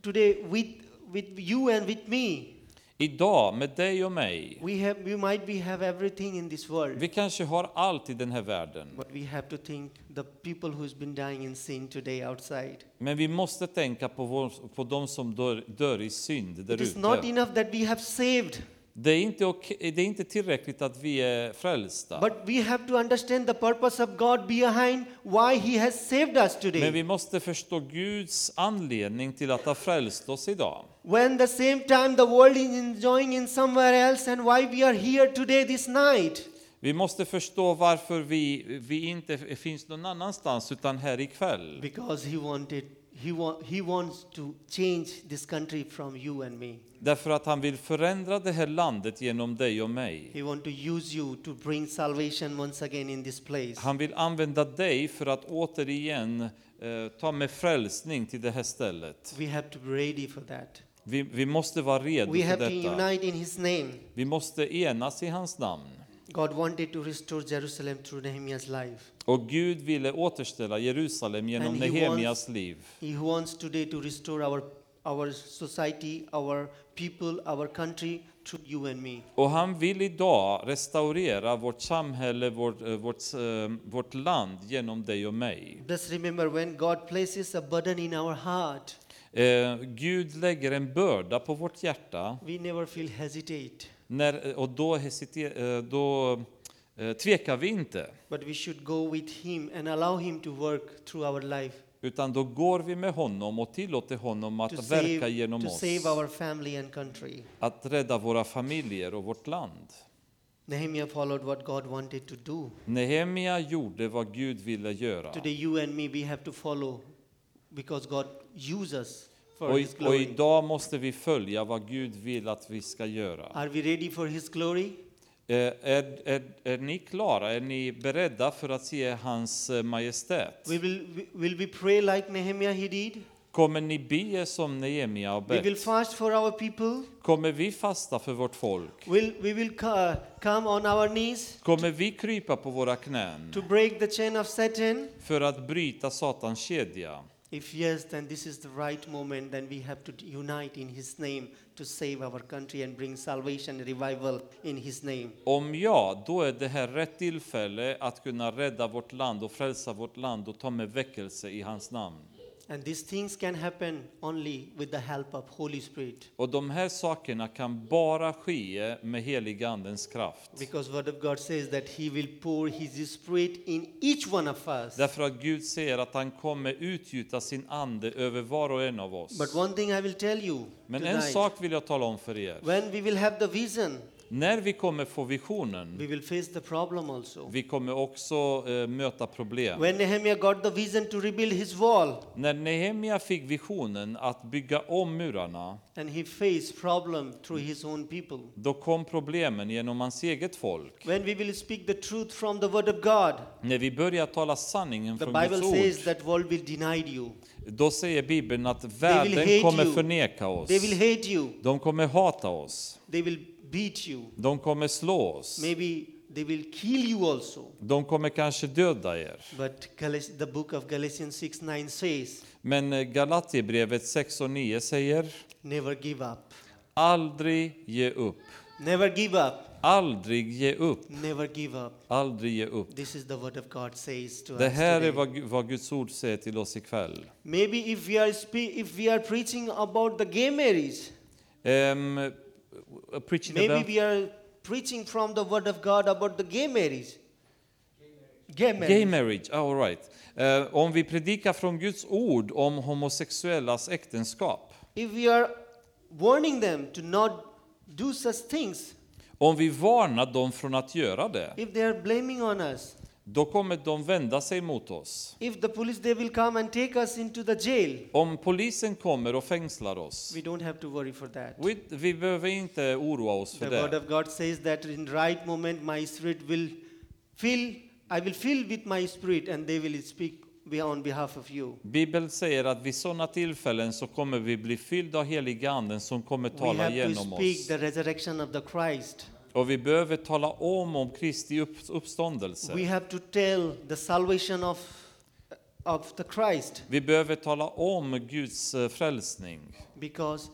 [SPEAKER 7] today with with you and with me,
[SPEAKER 6] Idag, med dig och mig,
[SPEAKER 7] we have we might be have everything in this world.
[SPEAKER 6] vi kanske har allt i den här världen.
[SPEAKER 7] But we have to think the people who's been dying in sin today outside.
[SPEAKER 6] Men vi måste tänka på, vår, på de som dör, dör i synd där
[SPEAKER 7] It is not
[SPEAKER 6] ute.
[SPEAKER 7] enough that we have saved,
[SPEAKER 6] Det är, inte okej, det är inte tillräckligt att vi är frälsta.
[SPEAKER 7] but we have to understand the purpose of God behind why He has saved us
[SPEAKER 6] Men vi
[SPEAKER 7] today.
[SPEAKER 6] måste förstå Guds anledning till att ha frälst oss idag.
[SPEAKER 7] When the same time the world is enjoying in somewhere else and why we are here today this night.
[SPEAKER 6] Vi måste förstå varför vi, vi inte finns någon annanstans utan här ikväll.
[SPEAKER 7] Because He wanted He wa- He wants to change this country from you and me.
[SPEAKER 6] Därför att han vill förändra det här landet genom dig och mig.
[SPEAKER 7] He wants to use you to bring salvation once again in this place.
[SPEAKER 6] Han vill använda dig för att återigen eh, ta med frälsning till det här stället.
[SPEAKER 7] We have to be ready for that.
[SPEAKER 6] Vi, vi måste vara redo
[SPEAKER 7] We
[SPEAKER 6] för
[SPEAKER 7] have to
[SPEAKER 6] detta.
[SPEAKER 7] unite in His name.
[SPEAKER 6] Vi måste enas i hans namn.
[SPEAKER 7] God wanted to restore Jerusalem through Nehemiah's life.
[SPEAKER 6] Och Gud ville återställa Jerusalem genom
[SPEAKER 7] And he
[SPEAKER 6] Nehemias liv.
[SPEAKER 7] He wants today to restore our, our society, our people, our country through you and me.
[SPEAKER 6] Och han vill idag restaurera vårt samhälle, vårt, eh, vårt, eh, vårt land genom dig och mig.
[SPEAKER 7] Just remember when God places a burden in our heart,
[SPEAKER 6] Eh, Gud lägger en börda på vårt hjärta
[SPEAKER 7] we never feel hesitate,
[SPEAKER 6] när, eh, och då, hesiter, eh, då eh, tvekar vi inte.
[SPEAKER 7] but we should go with Him and allow Him to work through our life
[SPEAKER 6] Utan då går vi med honom och tillåter honom
[SPEAKER 7] to
[SPEAKER 6] att
[SPEAKER 7] save,
[SPEAKER 6] verka genom
[SPEAKER 7] to
[SPEAKER 6] oss.
[SPEAKER 7] save our family and country.
[SPEAKER 6] Att rädda våra familjer och vårt land.
[SPEAKER 7] Nehemiah followed what God wanted to do.
[SPEAKER 6] Nehemia gjorde vad Gud ville göra.
[SPEAKER 7] Today, you and me, we have to follow because God uses us for
[SPEAKER 6] Och, i-
[SPEAKER 7] His
[SPEAKER 6] och
[SPEAKER 7] glory.
[SPEAKER 6] idag måste vi följa vad Gud vill att vi ska göra.
[SPEAKER 7] Are we ready for His glory?
[SPEAKER 6] Eh, Är, är, är ni klara? Är ni beredda för att se hans eh, majestät?
[SPEAKER 7] We will, we- will we pray like Nehemiah he did?
[SPEAKER 6] Kommer ni be som Nehemia har
[SPEAKER 7] We will
[SPEAKER 6] bett?
[SPEAKER 7] fast for our people.
[SPEAKER 6] Kommer vi fasta för vårt folk?
[SPEAKER 7] Will we will co- come on our knees
[SPEAKER 6] Kommer vi krypa på våra knän
[SPEAKER 7] to break the chain of Satan?
[SPEAKER 6] för att bryta Satans kedja?
[SPEAKER 7] If yes, then this is the right moment. Then we have to unite in His name to save our country and bring salvation, revival in His name.
[SPEAKER 6] Om ja, då är det här rätt tillfälle att kunna rädda vårt land och frälsa vårt land och ta med väckelse i hans namn.
[SPEAKER 7] And these things can happen only with the help of Holy Spirit,
[SPEAKER 6] Och de här sakerna kan bara ske med heliga andens kraft.
[SPEAKER 7] because Word of God says that He will pour His Spirit in each one of us.
[SPEAKER 6] Därför att Gud säger att han kommer utgjuta sin ande över var och en av
[SPEAKER 7] But
[SPEAKER 6] oss.
[SPEAKER 7] one thing I will tell you
[SPEAKER 6] Men en
[SPEAKER 7] tonight.
[SPEAKER 6] sak vill jag tala om för er.
[SPEAKER 7] When we will have the vision,
[SPEAKER 6] När vi kommer få visionen,
[SPEAKER 7] we will face the problem also.
[SPEAKER 6] vi kommer också eh, möta problem.
[SPEAKER 7] When Nehemiah got the vision to rebuild his wall,
[SPEAKER 6] När Nehemia fick visionen att bygga om murarna,
[SPEAKER 7] and he faced problem through his own people.
[SPEAKER 6] då kom problemen genom hans eget folk.
[SPEAKER 7] When we will speak the truth from the word of God,
[SPEAKER 6] När vi börjar tala sanningen
[SPEAKER 7] the
[SPEAKER 6] från
[SPEAKER 7] Bible says
[SPEAKER 6] Guds ord,
[SPEAKER 7] that world will deny you.
[SPEAKER 6] då säger Bibeln att
[SPEAKER 7] hate
[SPEAKER 6] världen kommer
[SPEAKER 7] you.
[SPEAKER 6] förneka oss.
[SPEAKER 7] They will hate you.
[SPEAKER 6] De kommer hata oss.
[SPEAKER 7] They will beat you.
[SPEAKER 6] De kommer slå oss.
[SPEAKER 7] Maybe they will kill you also.
[SPEAKER 6] De kommer kanske döda er.
[SPEAKER 7] But Galat- the book of Galatians 6 9 says,
[SPEAKER 6] Men eh, Galaterbrevet 6 och 9 säger
[SPEAKER 7] Never give up.
[SPEAKER 6] Aldrig ge upp.
[SPEAKER 7] Never give up.
[SPEAKER 6] Aldrig ge upp.
[SPEAKER 7] Never give up.
[SPEAKER 6] Aldrig ge upp.
[SPEAKER 7] This is the word of God says to
[SPEAKER 6] Det
[SPEAKER 7] us.
[SPEAKER 6] här är
[SPEAKER 7] today.
[SPEAKER 6] vad, Gu- vad Guds ord säger till oss ikväll.
[SPEAKER 7] Maybe if we are spe- if we are preaching about the gay marriage,
[SPEAKER 6] Um, preaching
[SPEAKER 7] maybe
[SPEAKER 6] about
[SPEAKER 7] we are preaching from the word of God about the gay marriage. Gay marriage.
[SPEAKER 6] gay marriage. Ah, All right. Eh, om vi predikar från Guds ord om homosexuellas äktenskap.
[SPEAKER 7] If we are warning them to not do such things,
[SPEAKER 6] Om vi varnar dem från att göra det,
[SPEAKER 7] if they are blaming on us,
[SPEAKER 6] då kommer de vända sig mot oss.
[SPEAKER 7] if the police they will come and take us into the jail,
[SPEAKER 6] Om polisen kommer och fängslar oss,
[SPEAKER 7] we don't have to worry for that.
[SPEAKER 6] vi, vi behöver inte oroa oss
[SPEAKER 7] The
[SPEAKER 6] för
[SPEAKER 7] word
[SPEAKER 6] det.
[SPEAKER 7] of God says that in right moment my spirit will fill I will fill with my spirit and they will speak be on behalf of you.
[SPEAKER 6] Bibeln säger att vid sådana tillfällen så kommer vi bli fyllda av heliga anden som kommer
[SPEAKER 7] We
[SPEAKER 6] tala
[SPEAKER 7] have to
[SPEAKER 6] genom
[SPEAKER 7] speak
[SPEAKER 6] oss.
[SPEAKER 7] the resurrection of the Christ.
[SPEAKER 6] Och vi behöver tala om om Kristi upp,
[SPEAKER 7] We
[SPEAKER 6] uppståndelse.
[SPEAKER 7] have to tell the salvation of, of the Christ
[SPEAKER 6] Vi behöver tala om Guds eh, frälsning.
[SPEAKER 7] because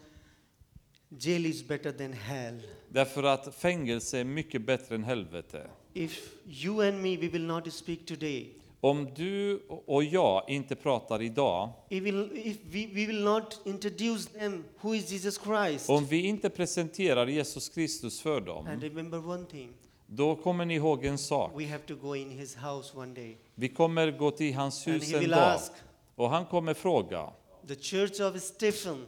[SPEAKER 7] jail is better than hell.
[SPEAKER 6] Därför att fängelse är mycket bättre än helvete.
[SPEAKER 7] If you and me, we will not speak today.
[SPEAKER 6] Om du och jag inte pratar idag,
[SPEAKER 7] It will, if we, we will not introduce them who is Jesus Christ.
[SPEAKER 6] om vi inte presenterar Jesus Kristus för dem,
[SPEAKER 7] And remember one thing
[SPEAKER 6] då kommer ni ihåg en sak.
[SPEAKER 7] we have to go in his house one day.
[SPEAKER 6] Vi kommer gå till hans
[SPEAKER 7] And
[SPEAKER 6] hus
[SPEAKER 7] he
[SPEAKER 6] en
[SPEAKER 7] will
[SPEAKER 6] dag
[SPEAKER 7] ask
[SPEAKER 6] och han kommer fråga.
[SPEAKER 7] the church of Stephen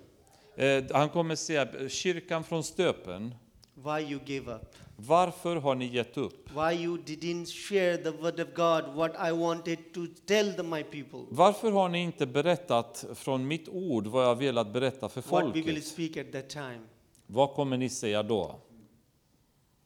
[SPEAKER 6] Eh, han kommer säga, kyrkan från stöpen,
[SPEAKER 7] why you gave up,
[SPEAKER 6] varför har ni gett upp?
[SPEAKER 7] why you didn't share the word of God, what I wanted to tell the, my people,
[SPEAKER 6] Varför har ni inte berättat från mitt ord vad jag velat berätta för
[SPEAKER 7] what we will
[SPEAKER 6] folket?
[SPEAKER 7] speak at that time.
[SPEAKER 6] Vad kommer ni säga då?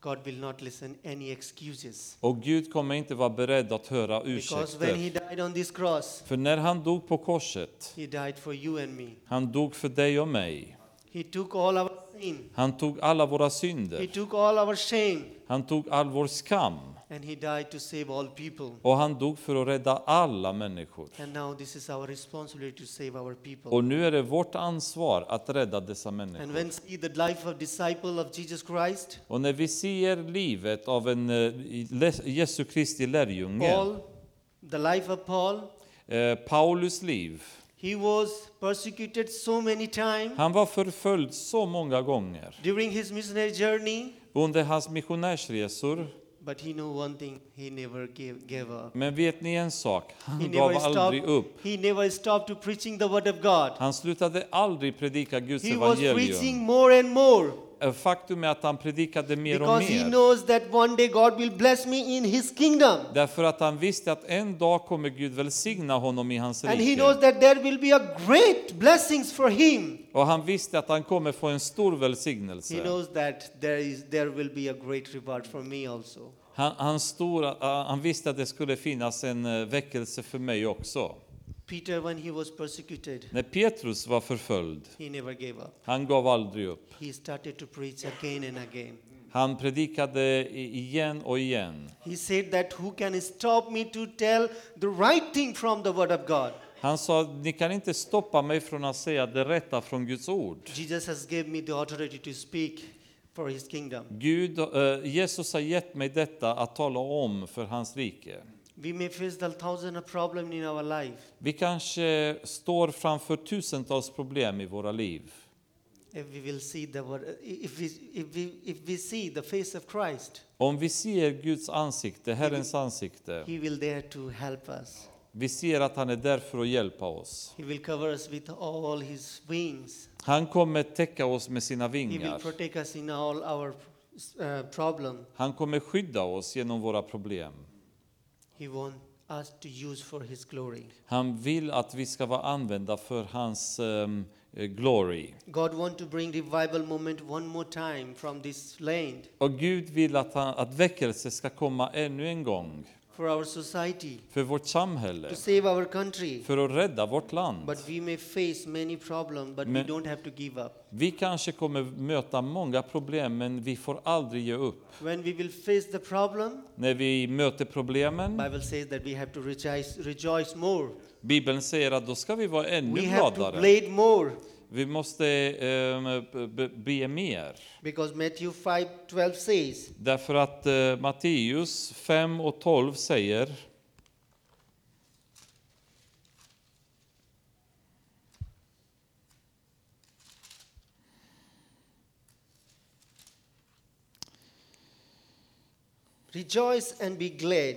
[SPEAKER 7] God will not listen any excuses.
[SPEAKER 6] Och Gud kommer inte vara beredd att höra
[SPEAKER 7] Because when he
[SPEAKER 6] ursäkter.
[SPEAKER 7] died on this cross,
[SPEAKER 6] För när han dog på korset,
[SPEAKER 7] he died for you and me.
[SPEAKER 6] han dog för dig och mig.
[SPEAKER 7] He took all our sin,
[SPEAKER 6] Han tog alla våra
[SPEAKER 7] he
[SPEAKER 6] synder,
[SPEAKER 7] took all our shame,
[SPEAKER 6] han tog all vår skam
[SPEAKER 7] and he died to save all people.
[SPEAKER 6] och han dog för att rädda alla människor.
[SPEAKER 7] And now this is our responsibility to save our people.
[SPEAKER 6] Och nu är det vårt ansvar att rädda dessa
[SPEAKER 7] And
[SPEAKER 6] människor.
[SPEAKER 7] when see the life of disciple of Jesus Christ,
[SPEAKER 6] Och när vi ser livet av en eh, le- Jesu Kristi lärjunge,
[SPEAKER 7] Paul, the life of Paul,
[SPEAKER 6] eh, Paulus liv,
[SPEAKER 7] he was persecuted so many times
[SPEAKER 6] han var förföljd så många gånger
[SPEAKER 7] during his missionary journey,
[SPEAKER 6] under hans missionärsresor.
[SPEAKER 7] but he knew one thing: he never gave, gave up.
[SPEAKER 6] Men vet ni en sak?
[SPEAKER 7] He
[SPEAKER 6] Han gav
[SPEAKER 7] never
[SPEAKER 6] aldrig upp.
[SPEAKER 7] stopped. He never stopped to preaching the word of God.
[SPEAKER 6] Han slutade aldrig predika Guds
[SPEAKER 7] He was preaching
[SPEAKER 6] evangelium.
[SPEAKER 7] more and more
[SPEAKER 6] Eh, Faktum är att han predikade mer och
[SPEAKER 7] because he
[SPEAKER 6] mer.
[SPEAKER 7] knows that one day God will bless me in His kingdom.
[SPEAKER 6] Därför att han visste att en dag kommer Gud välsigna honom i hans
[SPEAKER 7] And he knows
[SPEAKER 6] rike.
[SPEAKER 7] that there will be a great blessings for him.
[SPEAKER 6] Och han visste att han kommer få en stor
[SPEAKER 7] He
[SPEAKER 6] välsignelse.
[SPEAKER 7] knows that there is there will be a great reward for me also.
[SPEAKER 6] Han, han, stora, eh, han visste att det skulle finnas en eh, väckelse för mig också.
[SPEAKER 7] Peter, when he was persecuted,
[SPEAKER 6] När Petrus var förföljd,
[SPEAKER 7] he never gave up.
[SPEAKER 6] han gav aldrig upp.
[SPEAKER 7] He started to preach again and again.
[SPEAKER 6] Han predikade i- igen och igen.
[SPEAKER 7] He said that who can stop me to tell the right thing from the word of God?
[SPEAKER 6] Han sa, ni kan inte stoppa mig från att säga det rätta från Guds ord.
[SPEAKER 7] Jesus has given me the authority to speak for his kingdom.
[SPEAKER 6] Gud, eh, Jesus har gett mig detta att tala om för hans rike.
[SPEAKER 7] We may face the thousand of problem in our life.
[SPEAKER 6] Vi kanske står framför tusentals problem i våra liv.
[SPEAKER 7] If we will see the word, if we, if we, if we see the face of Christ,
[SPEAKER 6] Om vi ser Guds ansikte, Herrens ansikte,
[SPEAKER 7] he will there to help us.
[SPEAKER 6] vi ser att han är där för att hjälpa oss.
[SPEAKER 7] He will cover us with all His wings.
[SPEAKER 6] Han kommer täcka oss med sina
[SPEAKER 7] He will
[SPEAKER 6] vingar.
[SPEAKER 7] protect us in all our uh, problem.
[SPEAKER 6] Han kommer skydda oss genom våra problem.
[SPEAKER 7] He wants us to use for His glory.
[SPEAKER 6] Han vill att vi ska vara använda för hans um, glory.
[SPEAKER 7] God wants to bring revival moment one more time from this land
[SPEAKER 6] Och Gud vill att, han, att väckelse ska komma ännu en gång
[SPEAKER 7] for our society,
[SPEAKER 6] för vårt samhälle,
[SPEAKER 7] to save our country.
[SPEAKER 6] för att rädda vårt land.
[SPEAKER 7] But we may face many problems, but we
[SPEAKER 6] Men-
[SPEAKER 7] don't have to give up.
[SPEAKER 6] Vi kanske kommer möta många problem, men vi får aldrig ge upp.
[SPEAKER 7] When we will face the problem,
[SPEAKER 6] När vi möter problemen,
[SPEAKER 7] Bible says that we have to rejoice, rejoice more.
[SPEAKER 6] Bibeln säger att då ska vi vara ännu
[SPEAKER 7] We have to
[SPEAKER 6] gladare.
[SPEAKER 7] blade more.
[SPEAKER 6] Vi måste eh, b- b- be mer.
[SPEAKER 7] Because Matthew 5:12 says,
[SPEAKER 6] Därför att eh, Matteus 5 och 12 säger
[SPEAKER 7] Rejoice and be glad,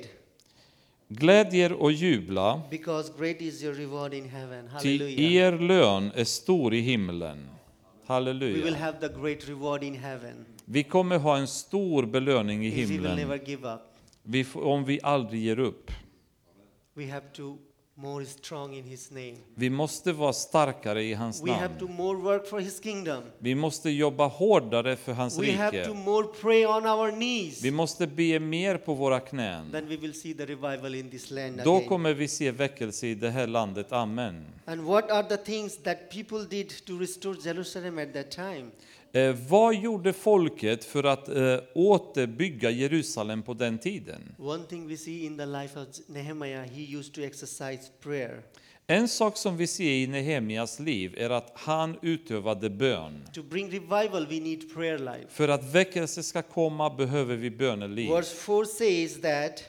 [SPEAKER 6] Glädjer och jubla,
[SPEAKER 7] because great is your reward in heaven.
[SPEAKER 6] till
[SPEAKER 7] Hallelujah.
[SPEAKER 6] er lön är stor i himlen.
[SPEAKER 7] We will
[SPEAKER 6] Halleluja.
[SPEAKER 7] have the great reward in heaven
[SPEAKER 6] Vi kommer ha en stor belöning i
[SPEAKER 7] if we will
[SPEAKER 6] himlen
[SPEAKER 7] never give up.
[SPEAKER 6] vi får, om vi aldrig ger upp.
[SPEAKER 7] We have to more strong in His name.
[SPEAKER 6] Vi måste vara starkare i hans
[SPEAKER 7] We have to
[SPEAKER 6] namn.
[SPEAKER 7] more work for His kingdom.
[SPEAKER 6] Vi måste jobba hårdare för hans
[SPEAKER 7] We have to
[SPEAKER 6] rike.
[SPEAKER 7] more pray on our knees.
[SPEAKER 6] Vi måste be mer på våra knän.
[SPEAKER 7] Then we will see the revival in this land
[SPEAKER 6] Då
[SPEAKER 7] again.
[SPEAKER 6] kommer vi se väckelse i det här landet. Amen.
[SPEAKER 7] And what are the things that people did to restore Jerusalem at that time?
[SPEAKER 6] Eh, vad gjorde folket för att eh, återbygga Jerusalem på den tiden?
[SPEAKER 7] One thing we see in the life of Nehemiah, he used to exercise prayer
[SPEAKER 6] En sak som vi ser i Nehemias liv är att han utövade bön.
[SPEAKER 7] to bring revival. We need prayer life.
[SPEAKER 6] För att väckelse ska komma behöver vi böneliv.
[SPEAKER 7] Verse 4 says that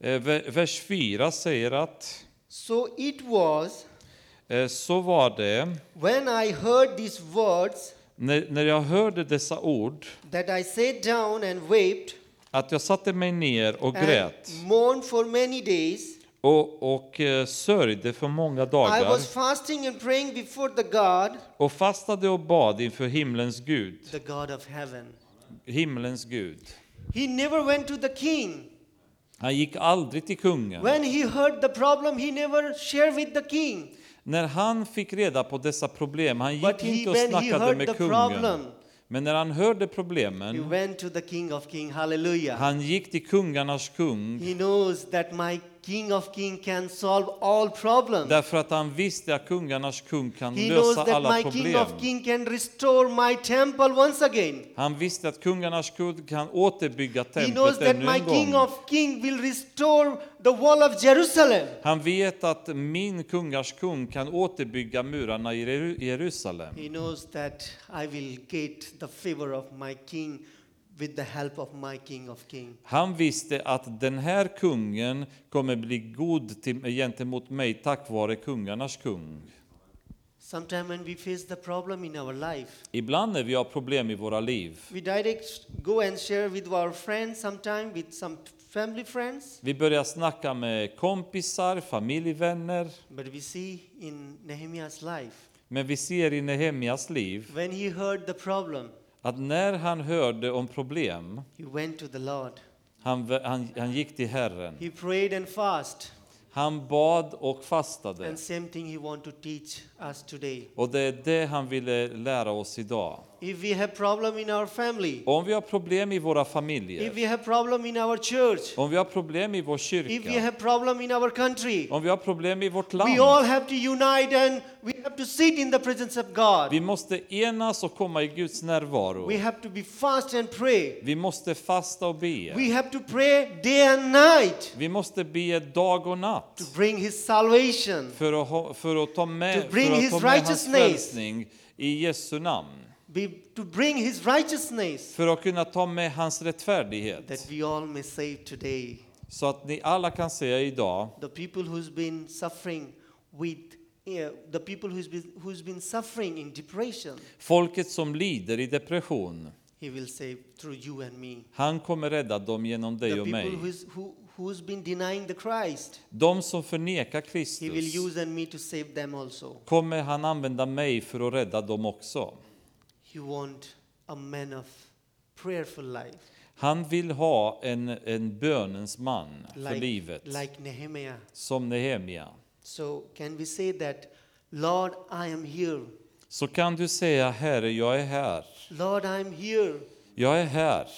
[SPEAKER 6] Eh, ve- Vers 4 säger att
[SPEAKER 7] so it was
[SPEAKER 6] eh, så var det
[SPEAKER 7] when I heard these words
[SPEAKER 6] när, när jag hörde dessa ord
[SPEAKER 7] that I sat down and wept
[SPEAKER 6] att jag satte mig ner och
[SPEAKER 7] and
[SPEAKER 6] grät
[SPEAKER 7] mourned for many days.
[SPEAKER 6] och, och eh, sörjde för många
[SPEAKER 7] I
[SPEAKER 6] dagar
[SPEAKER 7] was fasting and praying before the God,
[SPEAKER 6] och fastade och bad inför himlens Gud.
[SPEAKER 7] the God of heaven.
[SPEAKER 6] Himlens Gud.
[SPEAKER 7] He never went to the king.
[SPEAKER 6] Han gick aldrig till kungen.
[SPEAKER 7] When he heard the problem, he never shared with the king.
[SPEAKER 6] När han fick reda på dessa problem, han gick
[SPEAKER 7] But he-
[SPEAKER 6] inte och
[SPEAKER 7] when he
[SPEAKER 6] snackade
[SPEAKER 7] heard
[SPEAKER 6] med
[SPEAKER 7] the problem,
[SPEAKER 6] kungen. Men när han hörde
[SPEAKER 7] He
[SPEAKER 6] problemen,
[SPEAKER 7] went to the king of king. Hallelujah.
[SPEAKER 6] han gick till kungarnas kung
[SPEAKER 7] He knows that my king of king can solve all problems.
[SPEAKER 6] därför att han visste att kungarnas kung kan
[SPEAKER 7] He knows
[SPEAKER 6] lösa
[SPEAKER 7] that
[SPEAKER 6] alla
[SPEAKER 7] my king
[SPEAKER 6] problem.
[SPEAKER 7] of king can restore my temple once again.
[SPEAKER 6] Han visste att kungarnas kung kan återbygga
[SPEAKER 7] He
[SPEAKER 6] templet
[SPEAKER 7] knows that
[SPEAKER 6] ännu
[SPEAKER 7] my
[SPEAKER 6] en
[SPEAKER 7] king
[SPEAKER 6] gång.
[SPEAKER 7] of king will restore the wall of Jerusalem.
[SPEAKER 6] Han vet att min kungars kung kan återbygga murarna i Jeru- Jerusalem.
[SPEAKER 7] He knows that I will get the favor of my king with the help of my king of king.
[SPEAKER 6] Han visste att den här kungen kommer bli god till, gentemot mig tack vare kungarnas kung.
[SPEAKER 7] Sometime when we face the problem in our life,
[SPEAKER 6] Ibland när vi har problem i våra liv,
[SPEAKER 7] we direct go and share with our friends, sometime with some family friends.
[SPEAKER 6] vi börjar snacka med kompisar, familjevänner,
[SPEAKER 7] But we see in Nehemiah's life,
[SPEAKER 6] men vi ser i Nehemias liv
[SPEAKER 7] when he heard the problem,
[SPEAKER 6] att när han hörde om problem,
[SPEAKER 7] he went to the Lord.
[SPEAKER 6] han, han, han gick till Herren.
[SPEAKER 7] He prayed and fasted.
[SPEAKER 6] Han bad och
[SPEAKER 7] And
[SPEAKER 6] fastade.
[SPEAKER 7] same thing he want to teach us today.
[SPEAKER 6] Och det är det han ville lära oss idag.
[SPEAKER 7] If we have problem in our family,
[SPEAKER 6] Om vi har problem i våra
[SPEAKER 7] if
[SPEAKER 6] familjer,
[SPEAKER 7] we have problem in our church,
[SPEAKER 6] om vi har problem i vår
[SPEAKER 7] if we
[SPEAKER 6] kyrka,
[SPEAKER 7] have problem in our country,
[SPEAKER 6] Om vi har problem i vårt
[SPEAKER 7] we
[SPEAKER 6] land,
[SPEAKER 7] all have to unite and we have to sit in the presence of God.
[SPEAKER 6] vi måste enas och komma i Guds närvaro.
[SPEAKER 7] We have to be fast and pray.
[SPEAKER 6] Vi måste fasta och be.
[SPEAKER 7] We have to pray day and night
[SPEAKER 6] Vi måste be dag och
[SPEAKER 7] to
[SPEAKER 6] natt
[SPEAKER 7] bring his salvation.
[SPEAKER 6] för att, ha, för att ta
[SPEAKER 7] To
[SPEAKER 6] med, för
[SPEAKER 7] bring
[SPEAKER 6] att
[SPEAKER 7] his
[SPEAKER 6] ta med hans
[SPEAKER 7] righteousness.
[SPEAKER 6] frälsning i Jesu namn.
[SPEAKER 7] Be, to bring his righteousness
[SPEAKER 6] För att kunna ta med hans
[SPEAKER 7] that
[SPEAKER 6] rättfärdighet.
[SPEAKER 7] we all may save today.
[SPEAKER 6] Så att ni alla kan säga idag,
[SPEAKER 7] The people who's been suffering with eh, the people who's been, who's been suffering in depression,
[SPEAKER 6] folket som lider i depression,
[SPEAKER 7] he will save through you and me.
[SPEAKER 6] han kommer rädda dem genom dig
[SPEAKER 7] the
[SPEAKER 6] och
[SPEAKER 7] people
[SPEAKER 6] mig.
[SPEAKER 7] who's, who, who's been denying the Christ,
[SPEAKER 6] De som förnekar
[SPEAKER 7] he will
[SPEAKER 6] Kristus
[SPEAKER 7] use and me to save them also.
[SPEAKER 6] kommer han använda mig för att rädda dem också.
[SPEAKER 7] He want a man of prayerful life,
[SPEAKER 6] Han vill ha en, en bönens man för livet,
[SPEAKER 7] like Nehemiah.
[SPEAKER 6] som Nehemia.
[SPEAKER 7] So can we say that, Lord, I am here.
[SPEAKER 6] Så kan du säga Herre, jag är här.
[SPEAKER 7] Lord, I am here.
[SPEAKER 6] Jag är här.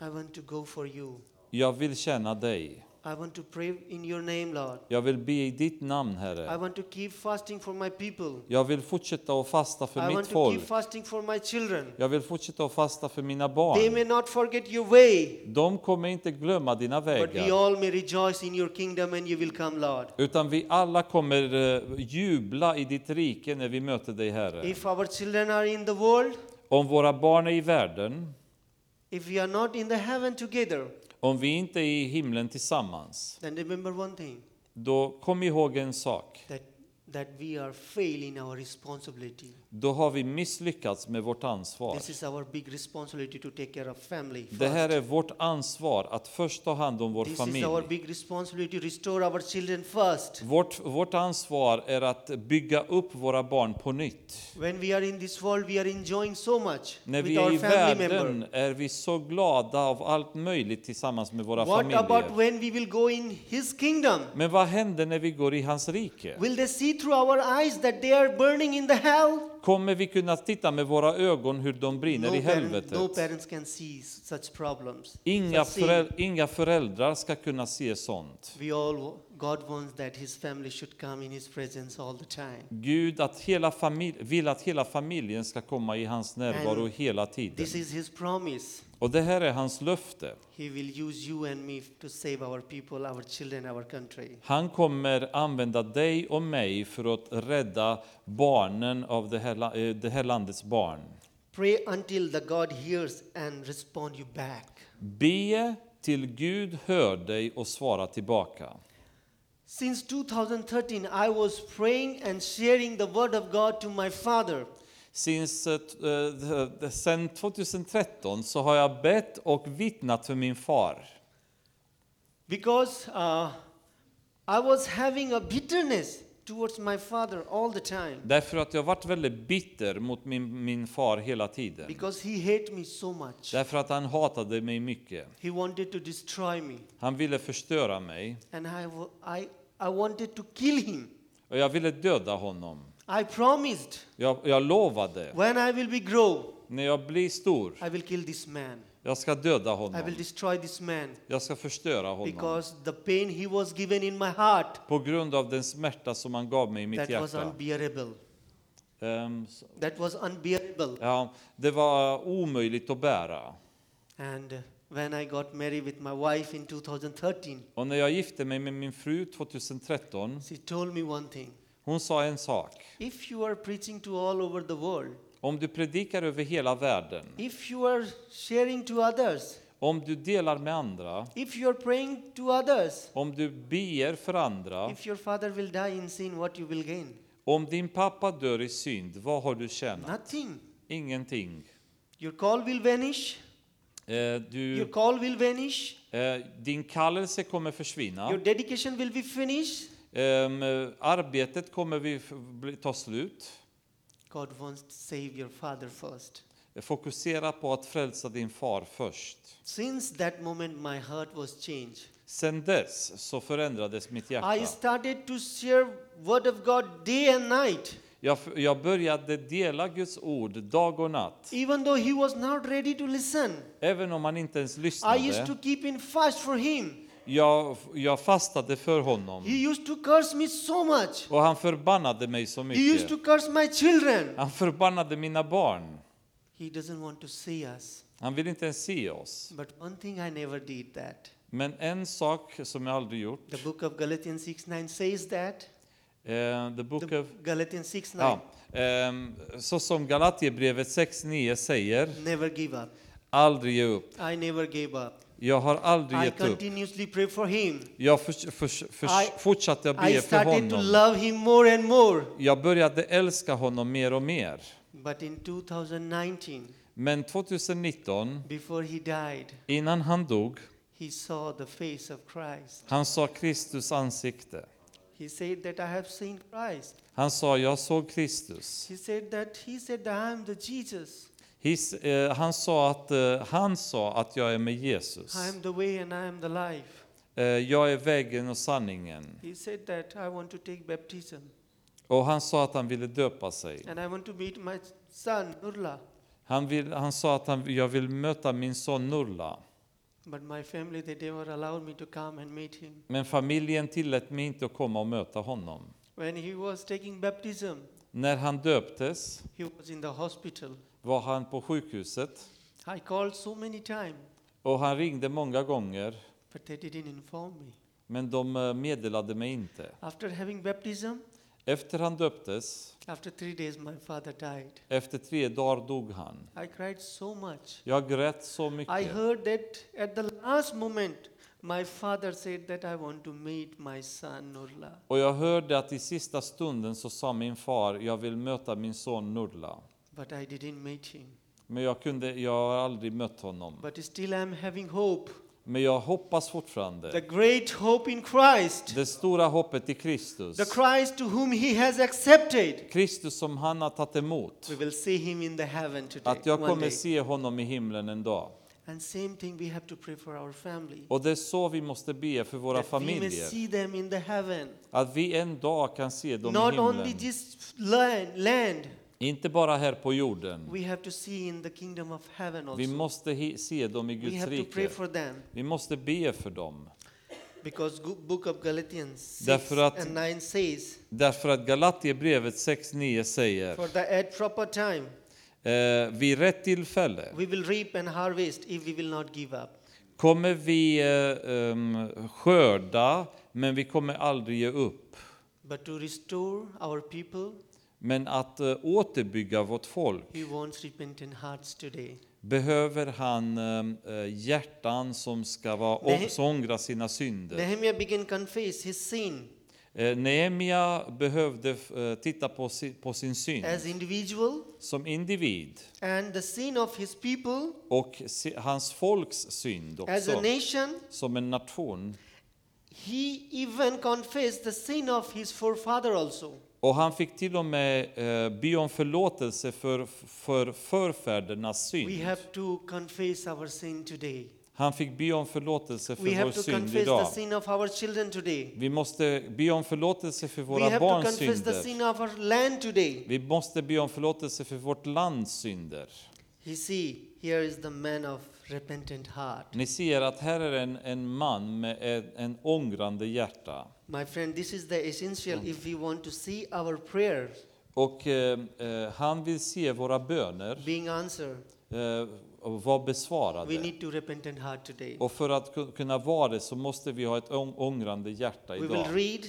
[SPEAKER 7] I want to go for you.
[SPEAKER 6] Jag vill känna dig.
[SPEAKER 7] I want to pray in your name, Lord.
[SPEAKER 6] Jag vill be i ditt namn,
[SPEAKER 7] I
[SPEAKER 6] Herre.
[SPEAKER 7] want to keep fasting for my people.
[SPEAKER 6] Jag vill fortsätta att fasta
[SPEAKER 7] I
[SPEAKER 6] för
[SPEAKER 7] want
[SPEAKER 6] mitt
[SPEAKER 7] to
[SPEAKER 6] folk.
[SPEAKER 7] keep fasting for my children.
[SPEAKER 6] Jag vill fortsätta att fasta för mina
[SPEAKER 7] They
[SPEAKER 6] barn.
[SPEAKER 7] may not forget your way,
[SPEAKER 6] De kommer inte glömma dina
[SPEAKER 7] but we
[SPEAKER 6] vägar.
[SPEAKER 7] all may rejoice in your kingdom and you will come, Lord.
[SPEAKER 6] Utan vi alla kommer eh, jubla i ditt rike när vi möter dig, Herre.
[SPEAKER 7] If our children are in the world,
[SPEAKER 6] Om våra barn är i världen,
[SPEAKER 7] if we are not in the heaven together,
[SPEAKER 6] om vi inte är i himlen tillsammans,
[SPEAKER 7] then remember one thing
[SPEAKER 6] Då kom ihåg en sak.
[SPEAKER 7] that that we are fail in our responsibility.
[SPEAKER 6] då har vi misslyckats med vårt ansvar.
[SPEAKER 7] This is our big responsibility to take care of family.
[SPEAKER 6] Det här
[SPEAKER 7] first.
[SPEAKER 6] är vårt ansvar att först ta hand om vår
[SPEAKER 7] this is our
[SPEAKER 6] familj.
[SPEAKER 7] big responsibility to restore our children first.
[SPEAKER 6] Vårt, vårt ansvar är att bygga upp våra barn på nytt.
[SPEAKER 7] When we are in this world, we are enjoying so much
[SPEAKER 6] När
[SPEAKER 7] with
[SPEAKER 6] vi är
[SPEAKER 7] our
[SPEAKER 6] i
[SPEAKER 7] family
[SPEAKER 6] världen
[SPEAKER 7] member.
[SPEAKER 6] är vi så glada av allt möjligt tillsammans med våra
[SPEAKER 7] What about
[SPEAKER 6] familjer.
[SPEAKER 7] when we will go in His kingdom?
[SPEAKER 6] Men vad händer när vi går i hans rike?
[SPEAKER 7] Will they see through our eyes that they are burning in the hell?
[SPEAKER 6] Kommer vi kunna titta med våra ögon hur de brinner i
[SPEAKER 7] No, parent, no
[SPEAKER 6] helvetet?
[SPEAKER 7] parents can see s- such problems.
[SPEAKER 6] Inga,
[SPEAKER 7] such sin.
[SPEAKER 6] föräl- inga föräldrar ska kunna se sånt.
[SPEAKER 7] We all, God wants that His family should come in His presence all the time.
[SPEAKER 6] Gud att hela famil- vill att hela familjen ska komma i hans närvaro
[SPEAKER 7] And
[SPEAKER 6] hela tiden.
[SPEAKER 7] This is His promise.
[SPEAKER 6] Och det här är hans löfte.
[SPEAKER 7] He will use you and me f- to save our people, our children, our country.
[SPEAKER 6] Han kommer använda dig och mig för att rädda barnen av det här, la- eh, det här landets barn.
[SPEAKER 7] Pray until the God hears and respond you back.
[SPEAKER 6] Be till Gud hör dig och svara tillbaka.
[SPEAKER 7] Since 2013, I was praying and sharing the word of God to my father.
[SPEAKER 6] Since, eh, t- eh, the- the- sen 2013 så har jag bett och vittnat för min far.
[SPEAKER 7] because uh, I was having a bitterness towards my father all the time
[SPEAKER 6] Därför att jag varit väldigt bitter mot min, min far hela tiden.
[SPEAKER 7] because he hated me so much.
[SPEAKER 6] Därför att han hatade mig mycket.
[SPEAKER 7] He wanted to destroy me,
[SPEAKER 6] Han ville förstöra mig
[SPEAKER 7] and I, wa- I, I wanted to kill him.
[SPEAKER 6] och jag ville döda honom.
[SPEAKER 7] I promised
[SPEAKER 6] Jag, jag lovade,
[SPEAKER 7] when I will be grow,
[SPEAKER 6] när jag blir stor,
[SPEAKER 7] I will kill this man.
[SPEAKER 6] jag ska döda
[SPEAKER 7] I will
[SPEAKER 6] honom.
[SPEAKER 7] destroy this man
[SPEAKER 6] Jag ska förstöra honom.
[SPEAKER 7] because the pain he was given in my heart
[SPEAKER 6] På grund av den smärta som han gav mig i mitt
[SPEAKER 7] that was
[SPEAKER 6] hjärta.
[SPEAKER 7] unbearable.
[SPEAKER 6] Ehm, så-
[SPEAKER 7] That was unbearable.
[SPEAKER 6] Ja, det var omöjligt att bära.
[SPEAKER 7] And when I got married with my wife in 2013,
[SPEAKER 6] Och när jag gifte mig med min fru 2013,
[SPEAKER 7] she told me one thing.
[SPEAKER 6] hon sa en sak.
[SPEAKER 7] If you are preaching to all over the world,
[SPEAKER 6] Om du predikar över hela världen,
[SPEAKER 7] if you are sharing to others,
[SPEAKER 6] om du delar med andra,
[SPEAKER 7] if you are praying to others,
[SPEAKER 6] om du ber för andra,
[SPEAKER 7] if your father will die in sin, what you will gain?
[SPEAKER 6] Om din pappa dör i synd, vad har du tjänat?
[SPEAKER 7] Nothing.
[SPEAKER 6] Ingenting.
[SPEAKER 7] Your call will vanish.
[SPEAKER 6] Eh,
[SPEAKER 7] Your
[SPEAKER 6] du,
[SPEAKER 7] call will vanish.
[SPEAKER 6] eh, din kallelse kommer
[SPEAKER 7] Your
[SPEAKER 6] försvinna.
[SPEAKER 7] dedication will be finished.
[SPEAKER 6] Ehm, Eh, arbetet kommer vi f- bli- ta slut.
[SPEAKER 7] God wants to save your father first.
[SPEAKER 6] Fokusera på att frälsa din far först.
[SPEAKER 7] Since that moment, my heart was changed.
[SPEAKER 6] Sen dess så förändrades mitt
[SPEAKER 7] I
[SPEAKER 6] hjärta.
[SPEAKER 7] started to share word of God day and night.
[SPEAKER 6] Jag, f- jag började dela Guds ord dag och natt.
[SPEAKER 7] Even though he was not ready to listen,
[SPEAKER 6] Även om han inte ens
[SPEAKER 7] I used to
[SPEAKER 6] lyssnade.
[SPEAKER 7] keep in fast for him.
[SPEAKER 6] Jag, f- jag fastade för honom.
[SPEAKER 7] He used to curse me so much.
[SPEAKER 6] Och han förbannade mig så
[SPEAKER 7] He used
[SPEAKER 6] mycket.
[SPEAKER 7] to curse my children.
[SPEAKER 6] Han förbannade mina barn.
[SPEAKER 7] He doesn't want to see us.
[SPEAKER 6] Han vill inte ens se oss.
[SPEAKER 7] But one thing I never did that.
[SPEAKER 6] Men en sak som jag aldrig gjort,
[SPEAKER 7] The book of Galatians 6 9 says that.
[SPEAKER 6] eh, the book
[SPEAKER 7] The
[SPEAKER 6] of...
[SPEAKER 7] Galatians 6 9.
[SPEAKER 6] Ja, ehm, så som Galatierbrevet 6.9 säger,
[SPEAKER 7] Never give up.
[SPEAKER 6] aldrig ge upp.
[SPEAKER 7] I never gave up.
[SPEAKER 6] Jag har aldrig
[SPEAKER 7] I
[SPEAKER 6] gett upp.
[SPEAKER 7] continuously pray for him.
[SPEAKER 6] Jag förs- förs- förs-
[SPEAKER 7] I-
[SPEAKER 6] fortsatte att
[SPEAKER 7] I
[SPEAKER 6] be för
[SPEAKER 7] started to
[SPEAKER 6] honom.
[SPEAKER 7] love him more and more.
[SPEAKER 6] Jag började älska honom mer och mer.
[SPEAKER 7] But in 2019,
[SPEAKER 6] Men 2019,
[SPEAKER 7] before he died,
[SPEAKER 6] innan han dog,
[SPEAKER 7] he saw the face of Christ.
[SPEAKER 6] han sa Kristus ansikte.
[SPEAKER 7] He said that I have seen Christ.
[SPEAKER 6] Han sa, jag såg Kristus.
[SPEAKER 7] He said that he said that I am the Jesus.
[SPEAKER 6] His, eh, han, sa att, eh, han sa att jag är med Jesus.
[SPEAKER 7] I am the way and I am the life.
[SPEAKER 6] Eh, Jag är vägen och sanningen.
[SPEAKER 7] He said that I want to take baptism
[SPEAKER 6] Och han sa att han ville döpa sig.
[SPEAKER 7] and I want to meet my son Nurla.
[SPEAKER 6] Han, vill, han sa att han, jag vill möta min son Nurla.
[SPEAKER 7] But my family they never allowed me to come and meet him.
[SPEAKER 6] Men familjen tillät mig inte att komma och möta honom.
[SPEAKER 7] When he was taking baptism,
[SPEAKER 6] När han döptes
[SPEAKER 7] he was in the hospital.
[SPEAKER 6] var han på sjukhuset
[SPEAKER 7] I called so many times,
[SPEAKER 6] och han ringde många gånger
[SPEAKER 7] but they didn't inform me.
[SPEAKER 6] men de eh, meddelade mig inte.
[SPEAKER 7] After having baptism,
[SPEAKER 6] Efter han döptes,
[SPEAKER 7] after three days my father died.
[SPEAKER 6] efter tre dagar dog han.
[SPEAKER 7] I cried so much.
[SPEAKER 6] Jag grät så
[SPEAKER 7] I
[SPEAKER 6] mycket.
[SPEAKER 7] heard that at the last moment My father said that I want to meet my son Nurla.
[SPEAKER 6] Och jag hörde att i sista stunden så sa min far, jag vill möta min son Nurla.
[SPEAKER 7] But I didn't meet him.
[SPEAKER 6] Men jag, kunde, jag har aldrig mött honom.
[SPEAKER 7] But still I'm having hope.
[SPEAKER 6] Men jag hoppas fortfarande.
[SPEAKER 7] The great hope in Christ.
[SPEAKER 6] Det stora hoppet i Kristus.
[SPEAKER 7] The Christ to whom he has accepted.
[SPEAKER 6] Kristus som han har tagit emot.
[SPEAKER 7] We will see him in the heaven today.
[SPEAKER 6] Att jag
[SPEAKER 7] one
[SPEAKER 6] kommer
[SPEAKER 7] day.
[SPEAKER 6] se honom i himlen en dag.
[SPEAKER 7] And same thing we have to pray for our family.
[SPEAKER 6] Och det är så vi måste be för våra
[SPEAKER 7] that we may
[SPEAKER 6] familjer.
[SPEAKER 7] see them in the heaven.
[SPEAKER 6] Att vi en dag kan se dem i
[SPEAKER 7] Not only
[SPEAKER 6] himlen.
[SPEAKER 7] this land, land,
[SPEAKER 6] Inte bara här på jorden.
[SPEAKER 7] we have to see in the kingdom of heaven
[SPEAKER 6] Vi
[SPEAKER 7] also.
[SPEAKER 6] måste he- se dem i
[SPEAKER 7] We
[SPEAKER 6] Guds
[SPEAKER 7] have to pray
[SPEAKER 6] rike.
[SPEAKER 7] for them
[SPEAKER 6] Vi måste be för dem.
[SPEAKER 7] because Gu- book of Galatians 6
[SPEAKER 6] Därför att-
[SPEAKER 7] and 9 says,
[SPEAKER 6] Därför att Galaterbrevet 6.9 säger
[SPEAKER 7] for the at proper time
[SPEAKER 6] eh, vid rätt tillfälle
[SPEAKER 7] we will reap and harvest if we will not give up.
[SPEAKER 6] kommer vi eh, em, skörda men vi kommer aldrig ge upp.
[SPEAKER 7] But to restore our people,
[SPEAKER 6] Men att eh, återbygga vårt folk
[SPEAKER 7] he wants repentant hearts today.
[SPEAKER 6] behöver han eh, eh, hjärtan som ska vara,
[SPEAKER 7] Nej.
[SPEAKER 6] som ångra sina synder.
[SPEAKER 7] Nehemiah began confess his sin
[SPEAKER 6] Eh, Nehemia behövde eh, titta på, si, på sin synd
[SPEAKER 7] as individual
[SPEAKER 6] som individ
[SPEAKER 7] and the sin of his people
[SPEAKER 6] och si, hans folks synd
[SPEAKER 7] as a
[SPEAKER 6] också
[SPEAKER 7] nation.
[SPEAKER 6] som en nation.
[SPEAKER 7] He even confessed the sin of his forefather also.
[SPEAKER 6] Och han fick till och med eh, be om förlåtelse för, för förfädernas
[SPEAKER 7] We
[SPEAKER 6] synd.
[SPEAKER 7] have to confess our sin today.
[SPEAKER 6] Han fick be om förlåtelse
[SPEAKER 7] We
[SPEAKER 6] för vår
[SPEAKER 7] have to
[SPEAKER 6] synd
[SPEAKER 7] confess the
[SPEAKER 6] idag.
[SPEAKER 7] sin of our children today.
[SPEAKER 6] Vi måste be om förlåtelse för
[SPEAKER 7] We
[SPEAKER 6] våra
[SPEAKER 7] have to
[SPEAKER 6] barns
[SPEAKER 7] confess the
[SPEAKER 6] synder.
[SPEAKER 7] sin of our land today.
[SPEAKER 6] Vi måste be om förlåtelse för vårt lands synder.
[SPEAKER 7] You see, here is the man of repentant heart.
[SPEAKER 6] Ni ser att här är en, en man med en, en ångrande hjärta.
[SPEAKER 7] My friend, this is the essential if we want to see our prayer
[SPEAKER 6] Och eh, eh, han vill se våra böner
[SPEAKER 7] being answered.
[SPEAKER 6] eh, och vara
[SPEAKER 7] We
[SPEAKER 6] besvarade.
[SPEAKER 7] need to repentant heart today.
[SPEAKER 6] Och för att ku- kunna vara det så måste vi ha ett ång- ångrande hjärta
[SPEAKER 7] We will
[SPEAKER 6] idag.
[SPEAKER 7] read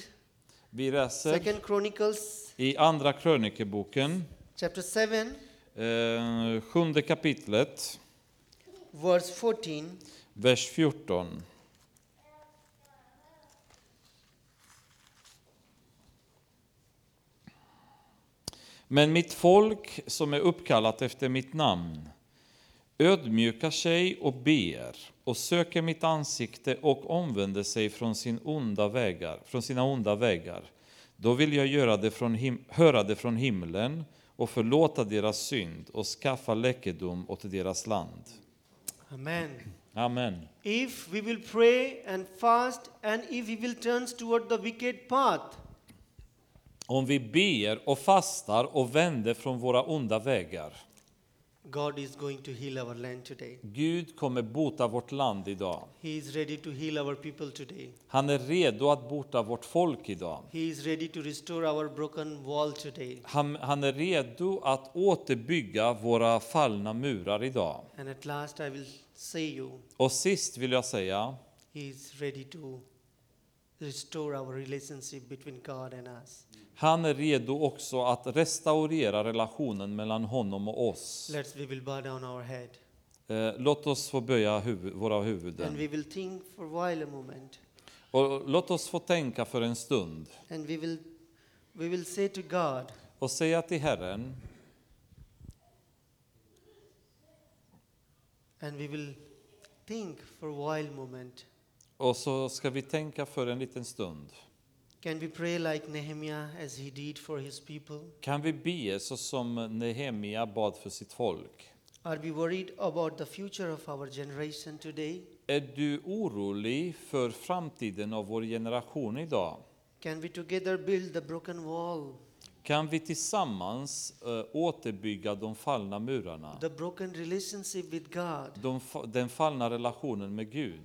[SPEAKER 6] Vi läser
[SPEAKER 7] Second Chronicles
[SPEAKER 6] i Andra krönikeboken,
[SPEAKER 7] chapter 7
[SPEAKER 6] eh, sjunde kapitlet,
[SPEAKER 7] verse 14.
[SPEAKER 6] vers 14. Men mitt folk som är uppkallat efter mitt namn ödmjukar sig och ber och söker mitt ansikte och omvänder sig från, sin onda vägar, från sina onda vägar. Då vill jag göra det från him- höra det från himlen och förlåta deras synd och skaffa läkedom åt deras land.
[SPEAKER 7] Amen.
[SPEAKER 6] Amen.
[SPEAKER 7] If we will pray and fast, and if we will turn toward the wicked path,
[SPEAKER 6] Om vi ber och fastar och vänder från våra onda vägar.
[SPEAKER 7] God is going to heal our land today.
[SPEAKER 6] Gud kommer bota vårt land idag.
[SPEAKER 7] He is ready to heal our people today.
[SPEAKER 6] Han är redo att bota vårt folk idag.
[SPEAKER 7] He is ready to restore our broken wall today.
[SPEAKER 6] Han, han är redo att återbygga våra fallna murar idag.
[SPEAKER 7] And at last, I will say you,
[SPEAKER 6] Och sist vill jag säga,
[SPEAKER 7] He is ready to restore our relationship between God and us.
[SPEAKER 6] han är redo också att restaurera relationen mellan honom och oss.
[SPEAKER 7] Let's we will bow down our head
[SPEAKER 6] Eh, låt oss få böja huvud, våra
[SPEAKER 7] and we
[SPEAKER 6] huvuden.
[SPEAKER 7] will think for a while a moment,
[SPEAKER 6] Och låt oss få tänka för en stund
[SPEAKER 7] and we will we will say to God,
[SPEAKER 6] och säga till Herren,
[SPEAKER 7] and we will think for a while moment.
[SPEAKER 6] Och så ska vi tänka för en liten stund.
[SPEAKER 7] Can we pray like Nehemiah as he did for his people?
[SPEAKER 6] Kan vi be så som Nehemia bad för sitt folk?
[SPEAKER 7] Are we worried about the future of our generation today?
[SPEAKER 6] Är du orolig för framtiden av vår generation idag?
[SPEAKER 7] Can we together build the broken wall,
[SPEAKER 6] Kan vi tillsammans eh, återbygga de fallna murarna?
[SPEAKER 7] the broken relationship with God?
[SPEAKER 6] De, fa- den fallna relationen med Gud?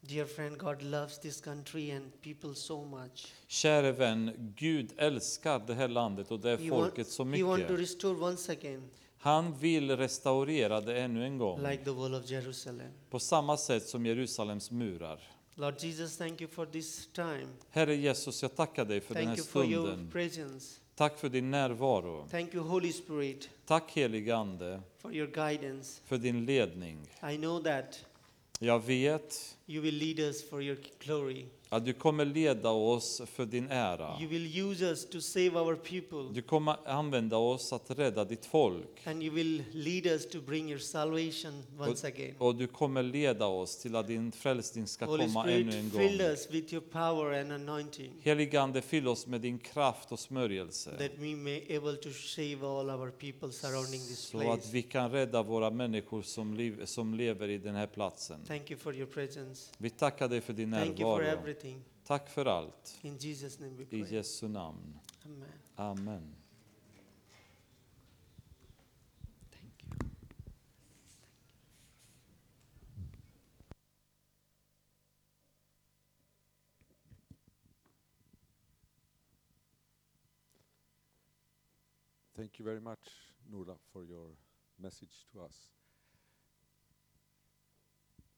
[SPEAKER 7] Dear friend, God loves this country and people so much.
[SPEAKER 6] Käre vän, Gud älskar det här landet och det här
[SPEAKER 7] He, wa-
[SPEAKER 6] folket så
[SPEAKER 7] he wants to
[SPEAKER 6] mycket.
[SPEAKER 7] restore once again,
[SPEAKER 6] Han vill restaurera det ännu en gång,
[SPEAKER 7] like the wall of Jerusalem.
[SPEAKER 6] på samma sätt som Jerusalems murar.
[SPEAKER 7] Lord Jesus, thank you for this time.
[SPEAKER 6] Herre Jesus, jag tackar dig för den
[SPEAKER 7] Thank
[SPEAKER 6] här
[SPEAKER 7] you for your
[SPEAKER 6] stunden.
[SPEAKER 7] presence.
[SPEAKER 6] Tack för din närvaro.
[SPEAKER 7] Thank you, Holy Spirit,
[SPEAKER 6] Tack helige Ande
[SPEAKER 7] for your guidance.
[SPEAKER 6] för din ledning.
[SPEAKER 7] I know that
[SPEAKER 6] Jag vet
[SPEAKER 7] You will lead us for your glory.
[SPEAKER 6] att du kommer leda oss för din ära.
[SPEAKER 7] You will use us to save our people.
[SPEAKER 6] Du kommer använda oss att rädda ditt folk.
[SPEAKER 7] And you will lead us to bring your salvation once again.
[SPEAKER 6] Och du kommer leda oss till att din frälsning ska
[SPEAKER 7] Holy
[SPEAKER 6] komma
[SPEAKER 7] Spirit,
[SPEAKER 6] ännu en
[SPEAKER 7] fill
[SPEAKER 6] gång.
[SPEAKER 7] us with your power and anointing
[SPEAKER 6] Helige Ande, fyll oss med din kraft och smörjelse
[SPEAKER 7] that we may able to save all our people surrounding this
[SPEAKER 6] så att
[SPEAKER 7] place.
[SPEAKER 6] vi kan rädda våra människor som, liv, som lever i den här platsen.
[SPEAKER 7] Thank you for your presence.
[SPEAKER 6] Vi tackar dig för din
[SPEAKER 7] Thank you for
[SPEAKER 6] närvaro.
[SPEAKER 7] everything.
[SPEAKER 6] Tack för allt.
[SPEAKER 7] In Jesus' name we
[SPEAKER 6] I
[SPEAKER 7] pray.
[SPEAKER 6] Jesu namn.
[SPEAKER 7] Amen.
[SPEAKER 6] Amen.
[SPEAKER 2] Thank you very much, Nora, for your message to us.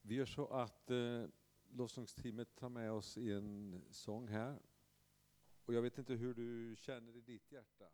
[SPEAKER 2] Vi gör så att eh, lovsångsteamet tar med oss i en sång här. Och jag vet inte hur du känner i ditt hjärta.